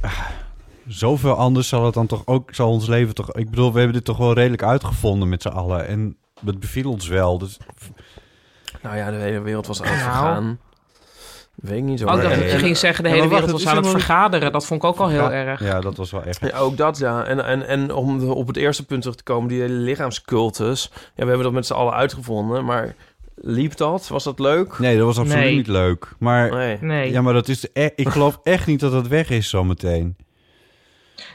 S2: ah, Zoveel anders zal het dan toch ook... Zal ons leven toch... Ik bedoel, we hebben dit toch wel redelijk uitgevonden met z'n allen. En het beviel ons wel. Dus
S4: Nou ja, de hele wereld was aan het vergaan. Weet ik niet zo.
S3: Ook dat
S4: En-
S3: je ging zeggen, de
S2: Ja,
S3: hele
S2: maar wacht, het
S3: wereld was
S2: is
S3: aan het
S2: helemaal-
S3: vergaderen. Dat vond ik ook al heel
S2: Ja,
S3: erg.
S2: Ja, dat was wel echt.
S4: Ja, ook dat, ja. En, en, en om de- op het eerste punt terug te komen, die hele lichaamscultus. Ja, we hebben dat met z'n allen uitgevonden, maar liep dat? Was dat leuk?
S2: Nee, dat was absoluut
S3: Nee.
S2: niet leuk. Maar,
S4: Nee.
S3: Nee.
S2: ja, maar dat is e- ik geloof echt niet dat dat weg is zometeen.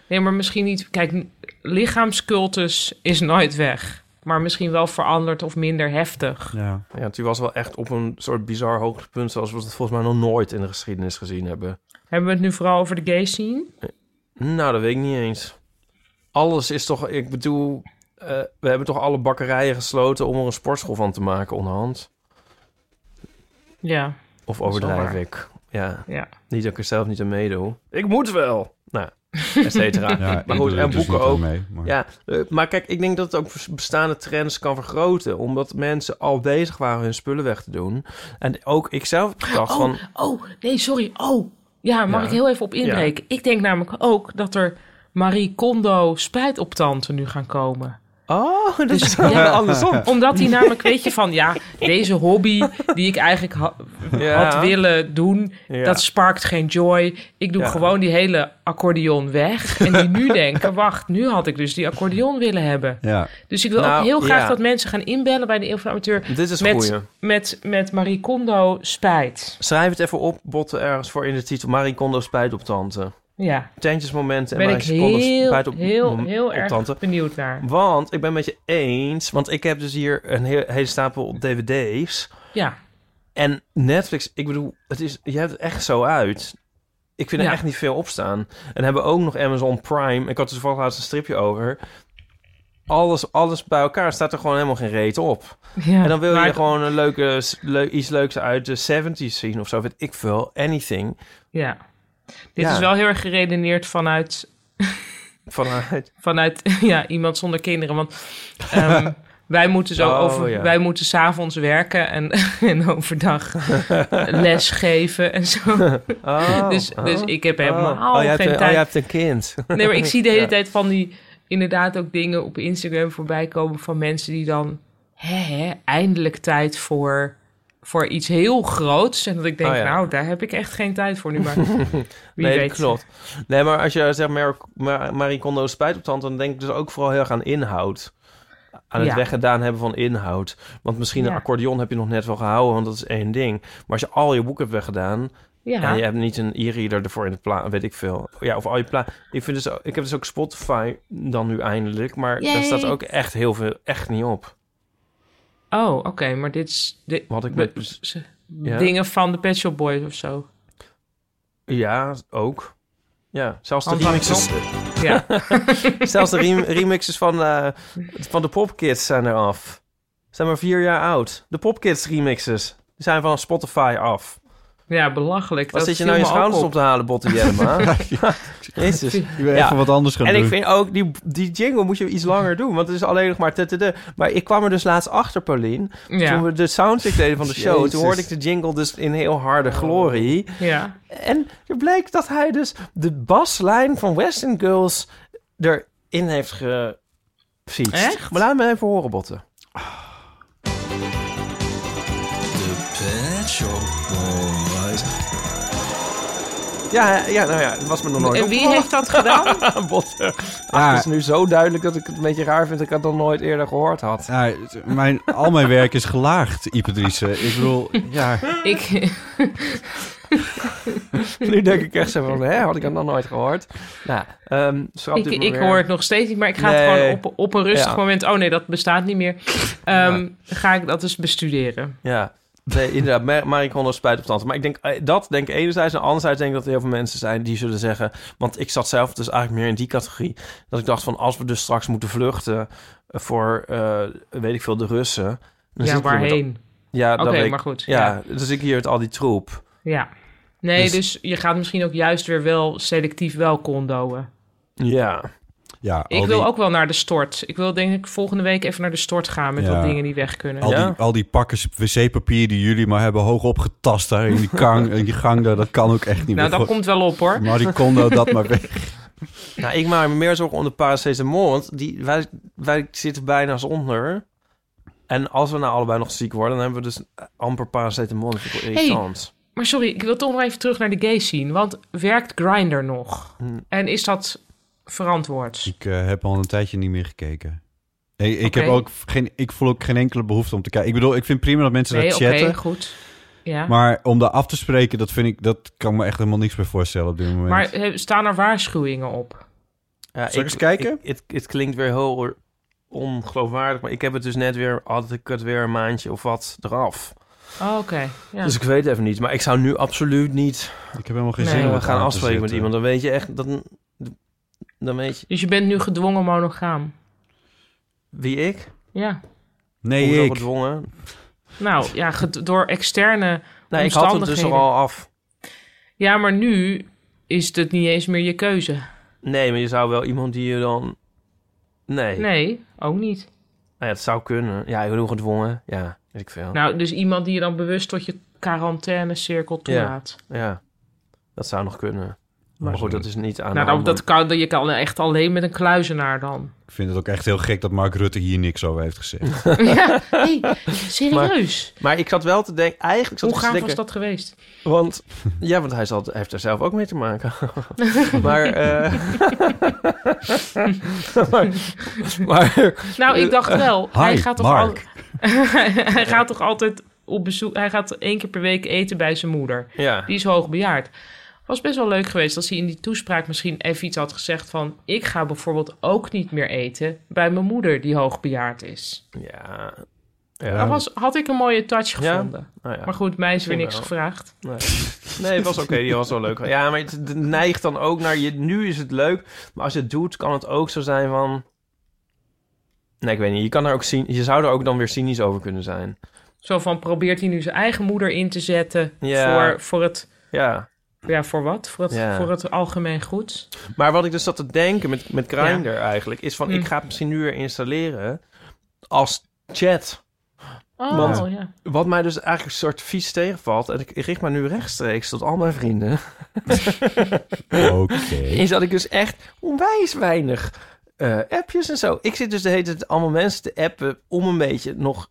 S3: nee, maar misschien niet... Kijk, n- lichaamscultus is nooit weg. Maar misschien wel veranderd of minder heftig.
S2: Ja.
S4: Ja, toen was wel echt op een soort bizar hoogtepunt, zoals we het volgens mij nog nooit in de geschiedenis gezien hebben.
S3: Hebben we het nu vooral over de gay scene?
S4: Nou, dat weet ik niet eens. Alles is toch, ik bedoel, eh, we hebben toch alle bakkerijen gesloten om er een sportschool van te maken onderhand?
S3: Ja,
S4: Of
S3: is wel
S4: overdrijf
S3: waar.
S4: ik? Ja,
S3: ja.
S4: niet dat ik er zelf niet aan meedoe. Ik moet wel! Nou, et cetera.
S2: Ja,
S4: maar
S2: ik
S4: goed,
S2: doe er
S4: en
S2: dus
S4: boeken
S2: niet aan
S4: ook.
S2: Mee, maar...
S4: Ja, eh, maar kijk, ik denk dat het ook vers- bestaande trends kan vergroten. Omdat mensen al bezig waren hun spullen weg te doen. En ook ik zelf dacht
S3: Oh,
S4: van...
S3: oh, nee, sorry. Oh, ja, mag
S4: Ja.
S3: ik heel even op inbreken? Ik denk namelijk ook dat er Marie Kondo spijtoptanten nu gaan komen.
S4: Oh, dat
S3: Dus
S4: is wel
S3: ja.
S4: andersom.
S3: Omdat die namelijk, weet je, van ja, deze hobby die ik eigenlijk ha- had willen doen,
S4: Ja.
S3: dat sparkt geen joy. Ik doe
S4: Ja.
S3: gewoon die hele accordeon weg. En die nu denken, wacht, nu had ik dus die accordeon willen hebben.
S2: Ja.
S3: Dus ik wil
S4: Nou,
S3: ook heel graag
S4: ja.
S3: dat mensen gaan inbellen bij de Eeuw van de Amateur
S4: Dit is een
S3: met,
S4: goeie.
S3: met, met Marie Kondo spijt.
S4: Schrijf het even op, botten ergens voor in de titel. Marie Kondo spijt op tante.
S3: Ja,
S4: Tentjesmomenten en
S3: ben ik
S4: Marie Kondo
S3: heel,
S4: spijt op,
S3: heel,
S4: mom-
S3: heel
S4: op
S3: erg
S4: tante.
S3: benieuwd naar.
S4: Want ik ben met je eens. Want ik heb dus hier een heel- hele stapel dvd's.
S3: Ja,
S4: En Netflix, ik bedoel, het is, je hebt het echt zo uit. Ik vind er
S3: Ja.
S4: echt niet veel op staan. En hebben ook nog Amazon Prime. Ik had er toevallig laatst een stripje over. Alles, alles bij elkaar staat er gewoon helemaal geen reet op.
S3: ja.
S4: en dan wil
S3: maar-
S4: je gewoon een leuke, s- leu- iets leuks uit de 70s zien of zo. Weet ik veel. Anything.
S3: Ja. Dit
S4: Ja.
S3: is wel heel erg geredeneerd vanuit
S4: Vanuit.
S3: vanuit ja, iemand zonder kinderen. Want ehm, wij moeten zo
S4: Oh,
S3: over,
S4: ja.
S3: wij moeten s'avonds werken en, en overdag les geven en zo.
S4: Oh,
S3: dus, dus
S4: oh.
S3: ik heb helemaal
S4: Oh, jij hebt
S3: geen
S4: een, oh,
S3: tijd.
S4: jij hebt een kind.
S3: Nee, maar ik zie de hele
S4: Ja.
S3: tijd van die inderdaad ook dingen op Instagram voorbij komen van mensen die dan hè, hè, eindelijk tijd voor voor iets heel groots en dat ik denk
S4: Oh, ja.
S3: nou daar heb ik echt geen tijd voor nu maar wie
S4: nee,
S3: weet
S4: dat klopt. Nee, maar als je zegt Mar- Ma- Marie Kondo is spijt op tand, dan denk ik dus ook vooral heel erg aan inhoud. Aan het
S3: Ja.
S4: weggedaan hebben van inhoud. Want misschien een
S3: Ja.
S4: accordeon heb je nog net wel gehouden, want dat is één ding. Maar als je al je boeken hebt weggedaan
S3: ja
S4: en je hebt niet een e-reader ervoor in de plaat, weet ik veel. Ja, of al je plaat. Ik, vind dus, ook- ik heb dus ook Spotify dan nu eindelijk, maar daar
S3: Yay.
S4: staat ook echt heel veel, echt niet op.
S3: oh oké maar dit is dit,
S4: Wat ik
S3: we-
S4: met-
S3: ze-
S4: Ja.
S3: dingen van de Pet Shop Boys of zo.
S4: Ja, ook. Ja, zelfs de
S3: Hans van
S4: remixes,
S3: Ja,
S4: zelfs de rem- remixes van, eh, van de Popkids zijn er af. Zijn maar vier jaar oud. De Popkids remixes die zijn van Spotify af.
S3: ja belachelijk.
S4: Wat
S3: dat
S4: zit je nou je
S3: viel me ook
S4: schouders op. te halen, Botte Jellema? Jezus.
S2: Ik wil
S4: Ja.
S2: even wat anders gaan
S4: En
S2: doen.
S4: ik vind ook, die, die jingle moet je iets langer doen, want het is alleen nog maar... tutudu. Maar ik kwam er dus laatst achter, Paulien. Toen
S3: Ja,
S4: we de soundcheck deden van de show,
S2: Jezus.
S4: toen hoorde ik de jingle dus in heel harde glorie.
S3: ja.
S4: En er bleek dat hij dus de baslijn van Western Girls erin heeft ge...
S3: Echt?
S4: Maar laat me even horen, Botten. Ja, ja, nou ja, dat was me nog nooit
S3: En wie heeft dat gedaan?
S4: opgevallen, Botten. Ach, het is nu zo duidelijk dat ik het een beetje raar vind dat ik het nog nooit eerder gehoord had.
S2: Ja, het- mijn, al mijn werk is gelaagd, Ipedrice. Ik bedoel, ja,
S3: Ik,
S4: nu denk ik echt zo van, hè, had ik dat nog nooit gehoord? Nou, ehm schrap
S3: ik,
S4: dit maar
S3: ik
S4: weer.
S3: hoor het nog steeds niet, maar ik ga het
S4: Nee.
S3: gewoon op, op een rustig
S4: Ja.
S3: moment... Oh nee, dat bestaat niet meer. Ehm, Ga ik dat eens bestuderen.
S4: Ja, nee, inderdaad. Ma- Marie Kondo spijt op tante. Maar ik denk eh, dat, denk ik enerzijds. En anderzijds denk ik dat er heel veel mensen zijn die zullen zeggen... Want ik zat zelf dus eigenlijk meer in die categorie. Dat ik dacht van, als we dus straks moeten vluchten voor, eh, weet ik veel, de Russen... dan zit
S3: ja,
S4: ik hier met-
S3: waarheen?
S4: Ja, dat
S3: Oké,
S4: weet ik.
S3: maar goed. Ja.
S4: Ja, dus ik hier met al die troep.
S3: ja. Nee, dus...
S4: Dus-
S3: je gaat misschien ook juist weer wel selectief wel condoen.
S4: Ja.
S2: ja
S3: Ik
S2: al,
S3: wil
S2: die,
S3: ook wel naar de stort. Ik wil denk ik volgende week even naar de stort gaan met
S2: Ja.
S3: wat dingen die weg kunnen.
S2: al,
S4: Ja.
S2: die, al die pakken wc-papier die jullie maar hebben hoog opgetast daar in die, gang, in die gang daar, dat kan ook echt niet
S3: nou,
S2: meer.
S3: dat komt wel op hoor.
S2: Marie Kondo, dat maar weg.
S4: Nou, ik maak me meer zorgen om de paracetamol. Want die, wij, wij zitten bijna eens onder. En als we nou allebei nog ziek worden, dan hebben we dus amper paracetamol. Dat vind ik wel
S3: Hey.
S4: irritant.
S3: Maar sorry, ik wil toch nog even terug naar de gay scene. Want werkt Grindr nog?
S4: Hm.
S3: En is dat verantwoord?
S2: Ik eh, heb al een tijdje niet meer gekeken. Ik, ik,
S3: Oké.
S2: heb ook geen, ik voel ook geen enkele behoefte om te kijken. Ik bedoel, ik vind prima dat mensen
S3: Nee,
S2: dat
S3: oké,
S2: chatten.
S3: goed. Ja. Maar,
S2: Maar om daar af te spreken, dat, vind ik, dat kan ik me echt helemaal niks bij voorstellen op dit moment.
S3: eh, staan er waarschuwingen op?
S4: Ja,
S2: Zal ik eens kijken?
S4: ik- Het het klinkt weer heel ongeloofwaardig, maar ik heb het dus net weer, had ik het weer een maandje of wat eraf.
S3: Oh, oké. Ja.
S4: Dus ik weet even niet, maar ik zou nu absoluut niet.
S2: ik heb helemaal geen
S3: Nee,
S2: zin
S3: we
S2: om
S4: we
S2: het aan
S4: gaan
S2: te
S4: afspreken met
S2: zetten.
S4: iemand, dan weet je echt, dan, dan weet je
S3: Dus je bent nu gedwongen monogaam?
S4: wie ik.
S3: Ja.
S2: Nee,
S4: Hoezo
S2: ik.
S4: gedwongen.
S3: Nou, ja, ged- door externe...
S4: Nee, ik had het dus er
S3: Omstandigheden.
S4: al af.
S3: Ja, maar nu is het niet eens meer je keuze.
S4: Nee, maar je zou wel iemand die je dan. Nee. Oh. nee.
S3: Nee, ook niet.
S4: het zou kunnen. Ja, ik bedoel gedwongen. Ja, weet ik veel.
S3: Nou, dus iemand die je dan bewust tot je quarantainecirkel toelaat.
S4: Ja, dat zou nog kunnen. Maar goed, dat is niet aan.
S3: nou,
S4: de
S3: dan,
S4: hand.
S3: dat kan, je kan echt alleen met een kluizenaar dan.
S2: Ik vind het ook echt heel gek dat Mark Rutte hier niks over heeft gezegd.
S3: ja, hey, serieus.
S4: Maar ik zat wel te denken, eigenlijk zat ik
S3: Hoe
S4: te
S3: gaaf
S4: denken-
S3: was dat geweest?
S4: Want, ja, want hij zal, hij heeft er zelf ook mee te maken. maar, eh maar, maar,
S3: Nou,
S4: Eh,
S3: ik dacht wel. hij,
S2: hi,
S3: gaat toch
S2: Mark.
S3: al- hij gaat toch altijd op bezoek... Hij gaat één keer per week eten bij zijn moeder.
S4: ja.
S3: Die is hoogbejaard. Was best wel leuk geweest als hij in die toespraak misschien even iets had gezegd van... ik ga bijvoorbeeld ook niet meer eten bij mijn moeder die hoogbejaard is.
S4: Ja.
S3: Dat
S4: Ja.
S3: was, had ik een mooie touch
S4: Ja?
S3: gevonden.
S4: Nou ja.
S3: Maar goed, mij is weer
S4: Misschien
S3: niks
S4: wel.
S3: gevraagd.
S4: Nee. nee, het was oké, die was wel leuk. Ja, maar het- het neigt dan ook naar je. Nu is het leuk, maar als je het doet, kan het ook zo zijn van. Nee, ik weet niet. Je, kan er ook zien, je zou er ook dan weer cynisch over kunnen zijn.
S3: Zo van, probeert hij nu zijn eigen moeder in te zetten
S4: Ja.
S3: voor, voor het...
S4: Ja.
S3: Ja, voor wat? Voor het,
S4: Ja.
S3: voor het algemeen goed?
S4: Maar wat ik dus zat te denken met, met Grindr eigenlijk, is van
S3: Mm.
S4: ik ga het misschien nu weer installeren als chat.
S3: Oh,
S4: Want-
S3: ja.
S4: Wat mij dus eigenlijk een soort vies tegenvalt, en ik ik richt me nu rechtstreeks tot al mijn vrienden,
S2: Oké.
S4: is dat ik dus echt onwijs weinig eh, appjes en zo. Ik zit dus de hele tijd allemaal mensen te appen om een beetje nog...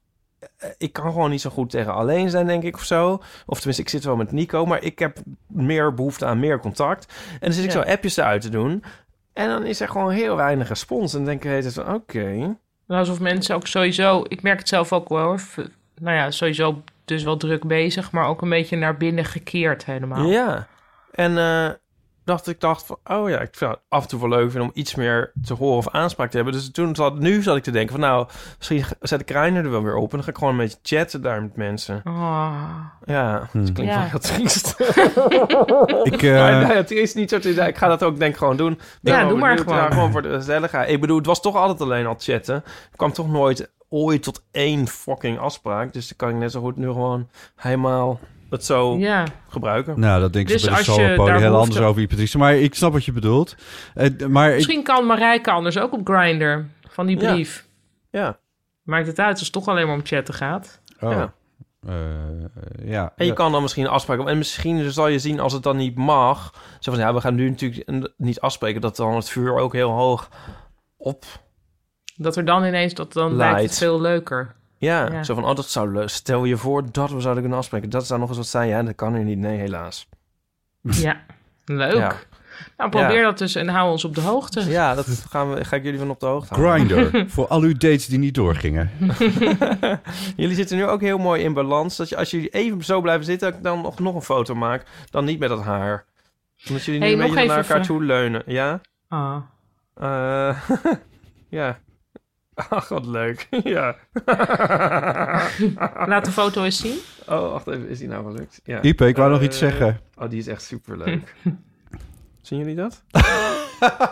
S4: eh, Ik kan gewoon niet zo goed tegen alleen zijn, denk ik, of zo. Of tenminste, ik zit wel met Nico, maar ik heb meer behoefte aan meer contact. En dan zit ik
S3: Ja.
S4: zo appjes eruit te doen. En dan is er gewoon heel weinig respons. En dan denk ik de hele tijd van, oké...
S3: Nou, alsof mensen ook sowieso, ik merk het zelf ook wel hoor, v- nou ja, sowieso dus wel druk bezig, maar ook een beetje naar binnen gekeerd helemaal.
S4: Ja. En eh, dacht ik dacht van, oh ja, ik zou het af en toe wel leuk vinden om iets meer te horen of aanspraak te hebben. Dus toen zat, nu zat ik te denken van, nou, misschien g- zet ik Reiner er wel weer op en dan ga ik gewoon een beetje chatten daar met mensen.
S3: Ah.
S4: Ja, dat klinkt
S3: Ja.
S4: wel heel triest.
S2: Ik, eh,
S4: maar nou ja, het is niet zo triest. Ja, Ik ga dat ook denk ik gewoon doen. Ik ben
S3: Ja,
S4: wel
S3: doe maar
S4: benieuwd.
S3: gewoon.
S4: Ja, gewoon voor de gezelligheid. Ik bedoel, het was toch altijd alleen al chatten. Ik kwam toch nooit ooit tot één fucking afspraak. Dus dan kan ik net zo goed nu gewoon helemaal het zo
S3: Ja,
S4: gebruiken.
S2: Nou, dat denk ik
S3: Dus
S2: bij de
S3: als je
S2: solopoli
S3: daar
S2: heel
S3: behoefte-
S2: anders over, Patricia. Maar ik snap wat je bedoelt. Eh, d- maar ik,
S3: misschien kan Marijke anders ook op Grindr van die
S4: Ja.
S3: brief.
S4: Ja.
S3: Maakt het uit als het toch alleen maar om chatten gaat.
S2: Oh.
S4: Ja.
S2: Eh, ja.
S4: En je
S2: Ja.
S4: kan dan misschien afspraken. En misschien zal je zien als het dan niet mag. Zo van ja, we gaan nu natuurlijk n- niet afspreken. Dat dan het vuur ook heel hoog op.
S3: Dat er dan ineens, dat dan lijkt het
S4: Light.
S3: veel leuker.
S4: Ja,
S3: Ja.
S4: zo van oh, dat zou leuk. Stel je voor dat we zouden kunnen afspreken. Dat zou nog eens wat zijn. Ja, dat kan nu niet. Nee, helaas.
S3: Ja, leuk.
S4: Ja.
S3: Nou, probeer
S4: Ja.
S3: dat dus en hou ons op de hoogte.
S4: Ja, dat gaan we, ga ik jullie van op de hoogte houden.
S2: Grindr, voor al uw dates die niet doorgingen.
S4: Jullie zitten nu ook heel mooi in balans. Dat je, als jullie even zo blijven zitten, dat ik dan nog, nog een foto maak. Dan niet met dat haar. Omdat jullie nu
S3: Hey,
S4: een
S3: nog
S4: beetje naar
S3: even
S4: elkaar
S3: vra-
S4: toe leunen. Ja?
S3: Ah.
S4: Eh, ja. Ach, wat leuk. ja.
S3: Laat de foto eens zien.
S4: Oh, wacht even. Is die nou gelukt? Ja.
S2: Ipe, ik wou nog
S4: Eh,
S2: iets zeggen.
S4: Oh, die is echt superleuk. Zien jullie dat?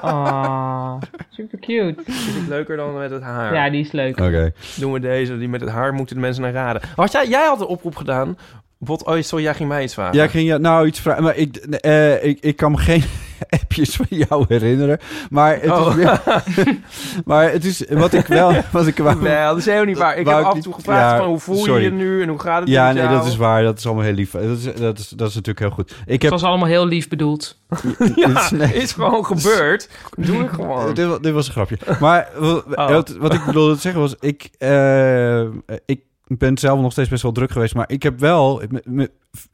S3: Ah, super cute.
S4: Is het leuker dan met het haar?
S3: Ja, die is leuk.
S2: Oké.
S4: Doen we deze. Die met het haar moeten de mensen naar raden. Had jij, jij had een oproep gedaan. Bot, oh, sorry, jij ging mij iets vragen.
S2: Ja, ik ging ja, nou iets vragen. Maar ik, eh, ik, ik kan me geen appjes van jou herinneren. Maar het
S4: Oh.
S2: is, meer- maar het is wat ik wel... Wat ik wel
S4: Nee, dat is helemaal niet waar. Ik
S2: Wou
S4: heb
S2: ik
S4: af en toe
S2: niet-
S4: gevraagd
S2: ja,
S4: van hoe voel
S2: sorry.
S4: je je nu en hoe gaat het
S2: ja,
S4: met
S2: nee,
S4: jou?
S2: dat is waar. Dat is allemaal heel lief. Dat is, dat is, dat is natuurlijk heel goed. Ik
S3: Het
S2: heb,
S3: was allemaal heel lief bedoeld.
S2: dit is-
S4: Ja,
S2: nee.
S4: is gewoon gebeurd. Doe ik
S2: Eh,
S4: gewoon.
S2: Dit, wa- dit was een grapje. Maar wa- eh,
S4: Oh.
S2: wat, wat ik bedoelde te zeggen was... Ik, eh, ik ben zelf nog steeds best wel druk geweest. Maar ik heb wel... m- m-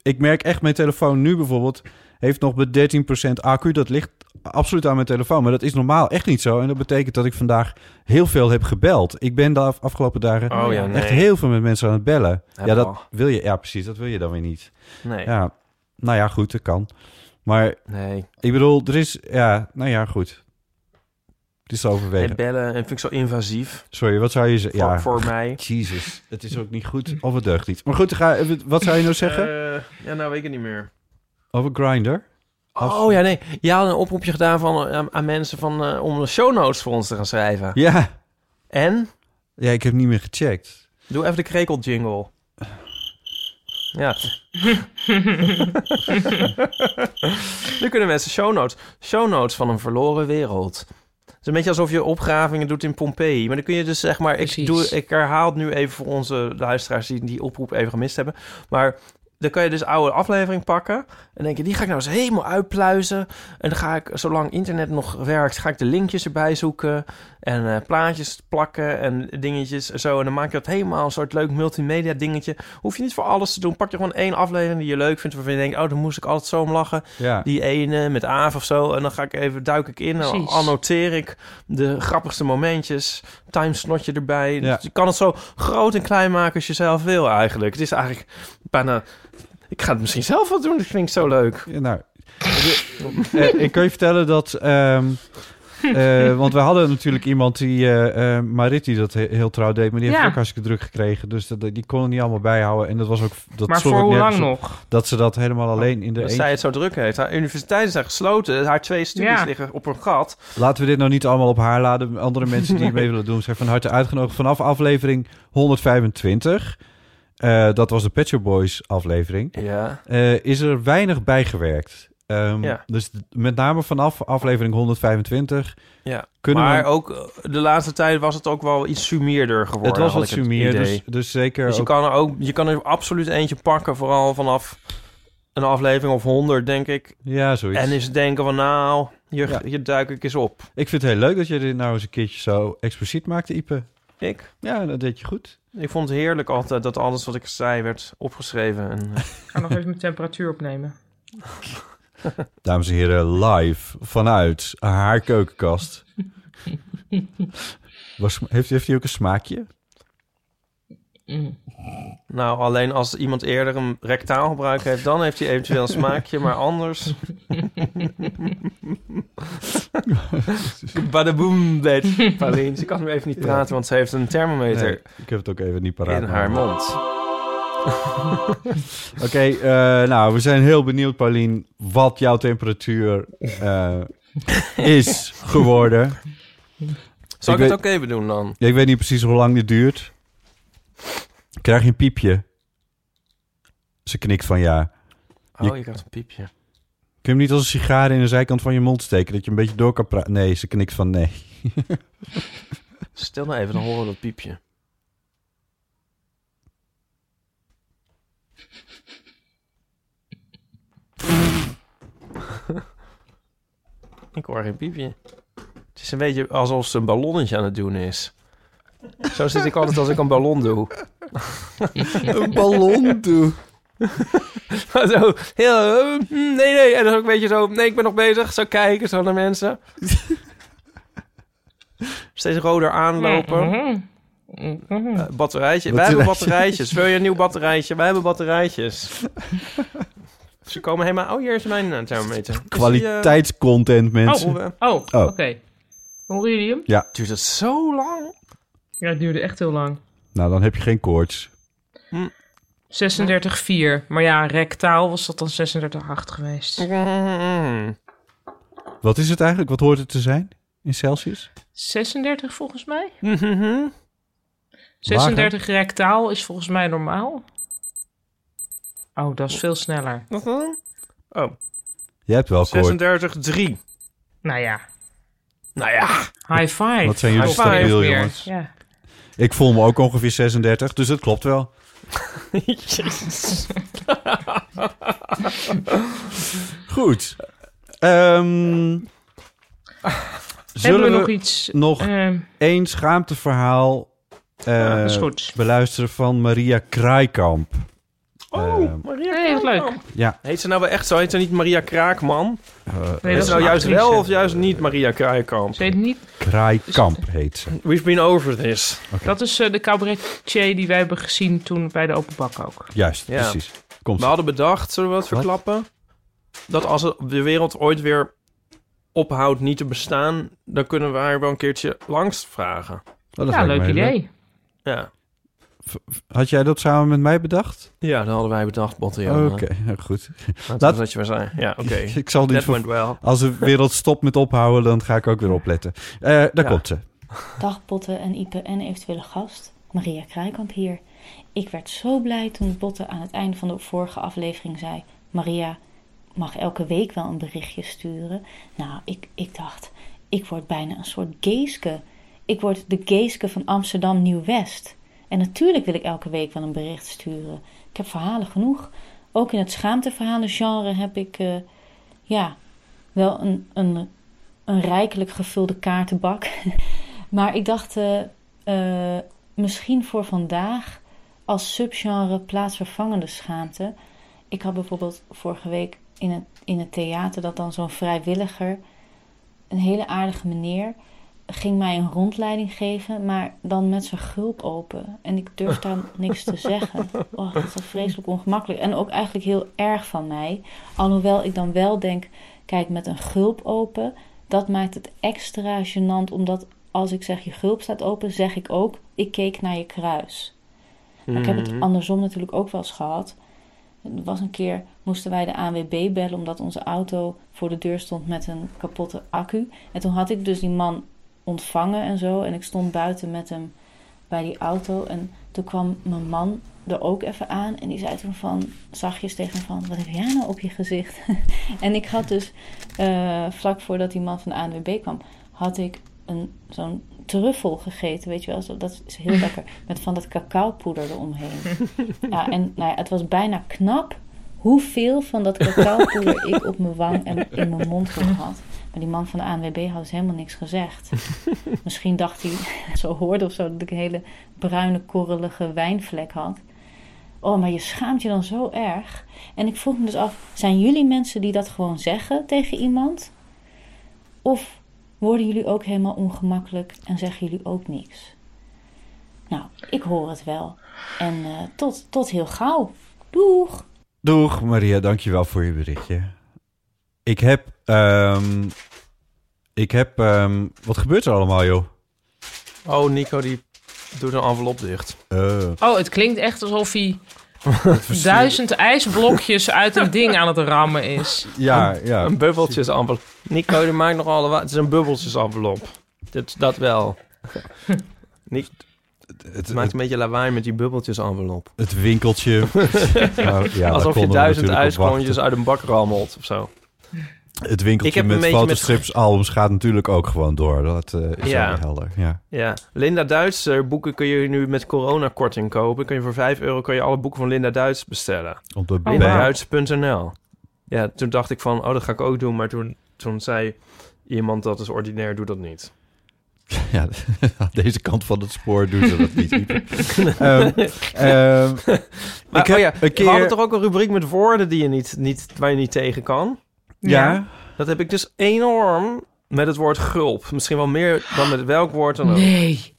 S2: Ik merk echt mijn telefoon nu bijvoorbeeld... heeft nog met 13% accu. Dat ligt absoluut aan mijn telefoon. Maar dat is normaal echt niet zo. En dat betekent dat ik vandaag heel veel heb gebeld. Ik ben de af- afgelopen dagen...
S4: Oh ja, nee.
S2: Echt heel veel met mensen aan het bellen.
S4: Heb
S2: ja, dat
S4: al.
S2: wil je. Ja, precies. Dat wil je dan weer niet.
S4: Nee,
S2: Ja. Nou ja, goed. Dat kan. Maar
S4: nee.
S2: ik bedoel, er is... Ja, nou ja, goed. Het is te overwegen.
S4: En bellen en vind ik zo invasief
S2: Sorry, wat zou je zeggen?
S4: voor,
S2: Ja,
S4: voor mij.
S2: Jesus. Het is ook niet goed of het deugt niet. Maar goed, ga, even- wat zou je nou zeggen?
S4: Eh, ja, nou weet ik het niet meer.
S2: Over Grinder?
S4: Oh ja, nee. Je had een oproepje gedaan van, eh, aan mensen van, eh, om show notes voor ons te gaan schrijven.
S2: Ja.
S4: En?
S2: Ja, ik heb niet meer gecheckt.
S4: Doe even de krekel jingle. Ja. nu kunnen mensen show notes. Show notes van een verloren wereld. Het is een beetje alsof je opgravingen doet in Pompeii. Maar dan kun je dus zeg maar... Ik,
S3: Precies.
S4: doe, ik herhaal het nu even voor onze luisteraars die die oproep even gemist hebben. Maar dan kan je dus oude aflevering pakken. En denk je, die ga ik nou eens helemaal uitpluizen. En dan ga ik, zolang internet nog werkt, ga ik de linkjes erbij zoeken. En eh, plaatjes plakken en dingetjes en zo. En dan maak je dat helemaal een soort leuk multimedia dingetje. Hoef je niet voor alles te doen. Pak je gewoon één aflevering die je leuk vindt. Waarvan je denkt, oh, daar moest ik altijd zo om lachen.
S2: Ja.
S4: Die ene met Aaf of zo. En dan ga ik even, duik ik in. Dan
S3: Precies.
S4: annoteer ik de grappigste momentjes. Timesnotje erbij.
S2: Ja.
S4: Dus je kan het zo groot en klein maken als je zelf wil eigenlijk. Het is eigenlijk bijna... Ik ga het misschien zelf wel doen. Dat vind ik zo leuk.
S2: Ja, nou, eh, ik kan je vertellen dat... ehm, eh, want we hadden natuurlijk iemand die... eh, eh, Marit die dat he- heel trouw deed. Maar die heeft
S3: Ja.
S2: ook hartstikke druk gekregen. Dus dat, die kon het niet allemaal bijhouden. En dat was ook... Dat
S3: maar
S2: sloeg
S3: voor
S2: ook
S3: hoe lang
S2: nergens op
S3: nog?
S2: Dat ze dat helemaal alleen in de...
S4: Dat
S2: eentje-
S4: zij het zo druk heeft. Haar universiteiten zijn gesloten. Haar twee studies
S3: Ja.
S4: liggen op een gat.
S2: Laten we dit nou niet allemaal op haar laden. Andere mensen die mee willen doen zijn van harte uitgenodigd. Vanaf aflevering 125, eh, dat was de Pet Shop Boys aflevering,
S4: Ja.
S2: eh, is er weinig bijgewerkt. Ehm,
S4: Ja.
S2: Dus d- met name vanaf aflevering 125
S4: ja.
S2: kunnen
S4: maar
S2: we...
S4: ook eh, de laatste tijd was het ook wel iets sumierder geworden.
S2: het was
S4: had
S2: wat
S4: ik
S2: sumier,
S4: idee.
S2: dus, dus zeker...
S4: Dus je
S2: ook-
S4: kan er ook, je kan er absoluut eentje pakken, vooral vanaf een aflevering of 100, denk ik.
S2: ja, zoiets.
S4: En eens denken van, nou, hier,
S2: Ja.
S4: hier duik ik eens op.
S2: Ik vind het heel leuk dat je dit nou eens een keertje zo expliciet maakte, Ipe.
S4: Ik?
S2: Ja, dat deed je goed.
S4: Ik vond het heerlijk altijd dat alles wat ik zei werd opgeschreven. En, eh,
S3: Ik ga nog even mijn temperatuur opnemen.
S2: Dames en heren, live vanuit haar keukenkast. Was, heeft, heeft hij ook een smaakje?
S3: Mm.
S4: nou, alleen als iemand eerder een rectaal gebruik heeft, dan heeft hij eventueel een smaakje, maar anders... Badaboom, bitch. Pauline, ze kan nu even niet praten, want ze heeft een thermometer
S2: Nee, ik heb het ook even niet paraat.
S4: in
S2: maar-
S4: haar mond.
S2: Oké, eh, nou, we zijn heel benieuwd, Paulien, wat jouw temperatuur eh, is geworden.
S4: Zal ik,
S2: Ik
S4: het ook even doen dan?
S2: Ik weet niet precies hoe lang dit duurt. Krijg je een piepje? Ze knikt van ja.
S4: Oh, je krijgt een piepje.
S2: Kun je hem niet als een sigaar in de zijkant van je mond steken, dat je een beetje door kan praten? Nee, ze knikt van nee.
S4: eh, Stil nou even, dan horen we dat piepje. Ik hoor geen piepje. Het is een beetje alsof ze een ballonnetje aan het doen is. Zo zit ik altijd als ik een ballon doe.
S2: Een ballon doe.
S4: zo, heel, eh, mm, nee, nee. En dan ook een beetje zo, nee, ik ben nog bezig. Zo kijken, zo naar mensen. Steeds roder aanlopen.
S3: Mhm.
S4: Eh, batterijtje. Wij hebben
S2: Batterijtje.
S4: batterijtjes. Wil je een nieuw batterijtje? Wij hebben batterijtjes. Ze komen helemaal... Oh, hier is mijn eh, thermometer. Is die, eh,
S2: Kwaliteitscontent, mensen.
S4: hoe, eh,
S3: Oh,
S2: Oh.
S3: oké. Horen jullie hem?
S4: duurt het zo lang?
S3: Ja, het duurde echt heel lang.
S2: Nou, dan heb je geen koorts.
S3: 36,4. Maar ja, rectaal was dat dan 36,8 geweest.
S4: Mm.
S2: Wat is het eigenlijk? Wat hoort het te zijn in Celsius?
S3: 36 volgens mij?
S4: Mhm.
S3: 36 rectaal is volgens mij normaal. Oh, dat is veel sneller.
S4: Wat dan? Oh,
S2: Je hebt wel kooi.
S4: 36-3.
S3: Nou ja,
S4: Nou ja,
S3: high five.
S2: Wat zijn jullie
S3: Of min of
S2: stabiel,
S3: meer.
S2: jongens.
S3: Ja.
S2: Ik voel me ook ongeveer 36, dus het klopt wel. Goed. Ehm,
S3: Hebben
S2: zullen
S3: we
S2: we
S3: nog iets?
S2: nog
S3: ehm,
S2: één schaamteverhaal eh,
S3: Ja, is goed.
S2: beluisteren van Maria Kraaikamp? Ehm,
S4: Oh, Maria
S3: Oh. Nee, wat leuk.
S2: ja,
S4: Heet ze nou wel echt zo? Heet ze niet Maria Kraakman?
S2: eh,
S3: Nee,
S4: Heet
S3: dat
S4: ze
S3: is
S4: nou
S3: een
S4: juist
S3: actrice.
S4: wel of juist niet Maria Kraaikamp?
S3: Ze heet niet.
S2: Kraaikamp heet ze.
S4: We've been over this.
S3: Dat is eh, de cabaretier die wij hebben gezien toen bij de open bak ook.
S2: Juist,
S4: Ja. Nou,
S2: precies. Komt
S4: We hadden bedacht, zullen we wat verklappen? Dat als het- de wereld ooit weer ophoudt niet te bestaan, dan kunnen we haar wel een keertje langs vragen.
S2: Oh, dat
S3: Ja,
S2: lijkt me
S3: leuk
S2: heel
S3: idee.
S4: Ja,
S2: Had jij dat samen met mij bedacht?
S4: ja dat hadden wij bedacht, Botte. Oké.
S2: Oké, ja, goed.
S4: Dat
S2: Laat-
S4: is wat je maar zei. Ja, oké.
S2: ik zal niet
S4: That
S2: voor...
S4: went well.
S2: Als de wereld stopt met ophouden, dan ga ik ook weer opletten. Eh, daar
S4: Ja.
S2: komt ze.
S9: Dag Botte en Ipe en eventuele gast. Maria Kraaikamp hier. Ik werd zo blij toen Botte aan het einde van de vorige aflevering zei... Maria mag elke week wel een berichtje sturen. Nou, ik, ik dacht, ik word bijna een soort geeske. Ik word de geeske van Amsterdam Nieuw-West. En natuurlijk wil ik elke week wel een bericht sturen. Ik heb verhalen genoeg. Ook in het schaamteverhalengenre heb ik... eh, ja, wel een, een, een rijkelijk gevulde kaartenbak... Maar ik dacht eh, eh, misschien voor vandaag als subgenre plaatsvervangende schaamte. Ik had bijvoorbeeld vorige week in het, in het theater dat dan zo'n vrijwilliger, een hele aardige meneer, ging mij een rondleiding geven, maar dan met zijn gulp open. En ik durfde daar niks te zeggen. Oh, dat was vreselijk ongemakkelijk. En ook eigenlijk heel erg van mij. Alhoewel ik dan wel denk, kijk, met een gulp open, dat maakt het extra gênant, omdat als ik zeg je gulp staat open, zeg ik ook ik keek naar je kruis. Maar Ik heb
S4: Mm. Mhm.
S9: het andersom natuurlijk ook wel eens gehad. Er was een keer moesten wij de ANWB bellen omdat onze auto voor de deur stond met een kapotte accu. En toen had ik dus die man ontvangen en zo en ik stond buiten met hem bij die auto en toen kwam mijn man er ook even aan en die zei toen van zachtjes tegen hem van wat heb jij nou op je gezicht? en ik had dus eh, vlak voordat die man van de ANWB kwam had ik een, zo'n truffel gegeten, weet je wel. Zo, dat is heel lekker. Met van dat cacaopoeder eromheen. Ja, en nou ja, het was bijna knap hoeveel van dat cacaopoeder ik op mijn wang en in mijn mond had gehad. Maar die man van de ANWB had dus helemaal niks gezegd. Misschien dacht hij, zo hoorde of zo, dat ik een hele bruine, korrelige wijnvlek had. Oh, maar je schaamt je dan zo erg. En ik vroeg me dus af, zijn jullie mensen die dat gewoon zeggen tegen iemand? Of worden jullie ook helemaal ongemakkelijk en zeggen jullie ook niks. Nou, ik hoor het wel. En eh, tot, tot heel gauw. Doeg!
S2: Doeg Maria, dankjewel voor je berichtje. Ik heb... ehm, ik heb... ehm, wat gebeurt er allemaal, joh?
S4: Oh, Nico die doet een envelop dicht.
S2: Eh,
S3: Oh, het klinkt echt alsof hij duizend ijsblokjes uit een ding aan het rammen is.
S2: ja, ja.
S4: Een bubbeltjes envelop. Nico die maakt nog alle... Het is een bubbeltjes envelop. Dat, dat wel.
S2: Het,
S4: Het maakt
S2: het,
S4: een beetje lawaai met die bubbeltjes envelop.
S2: het winkeltje. Nou, ja, daar
S4: Alsof je
S2: konden we
S4: duizend
S2: natuurlijk op
S4: ijsklontjes
S2: wachten.
S4: uit een bak rammelt of zo.
S2: Het winkeltje
S4: Ik heb een
S2: met
S4: beetje met-
S2: fotostrips, albums gaat natuurlijk ook gewoon door. Dat eh, is
S4: Ja.
S2: ja. helder. Ja.
S4: Ja, Linda Duits eh, boeken kun je nu met coronakorting kopen. Kun je voor 5 euro kun je alle boeken van Linda Duits bestellen.
S2: Op de
S3: wauw.
S2: bij-
S4: LindaDuits.nl Ja, toen dacht ik van, oh, dat ga ik ook doen. Maar toen, toen zei iemand, dat is ordinair, doe dat niet.
S2: Ja, aan deze kant van het spoor doen ze dat niet. Ehm, ehm,
S4: Maar
S2: ik heb
S4: oh ja,
S2: een keer...
S4: we hadden toch ook een rubriek met woorden die je niet, niet, waar je niet tegen kan?
S2: Ja,
S4: Dat heb ik dus enorm met het woord gulp. Misschien wel meer dan met welk woord dan ook.
S3: Nee.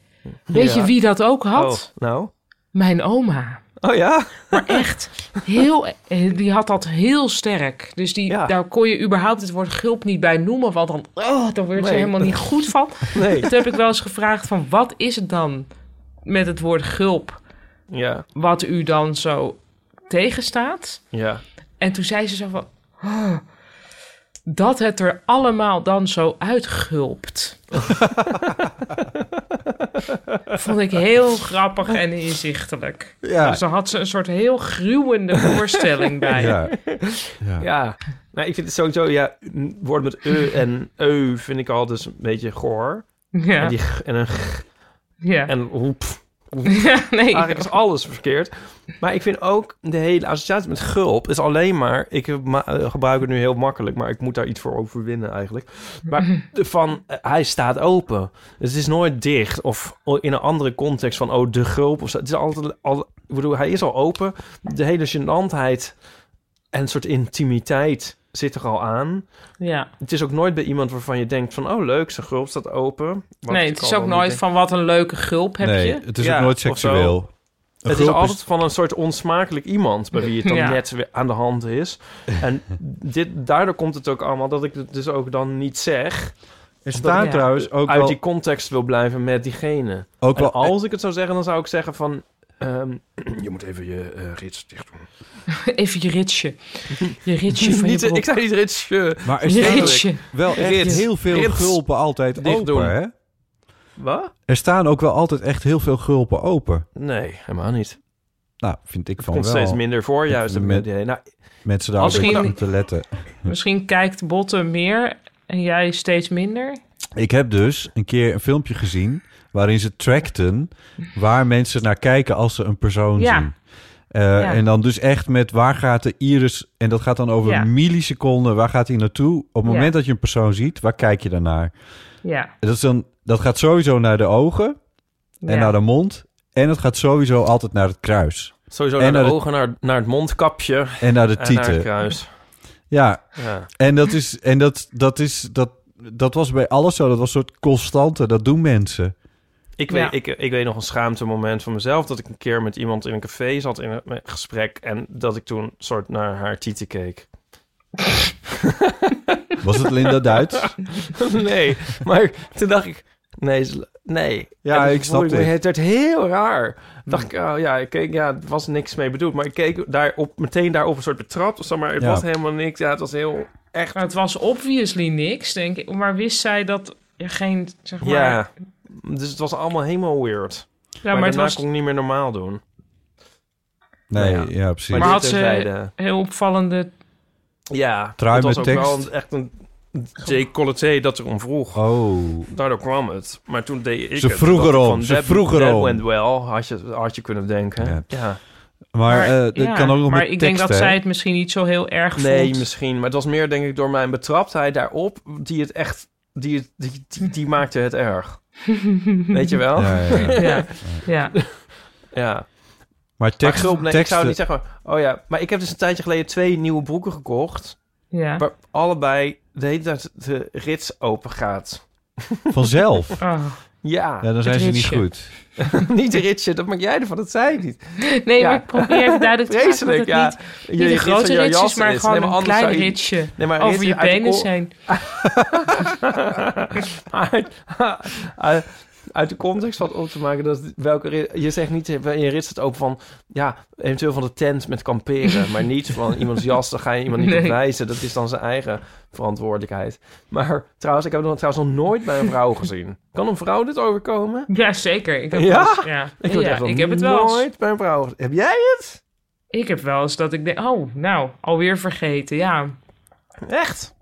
S3: Weet
S4: Ja.
S3: je wie dat ook had?
S4: Oh, nou?
S3: Mijn oma.
S4: Oh ja?
S3: Maar echt, heel, eh, die had dat heel sterk. Dus die,
S4: Ja.
S3: daar kon je überhaupt het woord gulp niet bij noemen. Want dan, oh, dan werd ze
S4: Nee.
S3: helemaal niet goed van.
S4: Nee.
S3: Toen heb ik wel eens gevraagd van wat is het dan met het woord gulp...
S4: Ja,
S3: wat u dan zo tegenstaat?
S4: ja.
S3: En toen zei ze zo van... "Oh, dat het er allemaal dan zo uitgulpt. Vond ik heel grappig en inzichtelijk.
S2: ja,
S4: Oh,
S3: Dus daar had ze een soort heel gruwende voorstelling bij.
S2: ja. ja.
S4: Ja, Nou, ik vind het sowieso, ja, n- woord met e en eu vind ik al dus een beetje goor. En,
S3: Ja,
S4: die g en een g
S3: ja.
S4: en hoe, pff, hoe-
S3: Ja, nee.
S4: Eigenlijk is alles verkeerd. Maar ik vind ook de hele associatie met gulp is alleen maar... Ik ma- eh, gebruik het nu heel makkelijk, maar ik moet daar iets voor overwinnen eigenlijk. Maar de- van, eh, hij staat open. Dus het is nooit dicht of o- in een andere context van, oh, de gulp. Of zo. Het is altijd, al, ik bedoel, hij is al open. De hele gênantheid en soort intimiteit zit er al aan.
S3: Ja.
S4: Het is ook nooit bij iemand waarvan je denkt van, oh, leuk, zijn gulp staat open. Wat
S3: Nee,
S4: ik
S3: het is
S4: al
S3: ook
S4: dan
S3: nooit
S4: niet
S3: van wat een leuke gulp heb
S2: nee,
S3: je.
S2: het is
S4: Ja,
S2: ook nooit
S4: of zo.
S2: seksueel. Een
S4: Het is
S2: gulp
S4: altijd van een soort onsmakelijk iemand bij wie het dan
S3: Ja.
S4: net weer aan de hand is. En dit, daardoor komt het ook allemaal dat ik het dus ook dan niet zeg.
S2: Er staat
S3: Ja.
S2: trouwens ook
S4: uit
S2: wel...
S4: die context wil blijven met diegene.
S2: ook
S4: En
S2: wel
S4: als ik het zou zeggen, dan zou ik zeggen van... ehm, je moet even je eh, rits dicht doen.
S3: Even je ritsje. Je ritsje van
S4: Niet,
S3: je
S4: eh, ik
S3: broek.
S4: zei niet rits. eh,
S2: maar er
S3: Je
S2: staan
S3: ritsje.
S2: wel echt
S4: Rits.
S2: heel veel
S4: Rits.
S2: gulpen altijd
S4: Dicht
S2: open,
S4: doen.
S2: hè?
S4: wat?
S2: Er staan ook wel altijd echt heel veel gulpen open.
S4: Nee, helemaal niet.
S2: Nou, vind ik
S4: Het
S2: van
S4: komt
S2: wel.
S4: steeds minder voor,
S2: Ik
S4: juist.
S2: vind
S4: heb ik
S2: met-
S4: het idee. Nou,
S2: Mensen daar
S4: Als
S2: ook
S3: ik-
S2: op te letten.
S3: Misschien kijkt Botten meer en jij steeds minder.
S2: Ik heb dus een keer een filmpje gezien waarin ze trackten waar mensen naar kijken als ze een persoon
S3: Ja.
S2: zien. Eh,
S3: Ja.
S2: En dan dus echt met waar gaat de iris, en dat gaat dan over
S3: Ja.
S2: milliseconden, waar gaat hij naartoe? Op het
S3: Ja.
S2: moment dat je een persoon ziet, waar kijk je dan naar?
S3: Ja.
S2: Dat, is dan, dat gaat sowieso naar de ogen en nou
S3: ja.
S2: naar de mond. En het gaat sowieso altijd naar het kruis.
S4: sowieso
S2: En
S4: naar
S2: naar
S4: de
S2: de-
S4: ogen, naar, naar het mondkapje
S2: En naar de
S4: en naar het
S2: tieten.
S4: kruis.
S2: Ja,
S4: Ja.
S2: En dat is, en dat, dat is, dat, dat was bij alles zo. Dat was een soort constante. Dat doen mensen.
S4: Ik,
S3: Ja.
S4: weet, ik, ik weet nog een schaamte moment van mezelf... dat ik een keer met iemand in een café zat in een gesprek... en dat ik toen soort naar haar tieten keek.
S2: Was het Linda Duits?
S4: nee, maar toen dacht ik... Nee, ze- nee.
S2: Ja,
S4: En toen
S2: ik snap
S4: voelde me-
S2: dit. Hmm.
S4: Het werd heel raar. dacht ik, oh ja, ik keek, ja, er was niks mee bedoeld. Maar ik keek daarop, meteen daarop een soort betrapt. Of zo, maar het
S2: Ja.
S4: was helemaal niks. Ja, het was heel...
S3: Maar het was obviously niks, denk ik. Maar wist zij dat er geen, zeg maar... Ja,
S4: Ja. Dus het was allemaal helemaal weird.
S3: maar,
S4: maar
S3: het
S4: daarna
S3: was
S4: kon ik niet meer normaal doen.
S2: Nee, ja,
S4: Nou
S2: precies.
S3: Maar
S4: dit
S3: had ze-
S4: terzijde.
S3: heel opvallende...
S4: Ja,
S2: Trui
S4: het was
S2: met
S4: ook
S2: tekst?
S4: wel een- echt een... J. Colleté dat erom vroeg.
S2: Oh,
S4: Daardoor kwam het. Maar toen deed ik
S2: Ze
S4: het.
S2: vroeg
S4: Dat ik
S2: erom,
S4: van,
S2: ze
S4: that-
S2: vroeg
S4: that
S2: erom.
S4: went well, had je, had je kunnen denken.
S2: Ja.
S4: Ja.
S2: maar, eh dat
S3: ja,
S2: kan ook nog
S3: Maar
S2: met
S3: ik denk dat
S2: teksten, hè?
S3: zij het misschien niet zo heel erg
S4: Nee,
S3: vond.
S4: misschien. Maar het was meer, denk ik, door mijn betraptheid daarop... die het echt... die, het- die, die, die maakte het erg. Weet je wel? Ja.
S2: Ja, ja, ja.
S3: Ja, ja.
S2: Maar
S4: Maar
S2: tekst,
S4: gulp, nee, ik
S2: teksten...
S4: zou niet zeggen... Oh ja, maar ik heb dus een tijdje geleden twee nieuwe broeken gekocht...
S3: ja.
S4: waar allebei de hele tijd de rits open gaat.
S2: eh, vanzelf.
S3: Oh.
S4: Ja,
S2: Ja, dan zijn ze niet
S3: ritsje.
S2: goed.
S4: niet de ritsje, dat maak jij ervan, dat zei ik niet.
S3: Nee,
S4: Ja.
S3: maar ik probeer even duidelijk te maken dat
S4: Vreselijk,
S3: het
S4: ja.
S3: niet, niet een grote rits is, maar gewoon een klein
S4: ritsje.
S3: ritsje
S4: Nee, maar
S3: over
S4: rits
S3: je
S4: uit
S3: benen
S4: oor-
S3: zijn.
S4: uit, uit- uit de context wat op te maken, dat welke rit- je zegt niet in je rit staat open van ja, eventueel van de tent met kamperen, maar niet van iemands jas, daar ga je iemand niet op
S3: Nee.
S4: wijzen. Dat is dan zijn eigen verantwoordelijkheid. Maar trouwens, ik heb nog, trouwens nog nooit bij een vrouw gezien. Kan een vrouw dit overkomen?
S3: Ja, zeker. Ik heb,
S4: Ja?
S3: wel eens- ja.
S4: Ik, heb
S3: Ja,
S4: het echt
S3: ik
S4: nog
S3: heb het wel eens.
S4: nooit bij een vrouw gezien. Heb jij het?
S3: Ik heb wel eens dat ik denk, oh, nou, alweer vergeten, ja.
S4: Echt?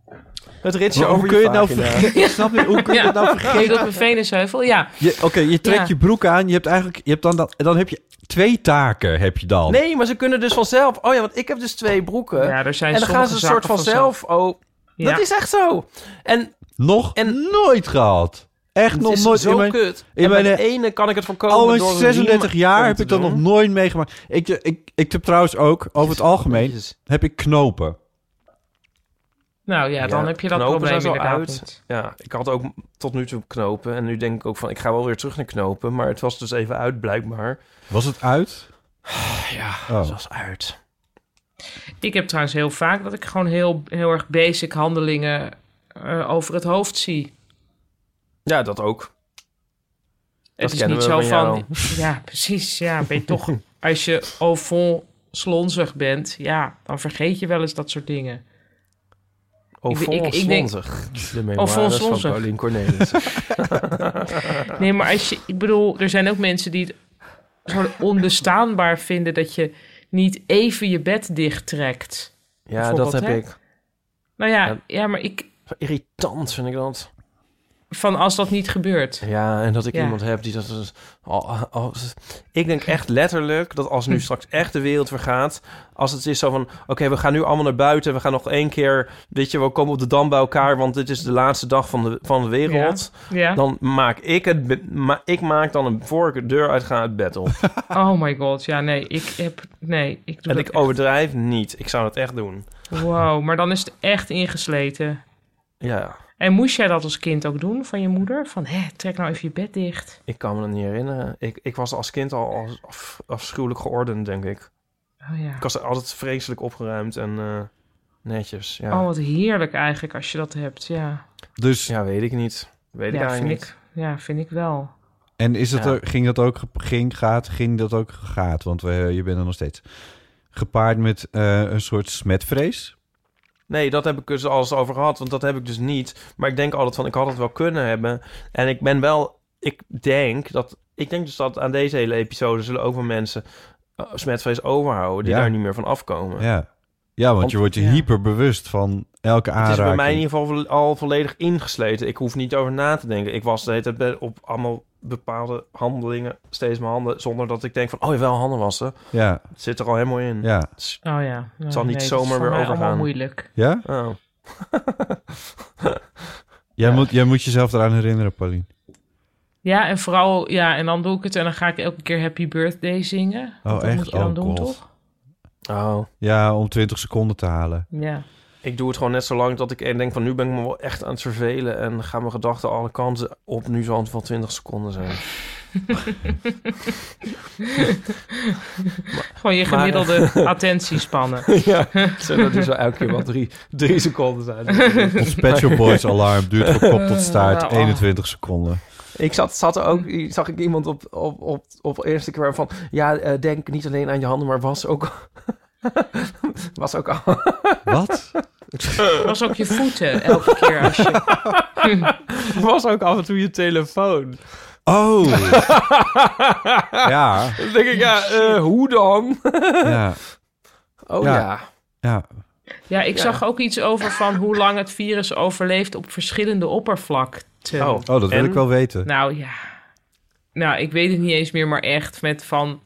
S4: Het ritje
S2: hoe
S4: over
S2: kun je het nou
S4: vagina.
S2: vergeten? Ik snap niet, hoe kun je
S3: Ja.
S2: het nou
S3: Geef
S2: vergeten?
S3: dat mijn venensheuvel, ja.
S2: Je- Oké, je trekt
S3: Ja.
S2: je broek aan. Je hebt eigenlijk, je hebt dan, dan, dan heb je twee taken, heb je dan.
S4: Nee, maar ze kunnen dus vanzelf. Oh ja, want ik heb dus twee broeken.
S3: Ja, er zijn
S4: en dan gaan
S3: sommige
S4: ze een
S3: zakken
S4: soort vanzelf. Oh,
S3: Ja.
S4: dat is echt zo. En
S2: Nog
S4: En-
S2: nooit gehad. Echt
S4: het
S2: nog
S4: is
S2: nooit
S4: zo
S2: in mijn,
S4: kut.
S2: in
S4: en
S2: mijn-
S4: bij de ene kan ik het voorkomen
S2: Al mijn
S4: door een
S2: 36
S4: riem
S2: jaar
S4: om
S2: heb
S4: te
S2: ik dat
S4: doen.
S2: nog nooit meegemaakt. Ik, eh, ik, ik heb trouwens ook, over het algemeen,
S4: Jezus.
S2: heb ik knopen.
S3: Nou ja, dan
S4: Ja,
S3: heb je dat
S4: knopen
S3: probleem
S4: zijn zo
S3: inderdaad
S4: uit.
S3: niet.
S4: Ja, ik had ook tot nu toe knopen. En nu denk ik ook van, ik ga wel weer terug naar knopen. Maar het was dus even uit, blijkbaar.
S2: Was het uit?
S4: Ja,
S2: Oh.
S4: het was uit.
S3: Ik heb trouwens heel vaak dat ik gewoon heel, heel erg basic handelingen eh, over het hoofd zie.
S4: Ja, dat ook.
S3: Het is
S4: kennen
S3: niet
S4: we
S3: zo
S4: van jou.
S3: van... Ja, precies. Ja, ben je toch... Als je au fond slonzig bent, ja, dan vergeet je wel eens dat soort dingen.
S4: Oh,
S3: Ik- ik-
S4: vol
S3: ik denk-
S4: slonzig. De memoires van
S3: slonzig.
S4: Paulien Cornelis.
S3: Nee, maar als je... Ik bedoel, er zijn ook mensen die het gewoon onbestaanbaar vinden... dat je niet even je bed dichttrekt.
S4: ja, dat heb
S3: Bijvoorbeeld, hè?
S4: ik.
S3: Nou ja,
S4: Ja.
S3: ja. maar ik...
S4: Irritant vind ik dat.
S3: Van als dat niet gebeurt.
S4: Ja, en dat ik
S3: Ja.
S4: iemand heb die dat... dat- oh, oh, ik denk echt letterlijk dat als
S3: Hm.
S4: nu straks echt de wereld vergaat... als het is zo van, oké, we gaan nu allemaal naar buiten... we gaan nog één keer, weet je, we komen op de dam bij elkaar... want dit is de laatste dag van de, van de wereld...
S3: Ja.
S4: dan maak ik het... be- Ma ik maak dan een, voor ik de deur uit ga, het bed op.
S3: Oh my god, ja, nee. Ik heb... Nee, ik doe
S4: en
S3: dat
S4: ik overdrijf niet. Ik zou het echt doen.
S3: echt- Wow, maar dan is het echt ingesleten.
S4: Ja,
S3: En moest jij dat als kind ook doen van je moeder? Van, hé, trek nou even je bed dicht.
S4: ik kan me dat niet herinneren. Ik, ik was als kind al als- af- afschuwelijk geordend, denk ik.
S3: Oh ja.
S4: Ik was altijd vreselijk opgeruimd en eh, netjes. Ja.
S3: Oh, wat heerlijk eigenlijk als je dat hebt, ja.
S2: Dus,
S4: ja, weet ik niet. Weet ik
S3: ja, vind
S4: eigenlijk niet.
S3: ik, ja, vind ik wel.
S2: en is dat
S4: Ja.
S2: ook- ging dat ook, ge- ging, gaat, ging dat ook, gaat, want we, je bent er nog steeds. Gepaard met eh, een soort smetvrees?
S4: Nee, dat heb ik dus alles over gehad, want dat heb ik dus niet. Maar ik denk altijd van, ik had het wel kunnen hebben. En ik ben wel, ik denk dat, ik denk dus dat aan deze hele episode zullen ook wel mensen eh, smetvrees overhouden die
S2: Ja.
S4: daar niet meer van afkomen.
S2: Ja. Ja, want,
S4: Want-
S2: je wordt je
S4: ja.
S2: hyperbewust van elke
S4: Het
S2: aanraking.
S4: is bij mij in ieder geval al volledig ingesleten. Ik hoef niet over na te denken. Ik was de hele tijd bij- op allemaal bepaalde handelingen steeds mijn handen... zonder dat ik denk van, oh wel handen wassen.
S2: Ja,
S4: Het zit er al helemaal in.
S2: ja.
S4: Dus-
S3: Oh ja. Het
S4: zal niet zomaar weer overgaan.
S3: allemaal moeilijk.
S2: Ja?
S4: oh.
S2: Jij, Moet, jij moet jezelf eraan herinneren, Paulien.
S3: Ja, en vooral, ja, en dan doe ik het en dan ga ik elke keer Happy Birthday zingen. Want dat
S2: echt?
S3: moet je dan
S2: Oh,
S3: doen,
S2: God.
S3: toch?
S4: oh,
S2: Ja, om 20 seconden te halen.
S3: Ja.
S4: ik doe het gewoon net zo lang dat ik denk van... nu ben ik me wel echt aan het vervelen... en gaan mijn gedachten alle kanten op. Nu zal het wel 20 seconden zijn.
S3: Gewoon je
S4: Maar,
S3: gemiddelde attentiespannen.
S4: ja, dat is wel elke keer wel drie, drie seconden zijn.
S2: Ons Pet Shop Boys alarm duurt van kop tot staart
S3: Oh.
S2: 21 seconden.
S4: Ik zat, zat er ook, zag ik iemand op, op, op, op Instagram van... Ja, eh, denk niet alleen aan je handen, maar was ook... was ook al...
S2: Wat?
S3: was ook je voeten elke keer als je...
S4: was ook af en toe je telefoon.
S2: Oh! ja,
S4: Dan denk ik, ja, eh, hoe dan?
S2: ja,
S4: Oh
S2: Ja.
S4: ja.
S2: ja.
S3: Ja, ik
S4: Ja.
S3: zag ook iets over van hoe lang het virus overleeft op verschillende oppervlakten.
S4: Oh.
S2: Oh, dat wil
S4: En?
S2: ik wel weten.
S3: Nou ja. Nou, ik weet het niet eens meer, maar echt met van...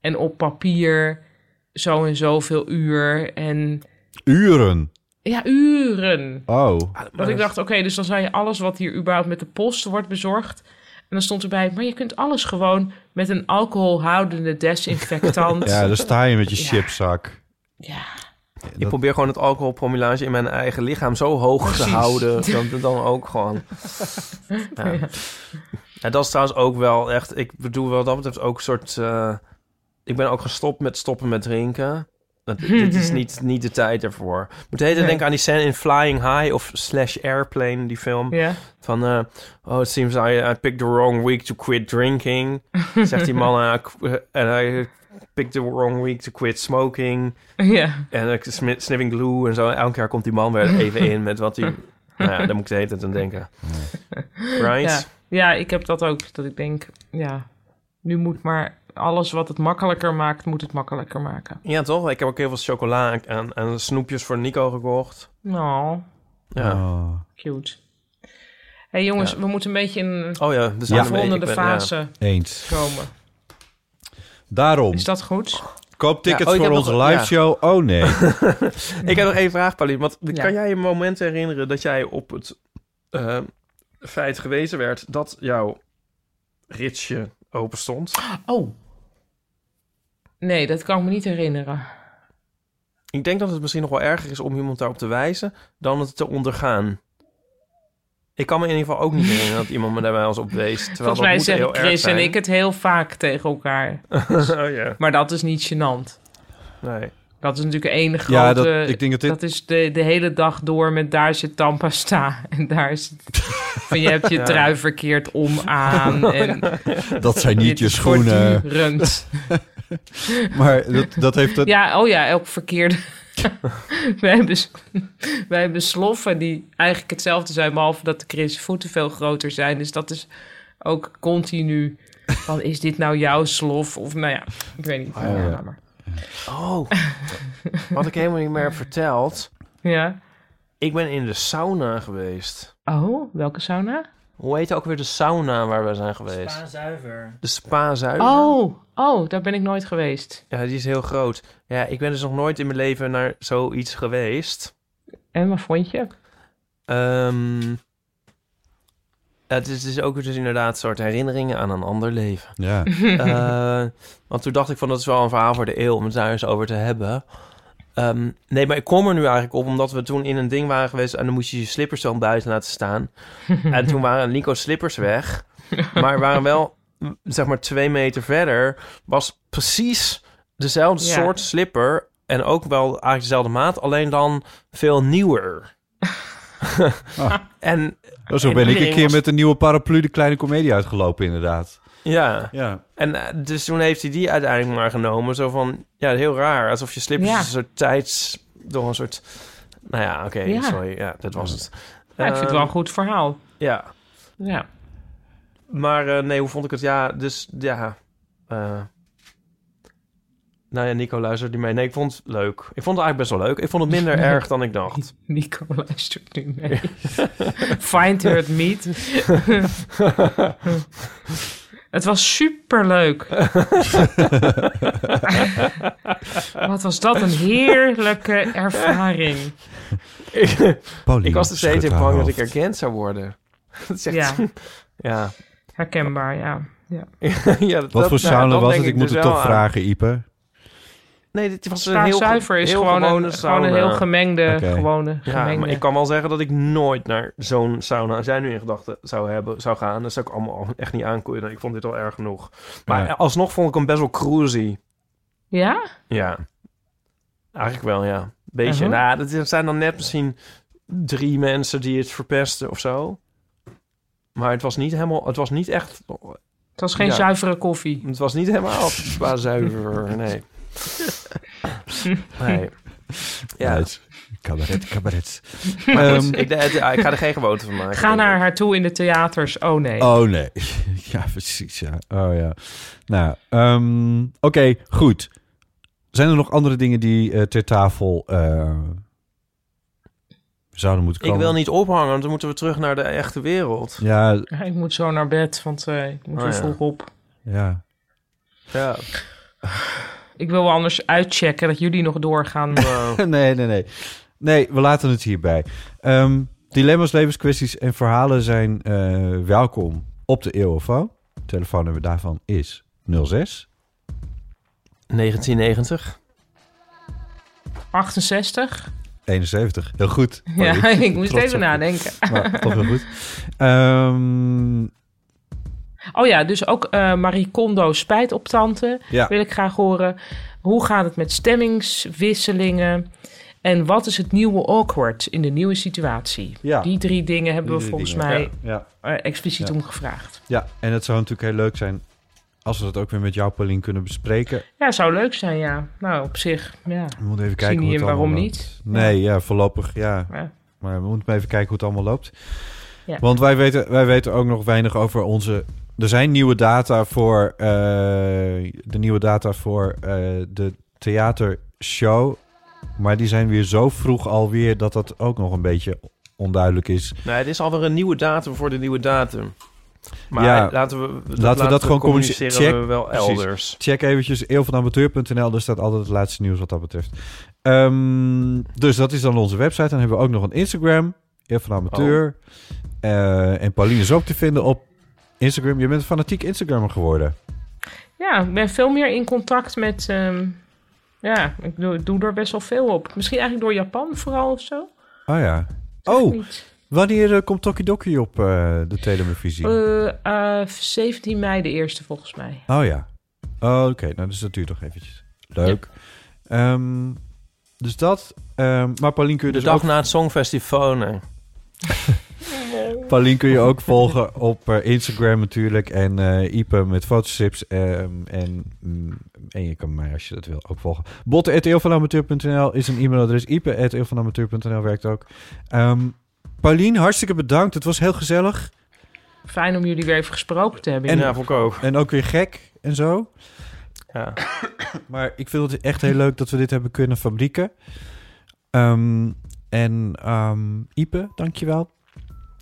S3: En op papier zo en zoveel uur en...
S2: Uren.
S3: Ja, uren.
S2: Oh.
S3: Dat ik dacht, oké, dus dan zou je alles wat hier überhaupt met de post wordt bezorgd. En dan stond erbij, maar je kunt alles gewoon met een alcoholhoudende desinfectant.
S2: Ja, daar sta je met je
S3: Ja.
S2: chipzak.
S3: Ja.
S4: Ik probeer gewoon het alcoholpromillage in mijn eigen lichaam zo hoog te
S3: Precies.
S4: houden. Dan, dan ook gewoon. Ja. Ja, dat is trouwens ook wel echt... Ik bedoel, wat dat betreft ook een soort... eh, ik ben ook gestopt met stoppen met drinken. Dat, dit is niet, niet de tijd ervoor. Ik Moet de hele tijd
S3: Nee.
S4: denken aan die scène in Flying High of Slash Airplane, die film.
S3: Ja.
S4: Van, eh, oh, it seems I, I picked the wrong week to quit drinking. Zegt die man, en I- en I picked the wrong week to quit smoking.
S3: ja.
S4: En ik smi- sniffing glue en zo. En elke keer komt die man weer even in met wat hij... nou ja, daar moet ik de hele tijd aan denken.
S3: Ja.
S4: Right?
S3: ja, ik heb dat ook. Dat ik denk, ja, nu moet maar alles wat het makkelijker maakt, moet het makkelijker maken.
S4: Ja. toch? Ik heb ook heel veel chocola en, en snoepjes voor Nico gekocht.
S3: Nou,
S4: Ja.
S2: Oh.
S3: cute. hey, jongens,
S4: Ja.
S3: we moeten een beetje in
S4: Oh ja, dus
S3: de
S4: aan
S3: volgende
S4: ik ben-
S3: fase
S2: Eens.
S3: komen.
S2: Daarom,
S3: Is dat goed?
S2: koop tickets
S4: Ja, oh, ik
S2: voor
S4: heb
S2: onze
S4: nog-
S2: live
S4: ja.
S2: show. Oh nee.
S4: ja. Ik heb nog één vraag, Pauline. Want
S3: Ja.
S4: kan jij je moment herinneren dat jij op het eh, feit gewezen werd dat jouw ritsje open stond?
S3: Oh. Nee, dat kan ik me niet herinneren.
S4: Ik denk dat het misschien nog wel erger is om iemand daarop te wijzen dan het te ondergaan. Ik kan me in ieder geval ook niet herinneren dat iemand me daarbij als op wees. Terwijl
S3: Volgens mij
S4: dat moet
S3: zeggen
S4: heel erg
S3: Chris en
S4: zijn.
S3: ik het heel vaak tegen elkaar.
S4: oh ja,
S3: Maar dat is niet gênant.
S4: nee.
S3: Dat is natuurlijk één grote...
S2: Ja,
S3: dat,
S2: dat, ik denk dat dit...
S3: is de, de hele dag door met daar zit tandpasta. En daar zit... van je hebt je
S4: Ja.
S3: trui verkeerd om aan. En
S2: Dat zijn
S3: dit
S2: niet je
S3: is
S2: schoenen.
S3: voortdurend.
S2: Maar dat, dat heeft... Het,
S3: Ja, oh ja, elk verkeerde... wij, hebben, s- wij hebben sloffen die eigenlijk hetzelfde zijn... behalve dat de Chris voeten veel groter zijn. Dus dat is ook continu... van is dit nou jouw slof? Of nou ja, ik weet niet.
S2: Ah, ja.
S3: Ja, laat maar.
S4: Oh, wat ik helemaal niet meer heb verteld.
S3: Ja.
S4: Ik ben in de sauna geweest.
S3: Oh, welke sauna?
S4: Hoe heet ook weer de sauna waar we zijn geweest?
S6: Spaanzuiver.
S4: De spa Zuiver.
S3: Oh, oh, daar ben ik nooit geweest.
S4: Ja, die is heel groot. Ja, ik ben dus nog nooit in mijn leven naar zoiets geweest.
S3: En wat vond je?
S4: Ehm, het, is, het is ook dus inderdaad een soort herinneringen aan een ander leven.
S2: Ja.
S4: Eh, want toen dacht ik van dat is wel een verhaal voor de eeuw om het daar eens over te hebben. Ehm, nee, maar ik kom er nu eigenlijk op omdat we toen in een ding waren geweest en dan moest je je slippers dan buiten laten staan. en toen waren Nico's slippers weg, maar waren wel m, zeg maar twee meter verder was precies dezelfde
S3: Ja.
S4: soort slipper en ook wel eigenlijk dezelfde maat, alleen dan veel nieuwer. en
S2: Oh, Zo
S4: En
S2: ben ik
S4: iedereen
S2: een keer
S4: was-
S2: met een nieuwe paraplu de kleine komedie uitgelopen, inderdaad.
S4: ja.
S2: Ja.
S4: En eh, dus toen heeft hij die uiteindelijk maar genomen. Zo van, ja, heel raar. Alsof je slippers
S3: Ja.
S4: een soort tijds... Door een soort... Nou ja, oké,
S3: Ja.
S4: sorry. Ja, dat was het.
S3: Ja, ik vind het wel een
S4: Ehm,
S3: goed verhaal.
S4: Ja,
S3: Ja.
S4: maar eh, nee, hoe vond ik het? Ja, dus ja... eh, nou ja, Nico luistert niet mee. Nee, ik vond het leuk. Ik vond het eigenlijk best wel leuk. Ik vond het minder erg dan ik dacht.
S3: Nico luistert nu mee. Find her it meet. het was superleuk. Wat was dat een heerlijke ervaring.
S4: ik,
S2: Paulien
S4: ik was er steeds in
S2: schudt haar
S4: bang dat ik
S2: hoofd.
S4: erkend zou worden. Dat is echt-
S3: Ja,
S4: ja.
S3: herkenbaar, ja. ja.
S4: ja dat- dat-
S2: Wat voor
S4: nou,
S2: sauna
S4: dat
S2: was
S4: denk
S2: het? Ik moet
S4: dus
S2: het
S4: wel
S2: toch
S4: aan.
S2: vragen, Ipe.
S4: Nee, dit was een
S3: Spa
S4: heel
S3: zuiver is
S4: heel
S3: gewoon
S4: gewone
S3: een, gewoon een
S4: sauna.
S3: heel gemengde,
S2: Oké.
S3: gewone
S4: Ja,
S3: gemengde.
S4: maar ik kan wel zeggen dat ik nooit naar zo'n sauna, als jij nu in gedachten zou hebben, zou gaan. Dat zou ik allemaal echt niet aankomen. Ik vond dit al erg genoeg. Maar
S2: Ja.
S4: alsnog vond ik hem best wel cruisy.
S3: Ja?
S4: Ja. Eigenlijk wel, ja. Beetje.
S3: Uh-huh.
S4: Nou, dat zijn dan net misschien drie mensen die het verpesten of zo. Maar het was niet helemaal, het was niet echt,
S3: Het was geen
S4: Ja.
S3: zuivere koffie.
S4: het was niet helemaal qua zuiver, nee. Nee. Ja,
S2: Uit. Cabaret, cabaret.
S4: maar goed,
S2: Ehm,
S4: ik, ah, ik ga er geen gewoonte van maken.
S3: Ga naar haar toe in de theaters. Oh nee.
S2: Oh nee. Ja, precies. Ja. Oh ja. Nou, ehm, oké, goed. Zijn er nog andere dingen die eh, ter tafel eh, zouden moeten
S4: Ik
S2: komen?
S4: wil niet ophangen, want dan moeten we terug naar de echte wereld.
S2: Ja,
S3: Ja, Ik moet zo naar bed, want eh, ik moet
S4: Oh,
S3: weer
S4: ja.
S3: vroeg op.
S2: ja.
S4: Ja.
S3: Ik wil wel anders uitchecken dat jullie nog doorgaan.
S2: nee, nee, nee. Nee, we laten het hierbij. Ehm, dilemma's, levenskwesties en verhalen zijn eh, welkom op de E EOFO. Telefoonnummer daarvan is 06
S4: 1990.
S3: 68?
S2: 71. Heel goed.
S3: Ja,
S2: Sorry.
S3: ik moest
S2: Oh, Trots
S3: even
S2: op je.
S3: nadenken.
S2: Maar toch heel goed. Ehm,
S3: Oh ja, dus ook eh, Marie Kondo, spijt op tante.
S2: ja.
S3: Wil ik graag horen. Hoe gaat het met stemmingswisselingen? En wat is het nieuwe awkward in de nieuwe situatie?
S2: Ja.
S3: Die drie dingen hebben we
S2: Die
S3: volgens
S2: dingen.
S3: mij
S2: Ja,
S3: eh, expliciet
S2: Ja.
S3: om gevraagd.
S2: ja, en het zou natuurlijk heel leuk zijn als we dat ook weer met jou, Paulien, kunnen bespreken.
S3: Ja, zou leuk zijn, ja. Nou, op zich, ja.
S2: We moeten even
S3: Zie
S2: kijken hoe
S3: niet
S2: het allemaal
S3: in waarom
S2: loopt.
S3: niet.
S2: Nee, ja, voorlopig, ja.
S3: Ja.
S2: Maar we moeten maar even kijken hoe het allemaal loopt.
S3: Ja.
S2: Want wij weten, wij weten ook nog weinig over onze... Er zijn nieuwe data voor, eh, de nieuwe data voor eh, de theatershow. Maar die zijn weer zo vroeg alweer dat dat ook nog een beetje onduidelijk is.
S4: Nou, het is alweer een nieuwe datum voor de nieuwe datum. Maar
S2: Ja.
S4: laten we dat,
S2: dat gewoon
S4: communiceren
S2: communiceren.
S4: we wel
S2: Precies.
S4: elders.
S2: Check eventjes eeuwvanamateur.nl. Daar staat altijd het laatste nieuws wat dat betreft. Ehm, dus dat is dan onze website. Dan hebben we ook nog een Instagram. Eeuw van Amateur.
S4: Oh.
S2: Eh, en Pauline is ook te vinden op Instagram. Je bent een fanatiek Instagrammer geworden.
S3: Ja, ik ben veel meer in contact met. ehm, ja, ik doe, doe er best wel veel op. Misschien eigenlijk door Japan vooral of zo.
S2: Oh ja.
S3: Zeg
S2: Oh,
S3: niet.
S2: wanneer eh, komt Tokidoki op eh, de televisie?
S3: Eh, eh, 17 mei de eerste volgens mij.
S2: Oh ja. Oh, Oké, nou dus dat duurt nog eventjes. Leuk. Ehm, dus dat. Ehm, maar Pauline kun je
S4: De
S2: dus
S4: dag
S2: ook
S4: na het Songfestival. nee.
S2: Paulien kun je ook volgen op eh, Instagram natuurlijk. En eh Ipe met fotostrips. ehm, en, mm, en je kan mij als je dat wil ook volgen. botte.eeuwvanamateur.nl is een e-mailadres. Ipe.eeuwvanamateur.nl werkt ook. Ehm Paulien, hartstikke bedankt. Het was heel gezellig.
S3: Fijn om jullie weer even gesproken te hebben.
S2: En-
S4: ja, vond ik ook.
S2: En ook weer gek en zo.
S4: Ja.
S2: Maar ik vind het echt heel leuk dat we dit hebben kunnen fabrieken. Ehm, En ehm Ipe, dankjewel.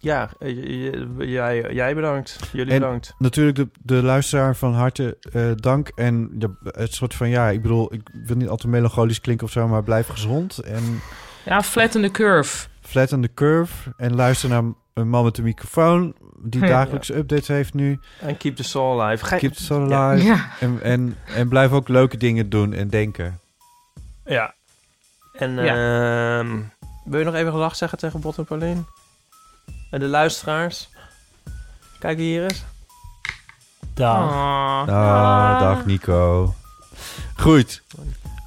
S4: Ja, eh, j- j- jij, jij bedankt. Jullie
S2: En-
S4: bedankt.
S2: Natuurlijk de, de luisteraar van harte eh, dank. En de- het soort van, ja, ik bedoel, ik wil niet al te melancholisch klinken of zo, maar blijf gezond. En
S3: Ja, flatten the curve.
S2: flatten the curve. En luister naar een man met een microfoon die
S3: Ja.
S2: dagelijks updates heeft nu.
S4: En keep the soul alive. Ge-
S2: Keep the soul alive.
S3: Ja.
S2: En, en, en blijf ook leuke dingen doen en denken.
S4: Ja. En ehm, wil je nog even gedag zeggen tegen Bot en Paulien? En de luisteraars? Kijk wie hier is.
S6: Daar.
S3: Ah.
S2: Ah, dag Nico. Goed.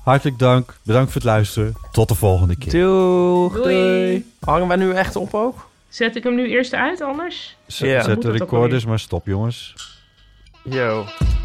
S2: Hartelijk dank. Bedankt voor het luisteren. Tot de volgende keer.
S4: Doeg.
S3: Doei.
S4: Hangen wij nu echt op ook?
S3: Zet ik hem nu eerst uit anders?
S2: Z-
S4: Ja.
S2: Zet
S3: Moet
S2: de
S3: het ook
S2: recorders
S3: alweer.
S2: maar stop, jongens.
S4: Yo.